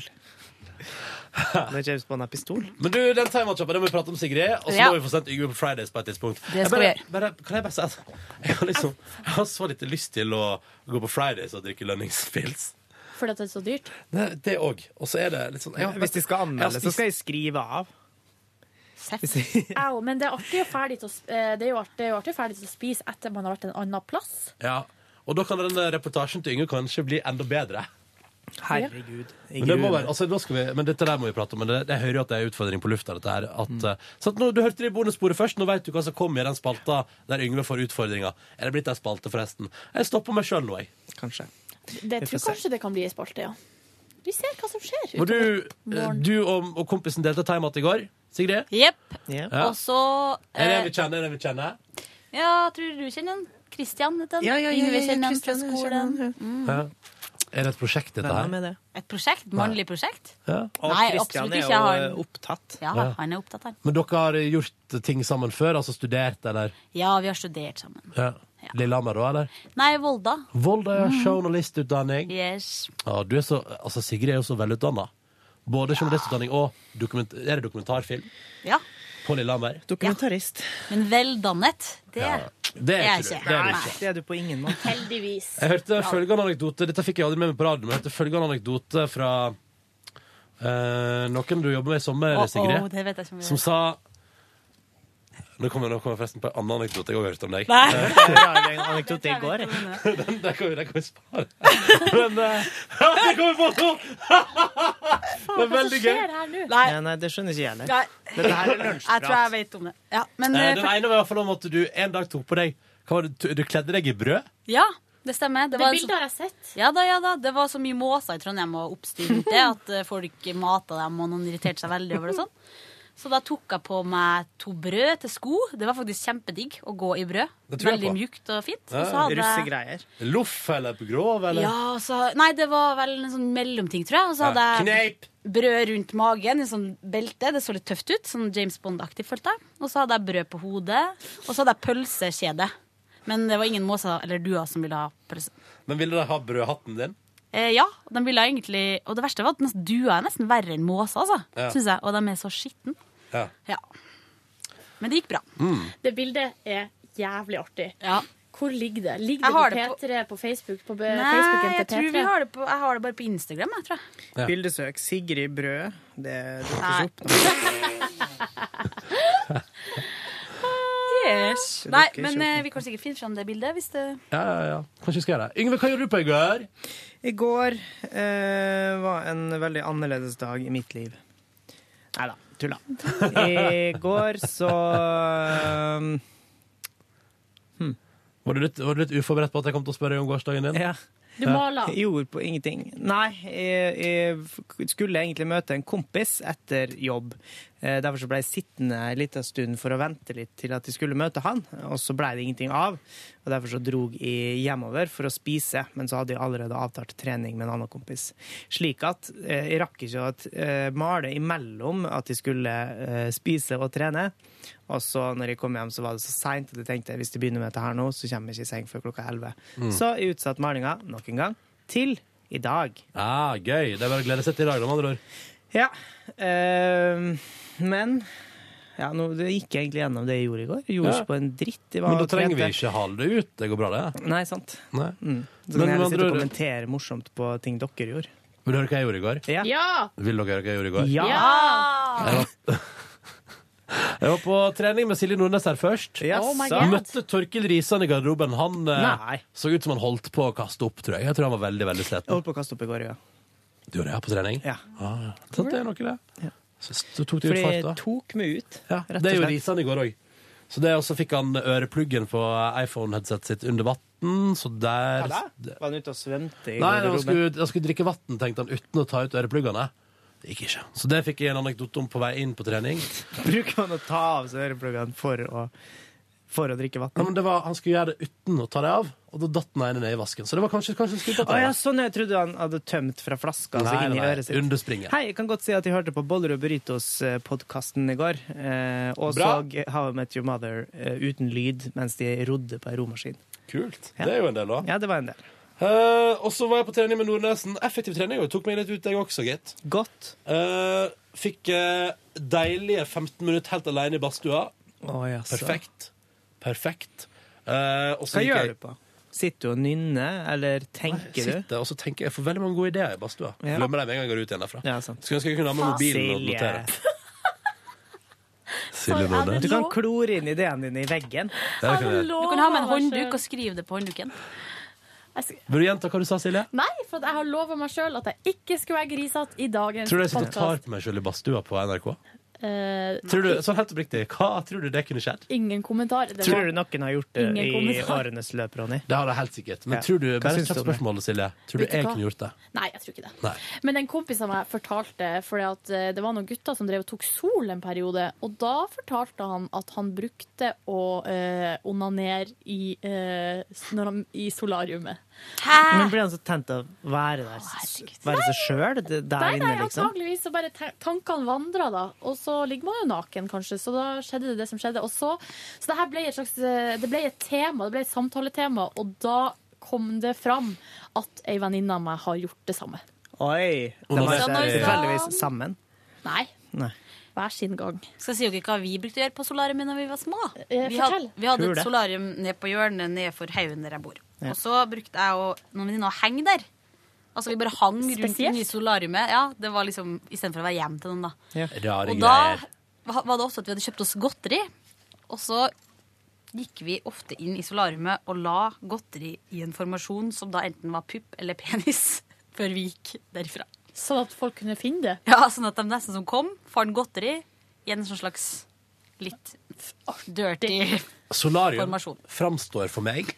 G: Når James Bond har pistol?
B: Men du, den timeout-shoppa, den må vi prate om, Sigrid. Og så
G: Ja.
B: må vi få sendt Yngve på Fridays på et tidspunkt.
G: skal
B: Jeg bare,
G: vi
B: bare, kan jeg bare si at jeg har liksom Jeg har så lite lyst til å gå på Fridays og drikke lønningspils.
D: Fordi at det er så dyrt.
B: Det det òg. Og så er det litt sånn
G: Hvis de skal anmelde, så skal jeg skrive av.
D: Au, men det er artig og ferdig til å, sp- eh, det er jo artig, det er jo artig og ferdig til å spise etter man har vært en annen plass.
B: Ja. Og da kan den eh, reportasjen til Yngve kanskje bli enda bedre.
G: Herregud.
B: Men, det må være, altså, da skal vi, men dette der må vi prate om. Men det, jeg hører jo at det er en utfordring på lufta. Dette her, at, eh, så at nå, du hørte det i bonussporet først. Nå vet du hva som kommer i den spalta der Yngve får utfordringer. Er det blitt ei spalte, forresten? Jeg stopper meg sjøl nå, jeg.
G: Kanskje.
D: Det,
B: Vi
D: jeg
B: får
D: tror
B: se.
D: kanskje det kan bli ei spalte, ja. Vi ser hva som skjer.
B: Men du, eh,
D: Morgen.
B: du og, og kompisen delte time-out i går. Sigrid?
J: Jepp.
B: Ja.
J: Og så
B: Er det en
J: eh,
B: vi kjenner? Er det en vi kjenner?
J: Ja, tror du kjenner han? Christian heter han.
G: Ja, ja, ja,
J: Yngve
G: ja, ja,
J: kjenner han fra
G: Christian, jeg
J: skolen.
B: Ja. Er det et prosjekt, dette her?
G: med det.
J: Et prosjekt? Mannlig prosjekt?
B: Ja.
J: Og Nei, Christian absolutt er ikke, jo, han- eh,
G: opptatt.
J: Ja,
B: Ja.
J: han er opptatt her.
B: Men dere har gjort ting sammen før? Altså studert, eller?
J: Ja, vi har studert sammen.
B: Ja. Lillehammer, da, eller?
J: Nei, Volda.
B: Volda ja,
J: Mhm.
B: journalistutdanning.
J: Yes.
B: Ja, du er så, altså Sigrid er jo så velutdanna. Både journalistutdanning og dokument, er det dokumentarfilm
J: Ja.
B: på Lillehammer.
G: Dokumentarist.
J: Men veldannet, det
B: Det er ikke du. Det er du
G: Nei,
B: ikke.
G: det er du på ingen måte.
D: Heldigvis.
B: Jeg hørte følgende anekdote Dette fikk jeg aldri med meg på radioen, men jeg hørte følgende anekdote fra eh, noen du jobber med i sommer,
J: Å, å,
B: Sigrid,
J: det vet jeg ikke om jeg
B: som
J: vet.
B: sa nå kommer, nå kommer jeg forresten på en annen anekdote jeg også hørte om deg.
J: Nei.
B: Eh,
G: en anekdote i går.
B: Den der kan vi, den kan vi spare. Men eh, Det kommer på nå!
G: Det er veldig gøy.
J: Nei.
G: Nei, nei, det skjønner ikke jeg heller.
J: Nei.
G: Dette her er
J: Jeg tror jeg
G: lunsjprat.
J: vet om det. Ja, men,
B: Eh,
J: eh,
B: Den ene var i hvert fall om at du en dag tok på deg hva var det, Du kledde deg i brød?
J: ja, det stemmer.
D: Det
J: var en
D: bildet
J: sånn-
D: har jeg sett.
J: Ja da, ja da. Det var så mye måser i Trondheim og oppstyr rundt det at eh, folk mata dem, og noen irriterte seg veldig over det og sånn. Så da tok jeg på meg to brød til sko. Det var faktisk kjempedigg å gå i brød.
B: Det tror jeg
J: Veldig
B: på.
J: mjukt og fint.
B: Ja,
J: Og så hadde jeg-
G: Russegreier.
B: Loff eller på grov, eller?
J: Ja, og så, nei, det var vel en sånn mellomting, tror jeg. Og
B: Ja,
J: så hadde jeg brød rundt magen i sånn belte. Det så litt tøft ut, sånn James Bond-aktig, følte jeg. Og så hadde jeg brød på hodet. Og så hadde jeg pølsekjede. Men det var ingen måser eller duer som ville ha pølse.
B: Men ville de ha brødhatten din?
J: Eh, ja, de ville egentlig Og det verste var at nesten- duer er nesten verre enn måser, altså.
B: Ja.
J: Synes jeg. Og de er så skitne.
B: Ja.
J: Ja. Men det gikk bra.
B: Mm.
D: Det bildet er jævlig artig. Hvor ligger det? Ligger
J: Jeg har
D: det på P3 på Facebook? På be-
J: Nei,
D: Facebooken
J: jeg
D: til
J: tror
D: P3?
J: vi har det på Jeg har det bare på Instagram, jeg, tror jeg.
G: Ja. Bildesøk Sigrid Brød. Det dukkes
J: Nei.
G: opp.
J: Yes.
B: Det
J: Nei,
B: dukker
J: men
B: ikke opp.
J: eh, vi kan sikkert finne fram det bildet hvis det
B: Ja, ja, ja. Kanskje vi skal gjøre det. Yngve, hva gjorde du på i går?
G: I går eh, var en veldig annerledes dag i mitt liv. Nei da, tulla. I går så um,
B: Var du, litt, var du litt uforberedt på at jeg kom til å spørre om gårsdagen din?
G: Ja. Gjorde på ingenting. Nei, jeg, jeg skulle egentlig møte en kompis etter jobb. Eh, Derfor så ble jeg sittende en liten stund for å vente litt til at jeg skulle møte han, og så ble det ingenting av. Og derfor så drog jeg hjemover for å spise, men så hadde jeg allerede avtalt trening med en annen kompis. Slik at eh, jeg rakk ikke å eh, male imellom at jeg skulle eh, spise og trene. Og så når jeg kom hjem, så var det så seint at jeg tenkte hvis jeg begynner med dette her nå, så kommer jeg ikke i seng før klokka 11.
B: Mm.
G: Så jeg utsatte malinga nok en gang til i dag.
B: Ah, gøy. Det er bare å glede seg til i dag, da, med andre ord.
G: Ja, ehm, men ja, nå, Det gikk jeg egentlig gjennom det jeg gjorde i går. Jeg gjorde
B: Ja.
G: ikke på en dritt. Jeg var
B: Men da
G: og
B: trenger vi
G: trente.
B: ikke hale det ut. Det går bra, det.
G: Nei, sant.
B: Nei.
G: Mm. Så
B: Men
G: kan jeg
B: med
G: heller sitte
B: andre
G: og
B: ord-
G: kommentere morsomt på ting dere gjorde.
B: Vil du høre hva jeg gjorde i går?
G: Ja!
B: Vil dere høre hva jeg gjorde i går?
G: Ja.
B: Jeg var, jeg var på trening med Silje Nordnes her først.
G: Ja, Oh my sant. God.
B: Møtte Torkil Risan i garderoben. Han eh,
G: Nei.
B: så ut som han holdt på å kaste opp, tror jeg. Jeg tror han var veldig, veldig
G: Jeg
B: sliten.
G: holdt på å kaste opp i går, ja.
B: Du gjorde det ja, på trening?
G: Ja.
B: Ah, ja. Sant, det er noe, det. Så, så tok du
G: For
B: ut
G: jeg
B: fart, da.
G: tok meg ut, rett og
B: Det gjorde
G: slett.
B: Risan i går òg. Så det, og så fikk han ørepluggen på iPhone-headsetet sitt under vann, så der
G: Ja, da. Var han ute og svømte i
B: Nei, han
G: garderoben?
B: skulle, han skulle drikke vann, tenkte han, uten å ta ut ørepluggene. Det gikk ikke. Så det fikk jeg en anekdote om på vei inn på trening.
G: Bruker man å ta av seg ørepluggene for å, for å drikke
B: Nei,
G: vann?
B: men det var, han skulle gjøre det uten å ta det av, og da datt den ene ned i vasken. Så det var kanskje, kanskje han skulle
G: Å
B: tatt det
G: ja,
B: av.
G: sånn. Jeg trodde han hadde tømt fra flaska altså
B: Nei,
G: inn i
B: nei,
G: øret sitt.
B: underspringet.
G: Hei, jeg kan godt si at jeg hørte på Bollerud Burritos-podkasten i går. Eh, og
B: Bra.
G: så How I Met Your Mother eh, uten lyd mens de rodde på ei romaskin.
B: Kult.
G: Ja.
B: Det er jo en del, da.
G: Ja, det var en del.
B: Eh, og så var jeg på trening med Nordnesen. Effektiv trening. og Tok meg litt ut, jeg også, gitt.
G: Godt.
B: Eh, fikk eh, deilige 15 minutter helt alene i badstua.
G: Å, jaså.
B: Perfekt. Perfekt. Eh, og så
G: Hva
B: gikk
G: gjør
B: jeg-
G: du på? Sitter du og nynner, eller tenker du?
B: Sitter, og så tenker jeg, jeg får veldig mange gode ideer i badstua.
G: Ja.
B: Glemmer dem en gang jeg går ut igjen derfra.
G: Ja, sant.
B: Skulle ønske jeg kunne ha med mobilen og
G: Silje.
B: notere.
G: For
B: Silje
G: er
B: Nordnes.
G: det Du kan klore inn ideene dine i
B: Ja,
G: veggen.
B: det kan jeg gjøre.
J: Du kan ha med en håndduk og skrive det på håndduken.
B: Vil du gjenta hva du sa, Silje?
D: Nei, for at jeg har lova meg sjøl at jeg ikke skulle være grisete i dagens
B: Tror du jeg sitter og tar
D: podcast.
B: på meg sjøl i badstua på NRK?
D: Eh,
B: Tror du, sånn helt oppriktig, Hva tror du det kunne skjedd?
D: Ingen kommentar. Det
G: Tror du
D: var-
G: noen har gjort det
D: Ingen
G: i
D: kommentar.
G: årenes løp, Ronny?
B: Det har jeg helt sikkert. Men
G: Ja.
B: tror du,
G: Hva
B: bare
G: syns
B: kjapt
G: du om det?
B: spørsmålet, Silje. Tror du
D: Vet du
B: jeg
D: hva?
B: kunne gjort det?
D: Nei, jeg tror ikke det.
B: Nei.
D: Men en kompis av meg fortalte fordi at eh, det var noen gutter som drev og tok sol en periode. Og da fortalte han at han brukte å eh, onanere i, eh, s- når han, i solariumet.
G: Men blir han så tent av å være der? Være seg sjøl der
D: Nei,
G: inne,
D: nei,
G: liksom?
D: antageligvis så bare ta- tankene vandrer da, og så ligger man jo naken kanskje, så da skjedde det det som skjedde. Og så, så det her ble et slags, eh, det ble et tema, det ble et samtaletema, og da kom det fram at ei venninne av meg har gjort det samme.
G: Oi! De
B: Under
G: har
B: den-
G: sett tilfeldigvis sammen.
D: Nei.
G: Nei.
D: Hver sin gang.
J: Skal si dere hva vi brukte å gjøre på solariumet når vi var små?
L: Vi hadde, vi hadde
J: Tror
L: et
J: det.
L: solarium ned på hjørnet ned for haugen der jeg bor.
J: Ja.
L: Og så brukte jeg og noen venninner å henge der. Altså Vi bare hang rundt
J: Spesielt.
L: i solariumet. Ja, det var liksom Istedenfor å være hjem til noen, da.
B: Rare
L: Og da
B: greier.
L: va- var det ofte at vi hadde kjøpt oss godteri. Og så gikk vi ofte inn i solariumet og la godteri i en formasjon som da enten var pupp eller penis, før vi gikk derfra.
D: Sånn at folk kunne finne det.
L: Ja, sånn at de nesten som kom, fant godteri i en sånn slags litt dirty
B: Solarium
L: Formasjon.
B: framstår for meg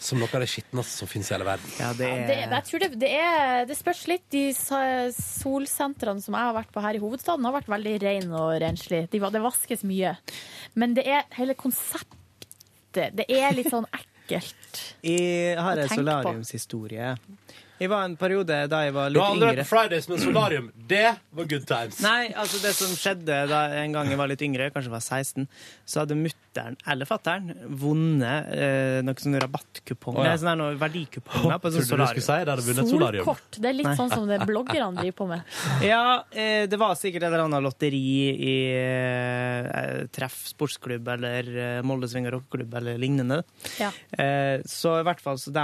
B: som noe av det skitneste som fins i hele verden.
D: Det,
B: Eh.
D: jeg tror det, det, er, det spørs litt. De sa- solsentrene som jeg har vært på her i hovedstaden, har vært veldig rene og renslige. De, va- det vaskes mye. Men det er hele konseptet. Det er litt sånn ekkelt.
G: Jeg har
D: Å
G: en
D: tenke
G: solariumshistorie. Jeg var en periode da jeg var
B: Du
G: litt
B: har aldri vært
G: yngre.
B: på Fridays, men solarium, det var good times.
G: Nei, altså det som skjedde da en gang jeg var litt yngre, kanskje jeg var 16, så hadde mutt mutter'n eller fatter'n vunnet eh, noen sånne rabattkuponger.
B: Å, ja.
G: Nei, sånne her noen verdikuponger på sånn
B: Trodde du skulle si det hadde vunnet solarium.
D: Solkort. Det er litt
G: Nei.
D: sånn som det bloggerne driver på med.
G: Ja, eh, det var sikkert et eller annet lotteri i eh, Treff sportsklubb eller eh, Moldesvinga rockeklubb eller lignende.
D: Ja.
G: Eh, så i hvert fall så de,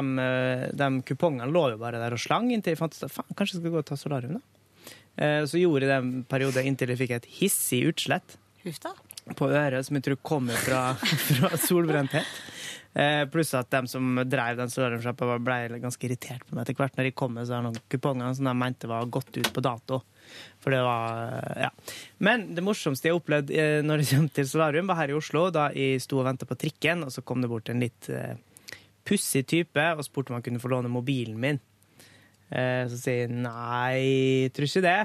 G: de kupongene lå jo bare der og slang inntil jeg fant ut at faen, kanskje jeg skal gå og ta solarium, da. Eh, så gjorde jeg det en periode inntil jeg fikk et hissig utslett
J: Huff da.
G: på øret som jeg tror kommer fra, fra solbrenthet. Eh, pluss at de som drev den solariumsjappa, var- ble ganske irritert på meg etter hvert når jeg kom med så her noen kuponger som de mente var gått ut på dato. For det var Ja. Men det morsomste jeg har opplevd eh, når jeg kom til solarium, var her i Oslo, da jeg sto og venta på trikken, og så kom det bort en litt eh, pussig type og spurte om han kunne få låne mobilen min. Eh, så sier jeg nei, tror ikke det.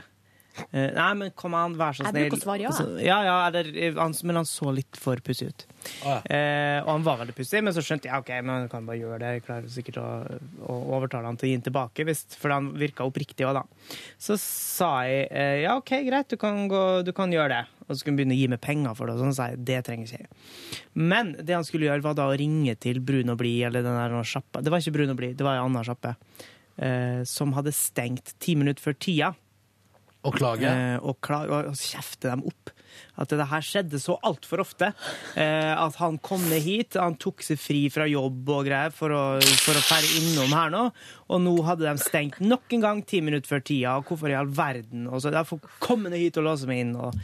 G: Eh, nei, men kom an, vær så
D: Jeg
G: snill.
D: bruker å svare ja.
G: Altså, ja, ja eller, eh, han, men han så litt for pussig ut. Eh, og han var veldig pussig, men så skjønte jeg ok, men han kan bare gjøre det. Jeg klarer sikkert å, å overtale han til å gi den tilbake, hvis, for han virka oppriktig òg, da. Så sa jeg eh, ja, OK, greit, du kan, gå, du kan gjøre det. Og så skulle han begynne å gi meg penger for det, og sånn, så sa jeg det trenger ikke jeg. Men det han skulle gjøre, var da å ringe til Brun og Blid, eller den der sjappa Det var ikke Brun og Blid, det var en annen sjappe. Eh, som hadde stengt ti minutter før tida.
B: Og klage?
G: Eh, og, kla- og, og kjefte dem opp. At det her skjedde så altfor ofte. Eh, at han kom ned hit, han tok seg fri fra jobb og greier for å, for å fære innom her nå. Og nå hadde de stengt nok en gang ti minutter før tida. Og hvorfor i all verden? Og så, jeg får komme ned hit og låse meg inn. Og,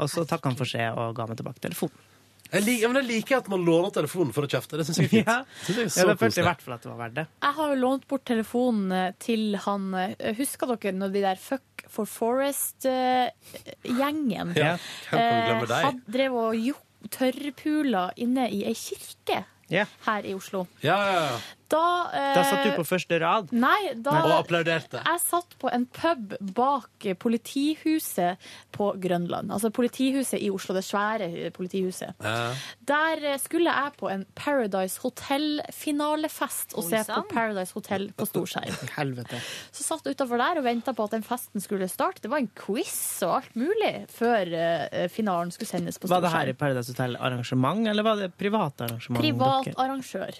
G: og så takka han for seg og ga meg tilbake telefonen.
B: Jeg liker, ja, men jeg liker at man låner telefonen for å kjefte. Det syns jeg er fint.
G: Ja.
B: Synes jeg er så
G: Ja, det følte
B: koselig.
G: jeg i hvert fall at det var verdt det.
D: Jeg har jo lånt bort telefonen eh, til han eh, Husker dere når de der Fuck for eh, Forest-gjengen
B: Ja, hvem kan glemme deg?
D: eh, drev og jo- tørrpula inne i ei kirke
G: Ja.
D: her i Oslo?
B: Ja, ja, ja.
D: Da, eh,
G: Da satt du på første rad.
D: Nei, da
G: Nei. Og applauderte.
D: Jeg satt på en pub bak eh, politihuset på Grønland. Altså politihuset i Oslo, det svære eh, politihuset. Der eh, skulle jeg på en Paradise Hotel-finalefest og se
J: Oi,
D: på
J: sann.
D: Paradise Hotel på storskjerm.
G: Helvete.
D: Så satt jeg utafor der og venta på at den festen skulle starte. Det var en quiz og alt mulig før eh, finalen skulle sendes på
G: Var det her i
D: storskjerm.
G: Paradise Hotel arrangement, eller var det privat arrangement?
D: Privat
G: dere?
D: arrangør.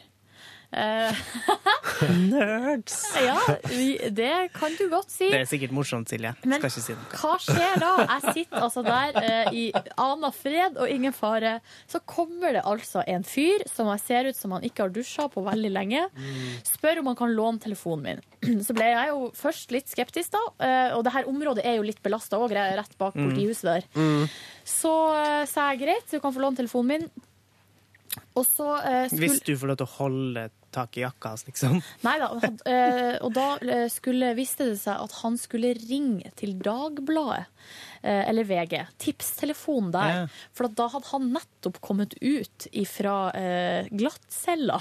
D: Eh,
G: Nerds!
D: ja, vi, det kan du godt si.
G: Det er sikkert morsomt, Silje.
D: Men-
G: Skal ikke si noe.
D: Hva skjer da? Jeg sitter altså der eh, i aner fred og ingen fare. Så kommer det altså en fyr som jeg ser ut som han ikke har dusja på veldig lenge. Spør om han kan låne telefonen min. Så ble jeg jo først litt skeptisk, da. eh, Og det her området er jo litt belasta òg, rett bak
P: Mm.
D: politihuset der. Så eh, sa jeg greit, du kan få låne telefonen min. Og så eh, skulle
G: Hvis du får lov til å holde tak i jakka hans, liksom.
D: Nei da. han- eh, Og da eh, skulle, viste det seg at han skulle ringe til Dagbladet. eh, Eller VG. Tipstelefonen der.
P: Ja.
D: For at da hadde han nettopp kommet ut ifra eh, glattcella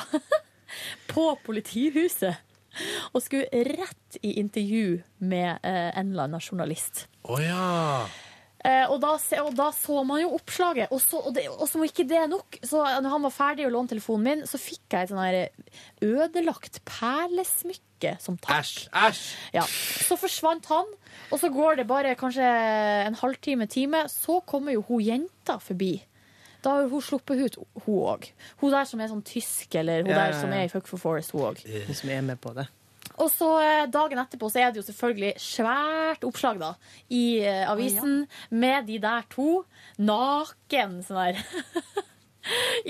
D: på politihuset. Og skulle rett i intervju med eh, en eller annen journalist.
B: Å ja.
D: Eh, og, da, se- og da så man jo oppslaget. Og, så, og, det, og som ikke det er nok, så når han var ferdig å låne telefonen min, så fikk jeg et sånn her ødelagt perlesmykke som takk.
B: Æsj, æsj!
D: Ja. Så forsvant han, og så går det bare kanskje en halvtime, time, så kommer jo hun jenta forbi. Da har hun sluppet ut, hun òg. Hun der som er sånn tysk, eller hun
G: Ja, ja,
D: der som
G: ja.
D: er i Fuck for Forest, hun òg.
J: Eh.
G: De som er med på det.
D: Og så eh, dagen etterpå så er det jo selvfølgelig svært oppslag da, i eh, avisen med de der to naken sånn der.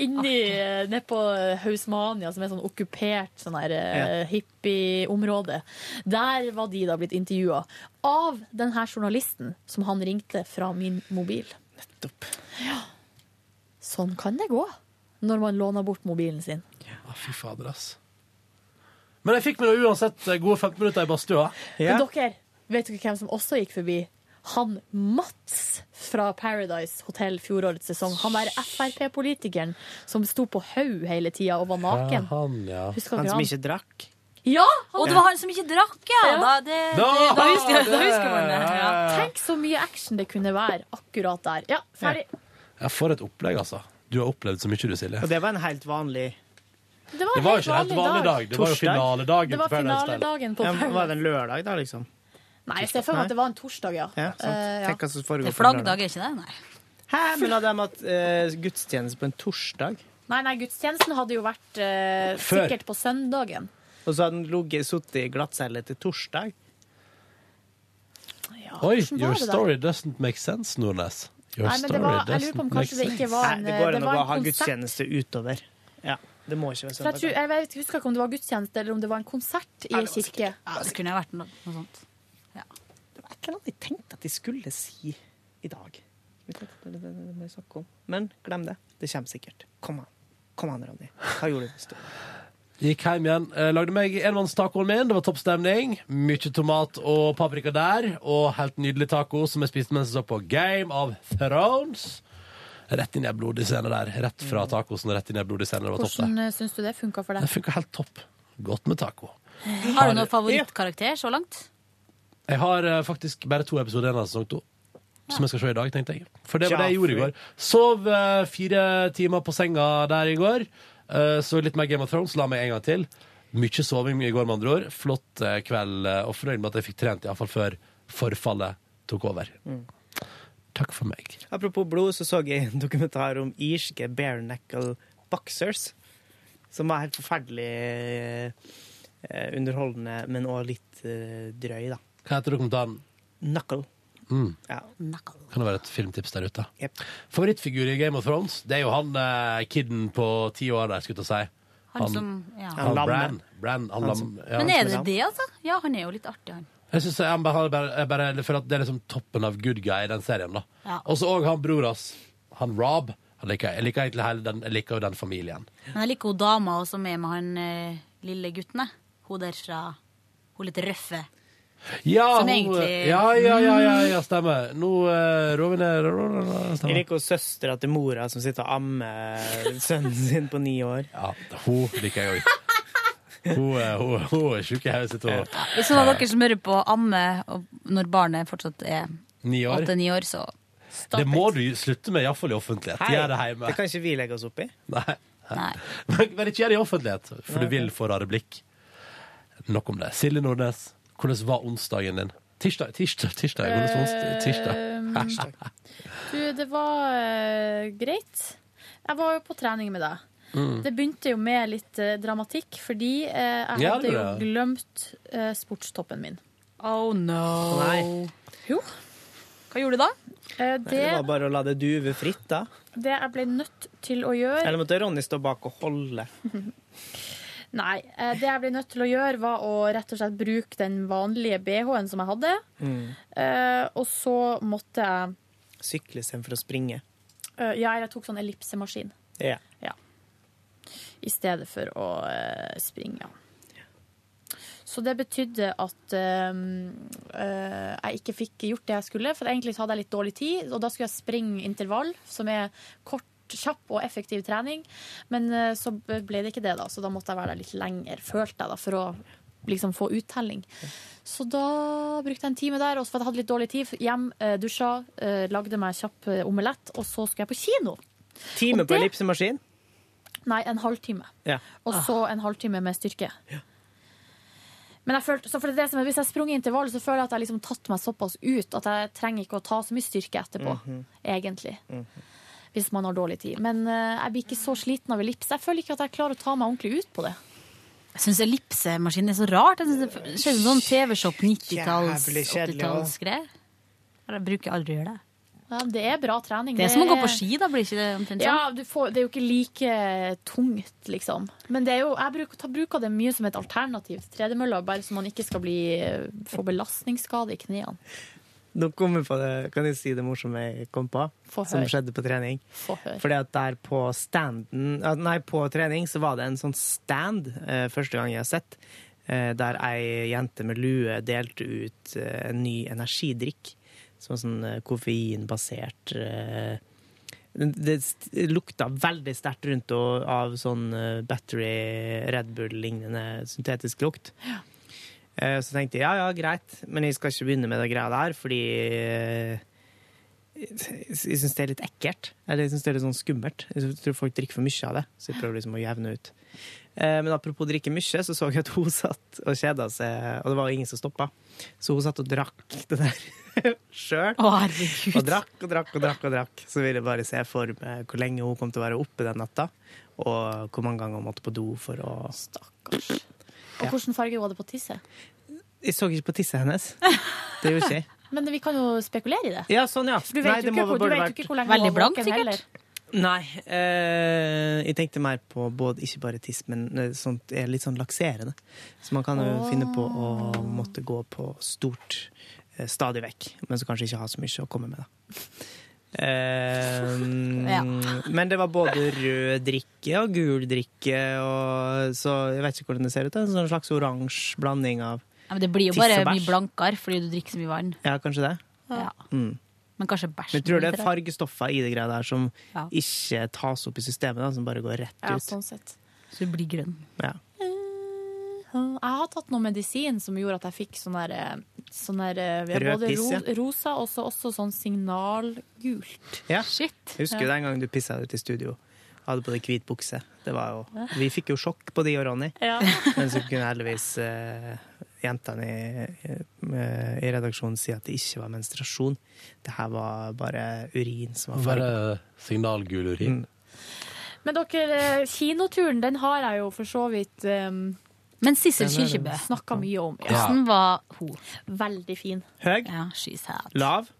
D: Inni eh, ned på Hausmania, som er sånn okkupert sånn der, eh,
P: Ja.
D: hippieområde. Der var de da blitt intervjua av den her journalisten som han ringte fra min mobil. Nettopp. Ja. Sånn kan det gå når man låner bort mobilen sin.
B: Å, fy fader, ass. Men jeg fikk meg nå uansett eh, gode 15 minutter i badstua.
D: Men dere, vet dere hvem som også gikk forbi? Han Mats fra Paradise Hotel fjorårets sesong. Han der Frp-politikeren som sto på haug hele tida og var naken.
B: Han, Sånn, ja.
D: Husker dere han?
G: drakk.
D: Ja!
J: Og det var han som ikke drakk, ja!
D: Ja.
J: Da, det, det, da, husker, da husker man det. Ja.
D: Tenk så mye action det kunne være akkurat der. Ja, ferdig.
B: Jeg får et opplegg, altså. Du har opplevd så mye, du, Silje.
G: Og det var en helt vanlig
B: Det var ikke helt vanlig dag. Det var jo
G: Torsdag.
B: finaledagen
D: Det var på Paradise Hotel. finaledagen på
G: Ja, men
D: Paradise.
G: Var det en lørdag, da, liksom?
D: Nei, jeg ser for meg at det var en torsdag, ja.
G: Ja, sant.
D: Eh, ja.
G: Tenk hva som foregår
J: Det
G: på
J: er
G: en
J: flaggdag, er ikke det? Nei.
G: Hæ, men hadde de hatt eh, gudstjeneste på en torsdag,
D: Nei, nei, gudstjenesten hadde jo vært eh,
G: Før.
D: sikkert på søndagen.
G: og så hadde de sittet i glattcelle til torsdag?
B: Oi,
D: hvordan var
B: your
D: det der?
B: story doesn't make sense, Nordnes. Your
D: Nei, men det
B: story
D: var- jeg lurer
B: doesn't
D: på om
B: make
D: kanskje det
B: sense.
D: ikke var en-
G: Nei, det går
D: det
G: an å
D: var
G: bare
D: en
G: ha
D: konsert.
G: gudstjeneste utover. Ja, det må ikke være
D: For jeg, tror,
G: søndag.
D: jeg vet, husker ikke om det var gudstjeneste eller om det var en konsert i
J: Ja,
D: ei
J: det var
D: kirke.
J: Ja, det kunne vært noe, noe sånt.
G: Hva hadde de tenkt at de skulle si i dag? Vet ikke hva det- det- det- det må jeg snakke om. Men glem det. Det kommer sikkert. Kom an. Kom an, Ronny. Hva gjorde du hvis du
B: Gikk hjem igjen. eh, Lagde meg enmannstacoen min. Det var topp stemning. Mye tomat og paprika der. Og helt nydelig taco som jeg spiste mens jeg så på Game of Thrones. Rett inn i en blodig scene der. Rett fra tacosen og rett inn i en blodig scene. Det var topp, det.
D: Hvordan eh, syns du det funka for
B: Det
D: deg?
B: funka helt topp. Godt med taco.
J: Har du noen favorittkarakter så langt?
B: Jeg har eh, faktisk bare to episoder igjen av sesong to. Som jeg skal se i dag, tenkte jeg. For det var det jeg gjorde i
G: Joffrey.
B: går. Sov eh, fire timer på senga der i går. eh, så litt mer Game of Thrones. La meg en gang til. Mye soving i går, med andre ord. Flott eh, kveld, eh, og fornøyd med at jeg fikk trent, iallfall før forfallet tok over. Takk for meg.
G: Apropos blod, så så jeg en dokumentar om irske bareknuckle boxers. Som var helt forferdelig eh, underholdende, men òg litt eh, drøy, da.
B: Hva heter dokumentaren?
G: Knuckle.
B: Mm.
G: Ja.
B: Kan det være et filmtips der ute? Favorittfigur i Game of Thrones, det er jo han eh, kiden på ti år der, skulle jeg til å si.
J: Han som- ja.
B: han,
J: Han lamme.
B: Bran. Bran, han
G: Han
B: lam,
G: som-
B: ja,
J: Men
B: han
J: er
B: som
J: det det, altså? Ja, han er jo litt artig, han.
B: Jeg synes jeg bare, jeg bare, jeg bare jeg føler at det er liksom toppen av good guy i den serien. da
J: Ja.
B: Og så òg han bror hans, han Rob. Han liker, jeg Jeg liker egentlig hele den, jeg liker jo den familien.
J: Men jeg liker hun dama også som er med han eh, lille gutten. jeg. Hun der fra Hun litt røffe.
B: Ja,
J: Som
B: hun-
J: egentlig-
B: ja, ja, ja, ja, ja stemmer. Nå uh, roer vi ned ro- ro- ro-
G: Jeg
B: stemmer.
G: liker jo søstera til mora som sitter og ammer sønnen sin på ni år.
B: Ja, hun liker jeg òg. Hun, er- hun, er- hun er sjuk i hodet sitt. hun.
J: Hvis noen av dere som hører på amme og når barnet fortsatt er
B: Ni år.
J: åtte-ni år, så
B: Det må du slutte med, iallfall i offentlighet.
G: Hei,
B: Gjør det hjemme.
G: det kan ikke vi legge oss opp i.
B: Nei.
J: Nei.
B: Men, men ikke gjør det i offentlighet, for
G: Nei,
B: du vil få rare blikk. Nok om det. Silje Nordnes, hvordan var onsdagen din? Tirsdag? Tirsdag? tirsdag, hvordan var onsdag,
D: Eh,
B: tirsdag.
D: Du, det var eh, greit. Jeg var jo på trening med deg.
B: Mm.
D: Det begynte jo med litt eh, dramatikk, fordi eh, jeg
B: Ja,
D: hadde
B: det
D: jo
B: gjorde jeg.
D: glemt eh, sportstoppen min.
J: Oh no.
G: Nei.
D: Jo.
J: Hva gjorde du da?
G: Nei, Det var bare å la det duve fritt, da.
D: Eh, det, det jeg ble nødt til å gjøre
G: Eller måtte Ronny stå bak og holde?
D: Nei. eh, Det jeg ble nødt til å gjøre, var å rett og slett bruke den vanlige BH-en som jeg hadde.
B: Mm.
D: Eh, og så måtte jeg
G: Sykle istedenfor å springe.
D: eh, Ja, jeg tok sånn ellipsemaskin
G: Ja.
D: i stedet for å eh, springe. Så det betydde at eh, eh, jeg ikke fikk gjort det jeg skulle, for egentlig så hadde jeg litt dårlig tid, og da skulle jeg springe intervall, som er kort, kjapp og effektiv trening, men eh, så ble det ikke det, da, så da måtte jeg være der litt lenger, følte jeg, da, for å liksom få uttelling. Så da brukte jeg en time der, også for jeg hadde litt dårlig tid. Hjem, eh, dusja, eh, lagde meg kjapp eh, omelett, og så skulle jeg på kino.
G: Time
D: Og
G: på
D: det-
G: ellipsemaskin.
D: Nei, en halvtime.
G: Ja.
D: Og så
J: Ah.
D: en halvtime med styrke. Men jeg følte, så for det er det som er, hvis jeg sprang i intervall, så føler jeg at jeg liksom tatt meg såpass ut at jeg trenger ikke å ta så mye styrke etterpå,
G: Mhm.
D: egentlig. Hvis man har dårlig tid. Men eh, jeg blir ikke så sliten av ellips. Jeg føler ikke at jeg klarer å ta meg ordentlig ut på det.
J: Jeg syns ellipsemaskinen er så rart. Jeg synes det ser ut som sånn TV-shop 90-talls,
D: Jævlig kjedelig,
J: 80-tallsgreier. Jeg bruker aldri å gjøre det.
D: Ja, det er bra trening.
J: Det er som å gå på ski, da. Blir ikke det omtrent sånn?
D: Ja, du får, det er jo ikke like tungt, liksom. Men det er jo, jeg bruker, tar, bruker det mye som et alternativ til tredemølla, bare så man ikke skal bli, få belastningsskade i knærne.
G: Nå kom jeg på det, kan jeg si det morsomme jeg kom på,
D: Få
G: som
D: høre.
G: skjedde på trening.
D: Få høre.
G: Fordi at der på standen ah, Nei, på trening så var det en sånn stand, eh, første gang jeg har sett, eh, der ei jente med lue delte ut eh, en ny energidrikk. Som var sånn eh, koffeinbasert eh, den- Det st- lukta veldig sterkt rundt og, av sånn eh, battery Red Bull-lignende syntetisk lukt. Eh, Så tenkte jeg ja, ja, greit, men jeg skal ikke begynne med det greia der, fordi eh, jeg syns det er litt ekkelt. Eller jeg syns det er litt sånn skummelt. Jeg tror folk drikker for mye av det, så jeg prøver liksom å jevne ut. Eh, Men apropos drikke mye, så så jeg at hun satt og kjeda seg, og det var jo ingen som stoppa. Så hun satt og drakk det der sjøl. Og drakk og drakk og drakk. og drakk Så ville jeg bare se for meg hvor lenge hun kom til å være oppe den natta, og hvor mange ganger hun måtte på do for å Stakkars.
D: Og hvilken farge var det på tisset?
G: Jeg så ikke på tisset hennes. Det gjorde ikke jeg.
D: Men vi kan jo spekulere i det.
G: Ja, sånn, ja.
D: For Du vet,
G: Nei,
D: jo
G: det
D: ikke,
G: må vel
D: hvor, du vet
G: burde
D: jo ikke hvor lenge
G: vært-
D: hun var våken heller.
G: Nei. Eh, jeg tenkte mer på både, ikke bare tiss, men eh, sånt er litt sånn lakserende. Så man kan jo
D: Åh.
G: finne på å måtte gå på stort eh, stadig vekk, men så kanskje ikke ha så mye å komme med, da. Eh,
J: Ja.
G: Men det var både rød drikke og gul drikke, og så jeg vet ikke hvordan det ser ut. da, En sånn slags oransje blanding av
J: Ja, men det blir jo
G: Tiss og
J: bare
G: bæsj.
J: mye blankere fordi du drikker så mye vann.
G: Ja, kanskje det?
J: Ja.
G: Mm.
J: Men kanskje
G: Men
J: bæsjen
G: jeg tror det
J: blir
G: er
J: bedre.
G: fargestoffer i det greia der som
J: Ja.
G: ikke tas opp i systemet, da, som bare går rett
D: Ja,
G: ut.
D: sånn sett. Eh,
J: Så du blir grønn.
G: Ja.
D: Jeg har tatt noe medisin som gjorde at jeg fikk sånn der, eh, sånn der eh, vi har
G: Rød
D: Både
G: piss,
D: ro,
G: ja.
D: rosa og så også sånn signalgult.
G: Ja.
D: Shit.
G: Jeg husker
D: Ja.
G: jo den gangen du pissa ut i studio. Hadde på deg hvit bukse. Det var jo, vi fikk jo sjokk på de og Ronny.
D: Ja.
G: Men så kunne heldigvis eh, jentene i, eh, i redaksjonen si at det ikke var menstruasjon. Det her var bare urin som var
B: Bare
G: farga.
B: signalgul urin.
D: Men dere, eh, kinoturen den har jeg jo for så vidt um,
J: Men Sissel Den er den. Kyrkjebø.
D: snakka mye om.
J: Ja. Hvordan var
D: hun? Veldig fin.
G: Høg?
J: Ja, she's hot.
G: Lav?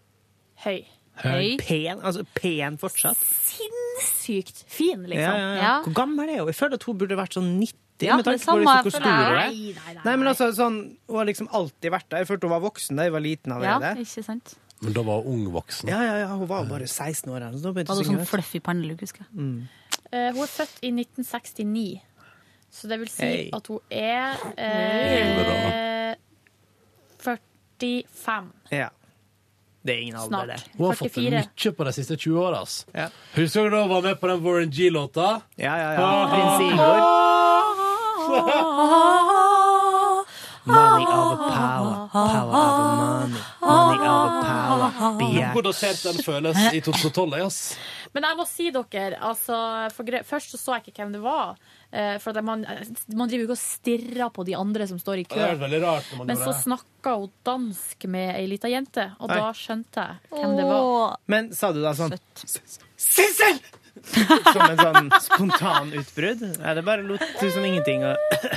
D: Høy.
G: Pen, altså pen fortsatt.
D: Sinnssykt fin, liksom.
G: Ja, ja, ja. Hvor gammel er hun? Jeg føler at hun burde vært sånn 90.
D: Ja,
G: med tanke
D: det
G: på
D: samme
G: liksom hvor
D: jeg
G: stor hun
D: føler.
G: er.
D: Nei, nei, nei,
G: Nei, men altså, sånn, hun har liksom alltid vært der. Jeg følte hun var voksen da jeg var liten allerede.
J: ikke sant?
B: Men da var hun ung voksen.
G: Ja, ja, ja, hun var jo bare 16 år. her, Så da begynte
J: Hadde
G: hun å synge.
J: sånn fluffy pannelugg, husker jeg.
D: Eh, hun er født i 1969, så det vil si
J: Hei.
D: at hun er eh,
G: Hei.
D: 45.
G: Ja. Det er ingen
D: Snart.
G: alder, det.
B: Hun har fått
D: 44.
B: mye på de siste 20 åra. ass. Husker du da hun var med på den Warren G-låta?
G: Ja, ja,
B: ja.
G: Prins Igor. Money over power, power over money. Money over power,
B: Lurer på
G: begjær.
B: Hvordan helt den føles i 2012, jeg, ass.
D: Men jeg må si dere, altså, for gre først så så jeg ikke hvem det var. eh, For at man, man driver jo ikke og stirrer på de andre som står i kø.
B: Det er veldig rart når man
D: Men
B: gjør
D: så
B: det.
D: snakka hun dansk med ei lita jente, og
G: Oi.
D: da skjønte jeg hvem det var.
G: Men sa du da sånn
D: Sissel!
G: Som en sånn spontan utbrudd? Eller bare lot du som ingenting? Og...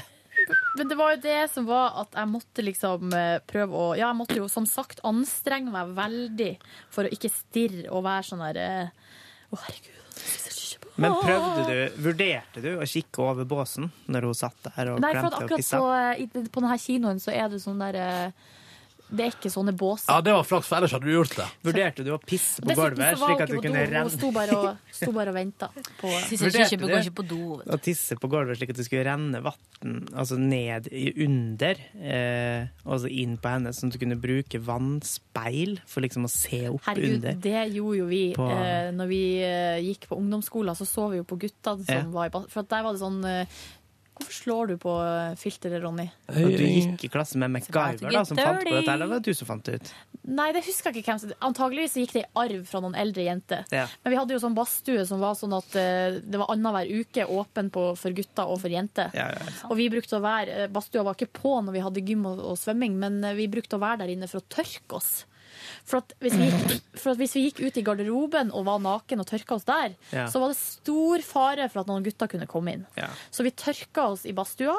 D: Men det var jo det som var at jeg måtte liksom eh, prøve å Ja, jeg måtte jo som sagt anstrenge meg veldig for å ikke stirre og være sånn der eh, Å, herregud.
G: Men prøvde du, vurderte du å kikke over båsen når hun satt der og
D: Nei, for at
G: glemte å
D: akkurat
G: pisse?
D: på, i, på denne kinoen så er det sånn der eh, Det er ikke sånne båser.
B: Ja, det var flaks, for ellers hadde du gjort det.
G: Vurderte du å pisse på
D: Dessuten
G: gulvet
D: så var
G: slik
D: hun
G: at du
D: ikke på
G: kunne
D: do, hun
G: renne?
D: sto bare og, sto bare og venta. På,
J: Sissel Kyrkjebø går ikke på do. vet
G: Å tisse på gulvet slik at det skulle renne vann altså ned i- under, eh, og så inn på henne, sånn at du kunne bruke vannspeil for liksom å se opp
D: Herregud,
G: under.
D: det gjorde jo vi
G: På-
D: eh, når vi eh, gikk på ungdomsskolen. Så så vi jo på gutta som
G: Ja.
D: var i bad. For at der var det sånn eh, Hvorfor slår du på eh, filteret, Ronny?
G: Og du gikk i klasse med
D: to
G: MacGyver,
D: get
G: da, som fant på
D: dirty.
G: dette, eller var det du som fant det ut?
D: Nei, det husker jeg ikke hvem som Antageligvis gikk det i arv fra noen eldre jenter.
G: Ja.
D: Men vi hadde jo sånn badstue som var sånn at eh, det var annenhver uke åpen på, for gutter og for jenter.
G: Ja, ja,
D: Og vi brukte å være eh, Badstua var ikke på når vi hadde gym og, og svømming, men eh, vi brukte å være der inne for å tørke oss. For at, hvis vi gikk, for at hvis vi gikk ut i garderoben og var naken og tørka oss der,
P: Ja.
D: så var det stor fare for at noen gutter kunne komme inn.
P: Ja.
D: Så vi tørka oss i badstua,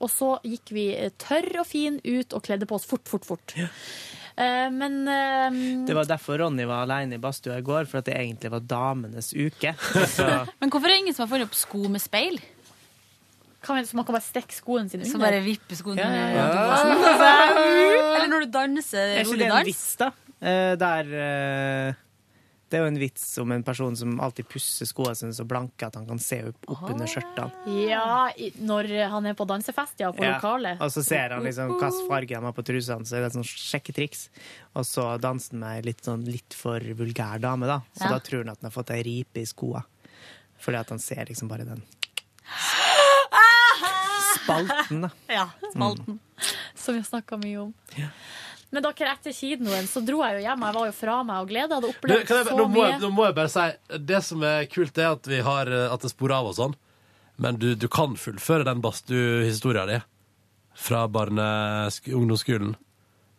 D: og så gikk vi eh, tørr og fin ut og kledde på oss fort, fort, fort. Eh, men eh,
G: Det var derfor Ronny var alene i badstua i går, for at det egentlig var damenes uke. Så
J: Men hvorfor er det ingen som har funnet opp sko med speil?
D: Kan vi, så man kan bare strekke skoen sin
J: Så
D: under?
J: bare vippe skoen
G: Ja, ja,
J: under. Altså,
G: ja.
J: Eller når du danser
G: er ikke
J: rolig
G: det en
J: dans.
G: vits, da? Eh, der eh, Det er jo en vits om en person som alltid pusser skoene sine så blanke at han kan se opp, opp under skjørtene.
D: Ja, i- når han er på dansefest, ja, på
G: Ja,
D: lokalet.
G: Og så ser han liksom hvilken farge han har på trusene, så det er et sånt sjekketriks. Og så danser han med ei litt, sånn, litt for vulgær dame, da. Så
D: Ja.
G: da tror han at han har fått ei ripe i skoa. Fordi at han ser liksom bare den spalten, da.
D: Ja, spalten. Som vi har snakka mye om. Men dere, etter kinoen så dro jeg jo hjem. Jeg var jo fra meg og gleda. Hadde
B: Du,
D: opplevd
B: kan jeg,
D: så
B: nå, må jeg,
D: mye.
B: nå må jeg bare si Det som er kult, er at vi har eh, At det sporer av og sånn. Men du, du kan fullføre den badstue-historia di fra barne sk- ungdomsskolen,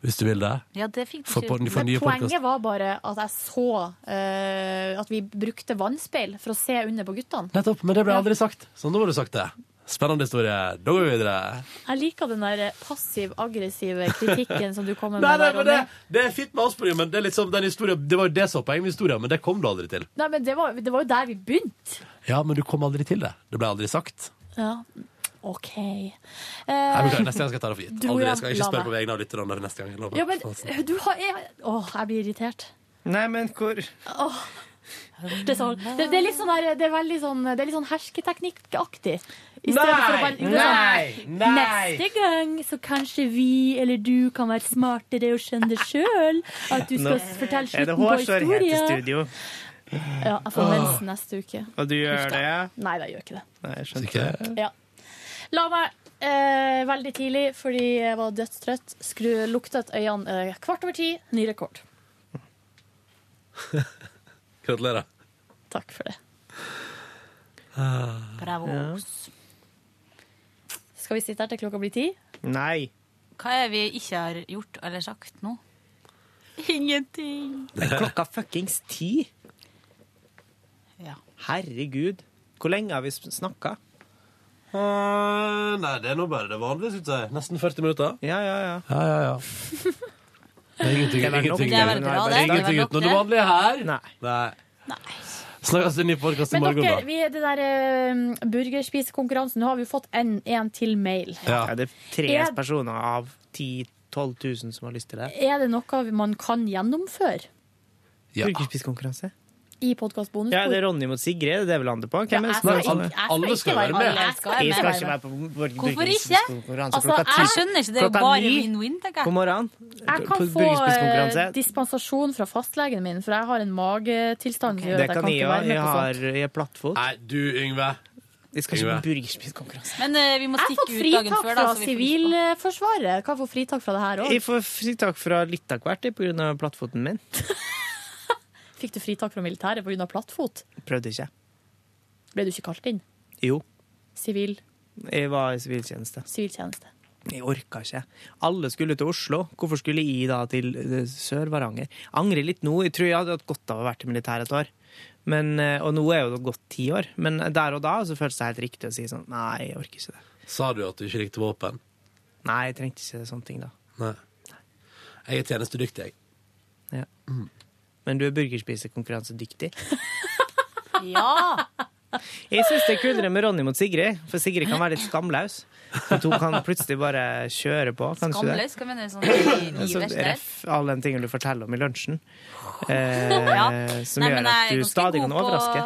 B: hvis du vil det.
J: Ja, det fikk du
B: For på den- for
D: Men
B: nye
D: poenget
B: podcast.
D: var bare at jeg så eh, at vi brukte vannspeil for å se under på guttene.
B: Nettopp, men det ble aldri sagt. Så nå har du sagt det. Spennende historie. Da går vi videre.
D: Jeg liker den der passiv-aggressive kritikken som du kommer med.
B: Nei, nei,
D: der,
B: men det,
D: Ronny.
B: det er fint med oss på det, men det er liksom den historien Det var jo det som var poenget med historien, men det kom du aldri til.
D: Nei, men det var, det var jo der vi begynte.
B: Ja, men du kom aldri til det. Det ble aldri sagt.
D: Ja, OK.
B: Jeg
D: Eh,
B: beklager, neste gang skal jeg ta det for gitt.
D: dro
B: Aldri,
D: hjem,
B: jeg skal ikke
D: la
B: spørre
D: meg.
B: på vegne av lytterne neste gang. jeg lover.
D: Ja, men du har jeg, Åh, jeg blir irritert.
C: Nei, men hvor
D: Åh. Det, er sånn, det, det er litt sånn, der, det er veldig sånn, det er litt sånn hersketeknikkaktig. I stedet for å bare-
C: Nei, nei, nei.
D: Neste gang så kanskje vi eller du kan være smartere og skjønne det sjøl. At du skal
G: Nå
D: fortelle
G: er det
D: slutten på
G: hårsårhet i
D: historien.
G: studio.
D: Ja, jeg får mensen neste uke.
G: Og du gjør det? ja?
D: Nei, jeg gjør ikke det.
G: Nei, jeg skjønte det.
D: Ja. La meg eh, veldig tidlig, fordi jeg var dødstrøtt, skru, luktet øynene eh, kvart over ti. Ny rekord.
B: Gratulerer.
D: Takk for det.
J: Bravo.
G: Ah, Ja.
D: Skal vi sitte her til klokka blir ti?
G: Nei.
J: Hva er vi ikke har gjort eller sagt nå? Ingenting.
G: Det er klokka fuckings ti.
J: Ja.
G: Herregud. Hvor lenge har vi snakka?
B: Eh, nei, det er nå bare det vanlige, skulle jeg si. Nesten 40 minutter.
G: Ja, ja, ja.
B: Det er ingenting,
G: Det er vel nok.
B: ingenting,
G: Det er vel bra, det.
B: ingenting
G: Det er vel nok,
B: utenom det
G: det.
B: vanlige her.
G: Nei.
B: Snakkes til ny podcast i
D: Men
B: morgen,
D: dere,
B: da.
D: vi, det der eh, burgerspisekonkurransen, nå har vi jo fått en, en til mail.
G: Ja. det er tre
D: Er-
G: personer av 10 12 000 som har lyst til det.
D: Er det noe man kan gjennomføre
G: Ja. Burgerspisekonkurranse.
D: i podkastbonus?
G: Ja, det er Ronny mot Sigrid. Det er vel han det på? Hvem
D: Ja,
G: er det
D: jeg
G: som
D: skal
G: er sånn?
D: ikke- jeg skal Alle ikke skal være være med. med. Jeg skal være
G: Jeg skal
D: med.
G: ikke være på Borg-
J: Hvorfor
G: burgerspisekonkurranse
J: ikke?
G: klokka
J: Altså, jeg
G: ti.
J: skjønner ikke, det er jo
G: Klokka
J: bare
G: ni
J: win-win, tenker jeg.
G: På morgenen.
D: Jeg
G: På
D: kan få eh,
G: burgerspisekonkurranse.
D: dispensasjon fra fastlegen min, for jeg har en magetilstand som gjør
G: Det
D: at jeg
G: kan
D: kan
G: jeg
D: ikke være
G: òg.
D: med
G: Jeg
D: på sånt.
G: har jeg er plattfot.
B: Nei, du, Yngve.
G: Jeg skal ikke
B: Yngve.
G: på burgerspisekonkurranse.
J: Men eh, vi må
D: Jeg har
J: stikke
D: fått
J: ut dagen
D: fritak
J: før,
D: fra
J: da. Så vi får lyst
D: Sivilforsvaret. Kan jeg få fritak fra det her
G: Jeg
D: òg.
G: får fritak fra litt av hvert jeg, på grunn av plattfoten min.
D: Fikk du fritak fra militæret pga. plattfot?
G: Prøvde ikke.
D: Ble du ikke kalt inn?
G: Jo,
D: Sivil,
G: jeg var i siviltjeneste.
D: siviltjeneste.
G: Jeg orka ikke. Alle skulle til Oslo. Hvorfor skulle jeg da til eh, Sør-Varanger? Angrer litt nå. Jeg tror jeg hadde hatt godt av å vært i militæret et år. Men, eh, og nå er jo det gått ti år. Men der og da så føltes det helt riktig å si sånn Nei, jeg orker ikke det.
B: Sa du at du ikke likte våpen?
G: Nei, jeg trengte ikke sånne ting da.
B: Nei. Jeg er tjenestedyktig, jeg.
G: Ja. Men du er burgerspisekonkurransedyktig.
J: på. Ja!
G: Jeg syns det er kulere med Ronny mot Sigrid, for Sigrid kan være litt skamløs. At hun kan plutselig bare kjøre på. Kan hun ikke det?
J: Skamløs, hva mener du? Sånn i-
G: Altså,
J: i verste der?
G: ref, alle de tingene du forteller om i lunsjen,
J: Ja.
G: eh, som
J: Nei,
G: gjør at
J: men jeg er
G: du
J: ganske
G: stadig
J: god
G: kan
J: på-
G: overraske.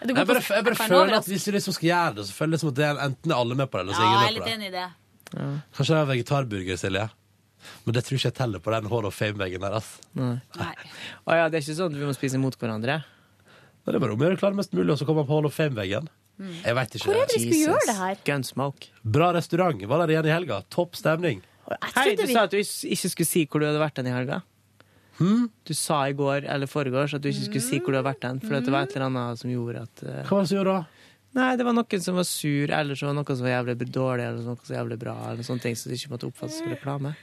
B: Jeg bare, jeg bare føler
J: kan
B: at
J: overraske.
B: hvis vi liksom skal gjøre det, så føler jeg som at det er enten er alle med på det, eller så er
J: Ja, jeg er
B: ingen med
J: litt
B: på det.
J: enig i det.
B: Kanskje det er vegetarburger, Silje. Men det tror ikke jeg teller på den Hall of Fame-veggen der. ass.
G: Nei.
J: Nei.
G: Å ja, det er ikke sånn at vi må spise mot hverandre?
B: Men Det er bare om å gjøre å klare mest mulig, og så kommer man på Hall of Fame-veggen. Jeg vet ikke
D: Hvor er det vi skulle gjøre det her?
G: Gunsmoke.
B: Bra restaurant. Var der igjen i helga. Topp stemning.
G: Hei, du
D: vi-
G: sa at du is- ikke skulle si hvor du hadde vært den i helga. Du sa i går eller foregårs at du ikke skulle si hvor du hadde vært den, for det var et eller annet som gjorde at eh,
B: Hva var det som gjorde det?
G: Nei, det var noen som var sur, eller så var det noen som var jævlig dårlig, eller noen som var jævlig bra, eller sånne ting, så det ikke måtte oppfattes som reklame.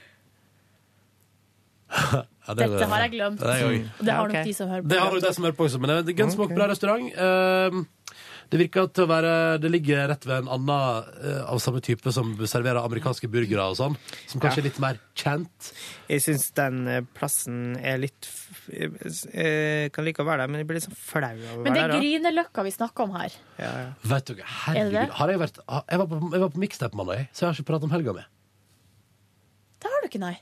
B: Ja, det-
D: Dette har jeg glemt.
B: Ja, det er jo-
D: Og det har nok de som hører på.
B: Det har nok de som hører på også, men det er Gunsmoke, bra restaurant. Ehm, Det virker til å være Det ligger rett ved en annen eh, av samme type som serverer amerikanske burgere og sånn, som kanskje
G: Ja.
B: er litt mer kjent.
G: Jeg syns den eh, plassen er litt f- eh, Kan like å være der, men jeg blir litt sånn flau av å
D: Men det
G: være
D: er
G: der. også.
D: Grünerløkka vi snakker om her.
G: Ja, ja.
B: Vet dere,
D: Er det det?
B: herregud har Jeg vært ha- Jeg var på, jeg var på mixtape mandag, jeg, så jeg har ikke pratet om helga mi.
D: Det har du ikke, nei.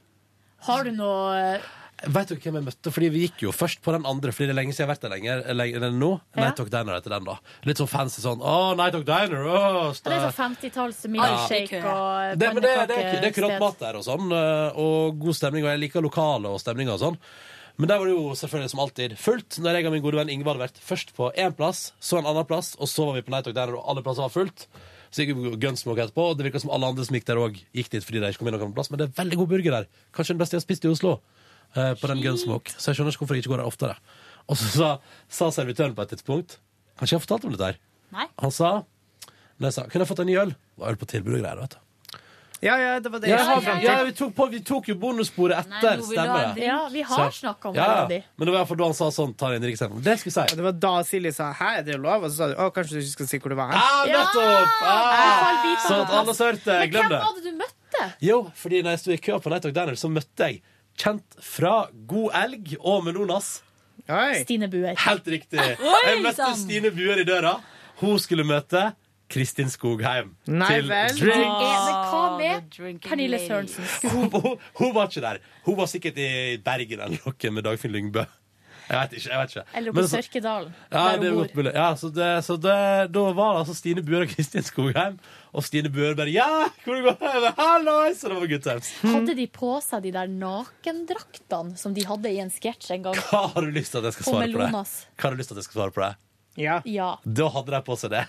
D: Har du noe eh,
B: Vet dere hvem jeg møtte? Fordi Vi gikk jo først på den andre, fordi det er lenge siden jeg har vært der lenger. Lenger enn nå. Night Talk Diner heter den, da. Litt sånn fancy sånn. Å, Night Talk Diner! Å,
D: Det er sånn 50-talls milkshake og
B: Det, men det, det, er ikke- det er kurant mat der og sånn, eh, og god stemning, og jeg liker lokale og stemninga og sånn. Men der var det jo selvfølgelig som alltid fullt. Når jeg og min gode venn Ingvar hadde vært først på én plass, så en annen plass, og så var vi på Night Talk der, og alle plasser var fullt. Så gikk vi på Gunsmoke etterpå, og det virka som alle andre som gikk der òg, gikk dit fordi de ikke kom inn noen plass. Men det er veldig god burger der. Kanskje den beste jeg har spist i Oslo. eh, på den Gunsmoke. Så jeg skjønner ikke hvorfor jeg ikke går der oftere. Og så sa, sa servitøren på et tidspunkt Kanskje jeg har fortalt om dette her?
J: Nei.
B: Han sa Når jeg sa Kunne jeg fått en ny øl? Det var øl på tilbud og greier, vet du.
G: Ja, ja, det var det
B: Ja,
G: jeg skulle
B: ja,
G: frem
B: ja,
G: til.
B: vi, tok på, vi tok jo bonussporet
G: Nei,
B: etter,
G: nå vil du ha
B: stemmer
G: en
B: det?
G: drink. Ja, vi har
B: Så-
G: snakket om
B: ja,
G: det, Andy.
B: Ja. Men det var iallfall da han sa sånn, ta en drink Det skulle jeg si.
G: Det var da Silje sa 'hæ, er det lov?' Og så sa du 'å, kanskje du ikke skal si hvor det var'.
B: Ah, nettopp! Ah,
G: Ja!
B: så at alle hørte. Glem det.
D: du møtte?
B: Jo, fordi når jeg sto i kø på Nighthawk Diner, så møtte jeg kjent fra God Elg og Melonas.
D: Stine Buer.
B: Helt riktig.
D: Oi,
B: Jeg møtte
G: sånn.
D: sann.
B: Stine Buer i døra. Hun skulle møte Kristin Skogheim
G: Nei
B: til
G: vel.
B: Drinks.
D: Eh, Men hva med Pernille Sørensen?
B: Hun, hun, hun var ikke der. Hun var sikkert i Bergen eller noe med Dagfinn Lyngbø. Jeg vet ikke. jeg vet ikke.
D: Eller
B: Men
D: på
B: så-
D: Sørkedalen?
B: Ja,
D: der
B: det er
D: hun bor.
B: godt mulig. Ja, så det, så det, da var det altså Stine Buer og Kristin Skogheim. Og Stine Buer bare Ja, hvor går det? Hallois! Så det var good times.
D: Hadde de på seg de der nakendraktene som de hadde i en sketsj en gang?
B: Hva har du lyst til at jeg skal
D: Og
B: svare på det?
D: Melonas.
B: Hva har du lyst til at jeg skal svare på det?
G: Ja.
D: Ja.
B: Da hadde de på seg det.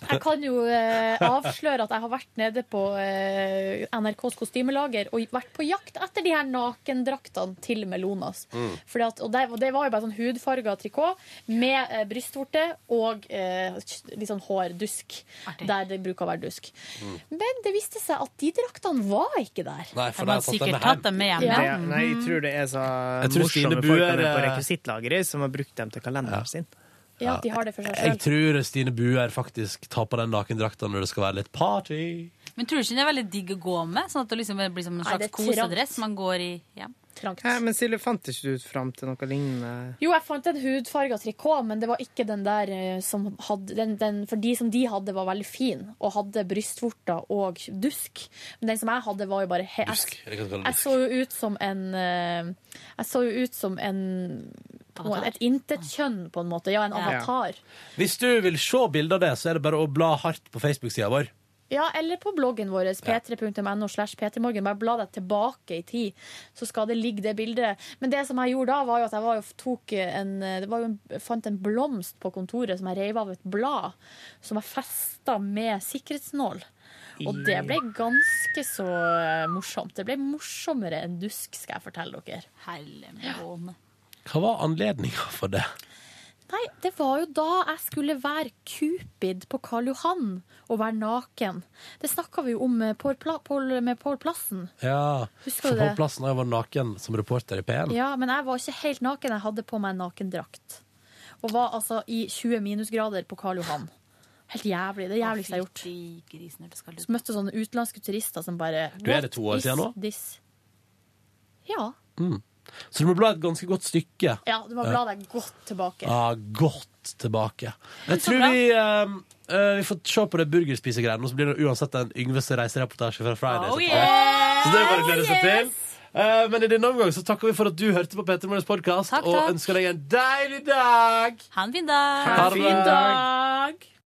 D: Jeg kan jo eh, avsløre at jeg har vært nede på eh, NRKs kostymelager og vært på jakt etter de her nakendraktene til Melonas.
B: Mm.
D: Fordi at, og det, og det var jo bare sånn hudfarga trikot med eh, brystvorte og eh, litt sånn hårdusk. Der det bruker å være dusk.
B: Mm.
D: Men det viste seg at de draktene var ikke der.
B: Nei, for Har man de har tatt sikkert dem med tatt
G: dem
D: med
G: Det, nei, jeg tror det er så
B: Jeg tror Stine
G: morsomme folk
B: Buer,
G: med på
B: eh,
G: rekvisittlageret som har brukt dem til kalenderen sin.
D: Ja, de har det for seg
B: Jeg tror Stine Buer faktisk tar på den nakendrakta når det skal være litt party.
J: Men tror du ikke det er veldig digg å gå med? Sånn at det liksom blir som en
D: Nei,
J: slags
D: det er trangt.
J: kosedress man går i hjem?
G: Nei, men Silje, fant ikke du fram til noe lignende?
D: Jo, jeg fant en hudfarga trikot, men det var ikke den der eh, som hadde den, den, For de som de hadde, var veldig fin og hadde brystvorter og dusk. Men den som jeg hadde, var jo bare he
B: Dusk, eller hva skal
D: Jeg,
B: det
D: jeg
B: dusk?
D: så jo ut som en eh, Jeg så jo ut som en på en måte, Et intetkjønn, på en måte. Ja, en
B: Ja.
D: avatar.
B: Hvis du vil se bilde av det, så er det bare å bla hardt på Facebook-sida vår.
D: Ja, eller på bloggen vår, p3.no slash p3morgen. Bare bla deg tilbake i tid, så skal det ligge det bildet. Men det som jeg gjorde da, var jo at jeg var jo, tok en, det var jo en, fant en blomst på kontoret som jeg reiv av et blad, som jeg festa med sikkerhetsnål. Og det ble ganske så eh, morsomt. Det ble morsommere enn dusk, skal jeg fortelle dere.
J: Hellemone.
B: Hva var anledninga for det?
D: Nei, det var jo da jeg skulle være Cupid på Karl Johan og være naken. Det snakka vi jo om eh, Pål Pla- Pål- med Pål Plassen.
B: Ja,
D: Husker
B: for
D: du
B: på
D: det?
B: plassen har jeg vært naken som reporter i P1.
D: Ja, men jeg var ikke helt naken. Jeg hadde på meg en nakendrakt. Og var altså i 20 minusgrader på Karl Johan. Helt jævlig. Det er det jævligste jeg har gjort. Så møtte sånne utenlandske turister som bare
B: Du, er det to år
D: "What
B: siden
D: is
B: nå?"
D: this? Ja.
B: Mm. Så du må bla et ganske godt stykke.
D: ja. Du må bla deg godt tilbake.
B: Ja, godt tilbake. Jeg
D: Så
B: tror
D: bra.
B: vi, eh, eh, vi får se på det burgerspisegreiene, og så blir det uansett en Yngves reisereportasje fra Fridays.
N: Oh,
B: etter hvert.
N: yes!
B: Så det er bare å glede seg
N: Oh,
B: til. Eh, men i denne omgang så takker vi for at du hørte på Petter Morgens podkast, og
J: takk.
B: ønsker deg en deilig dag!
J: Ha en fin dag!
B: Ha en fin dag.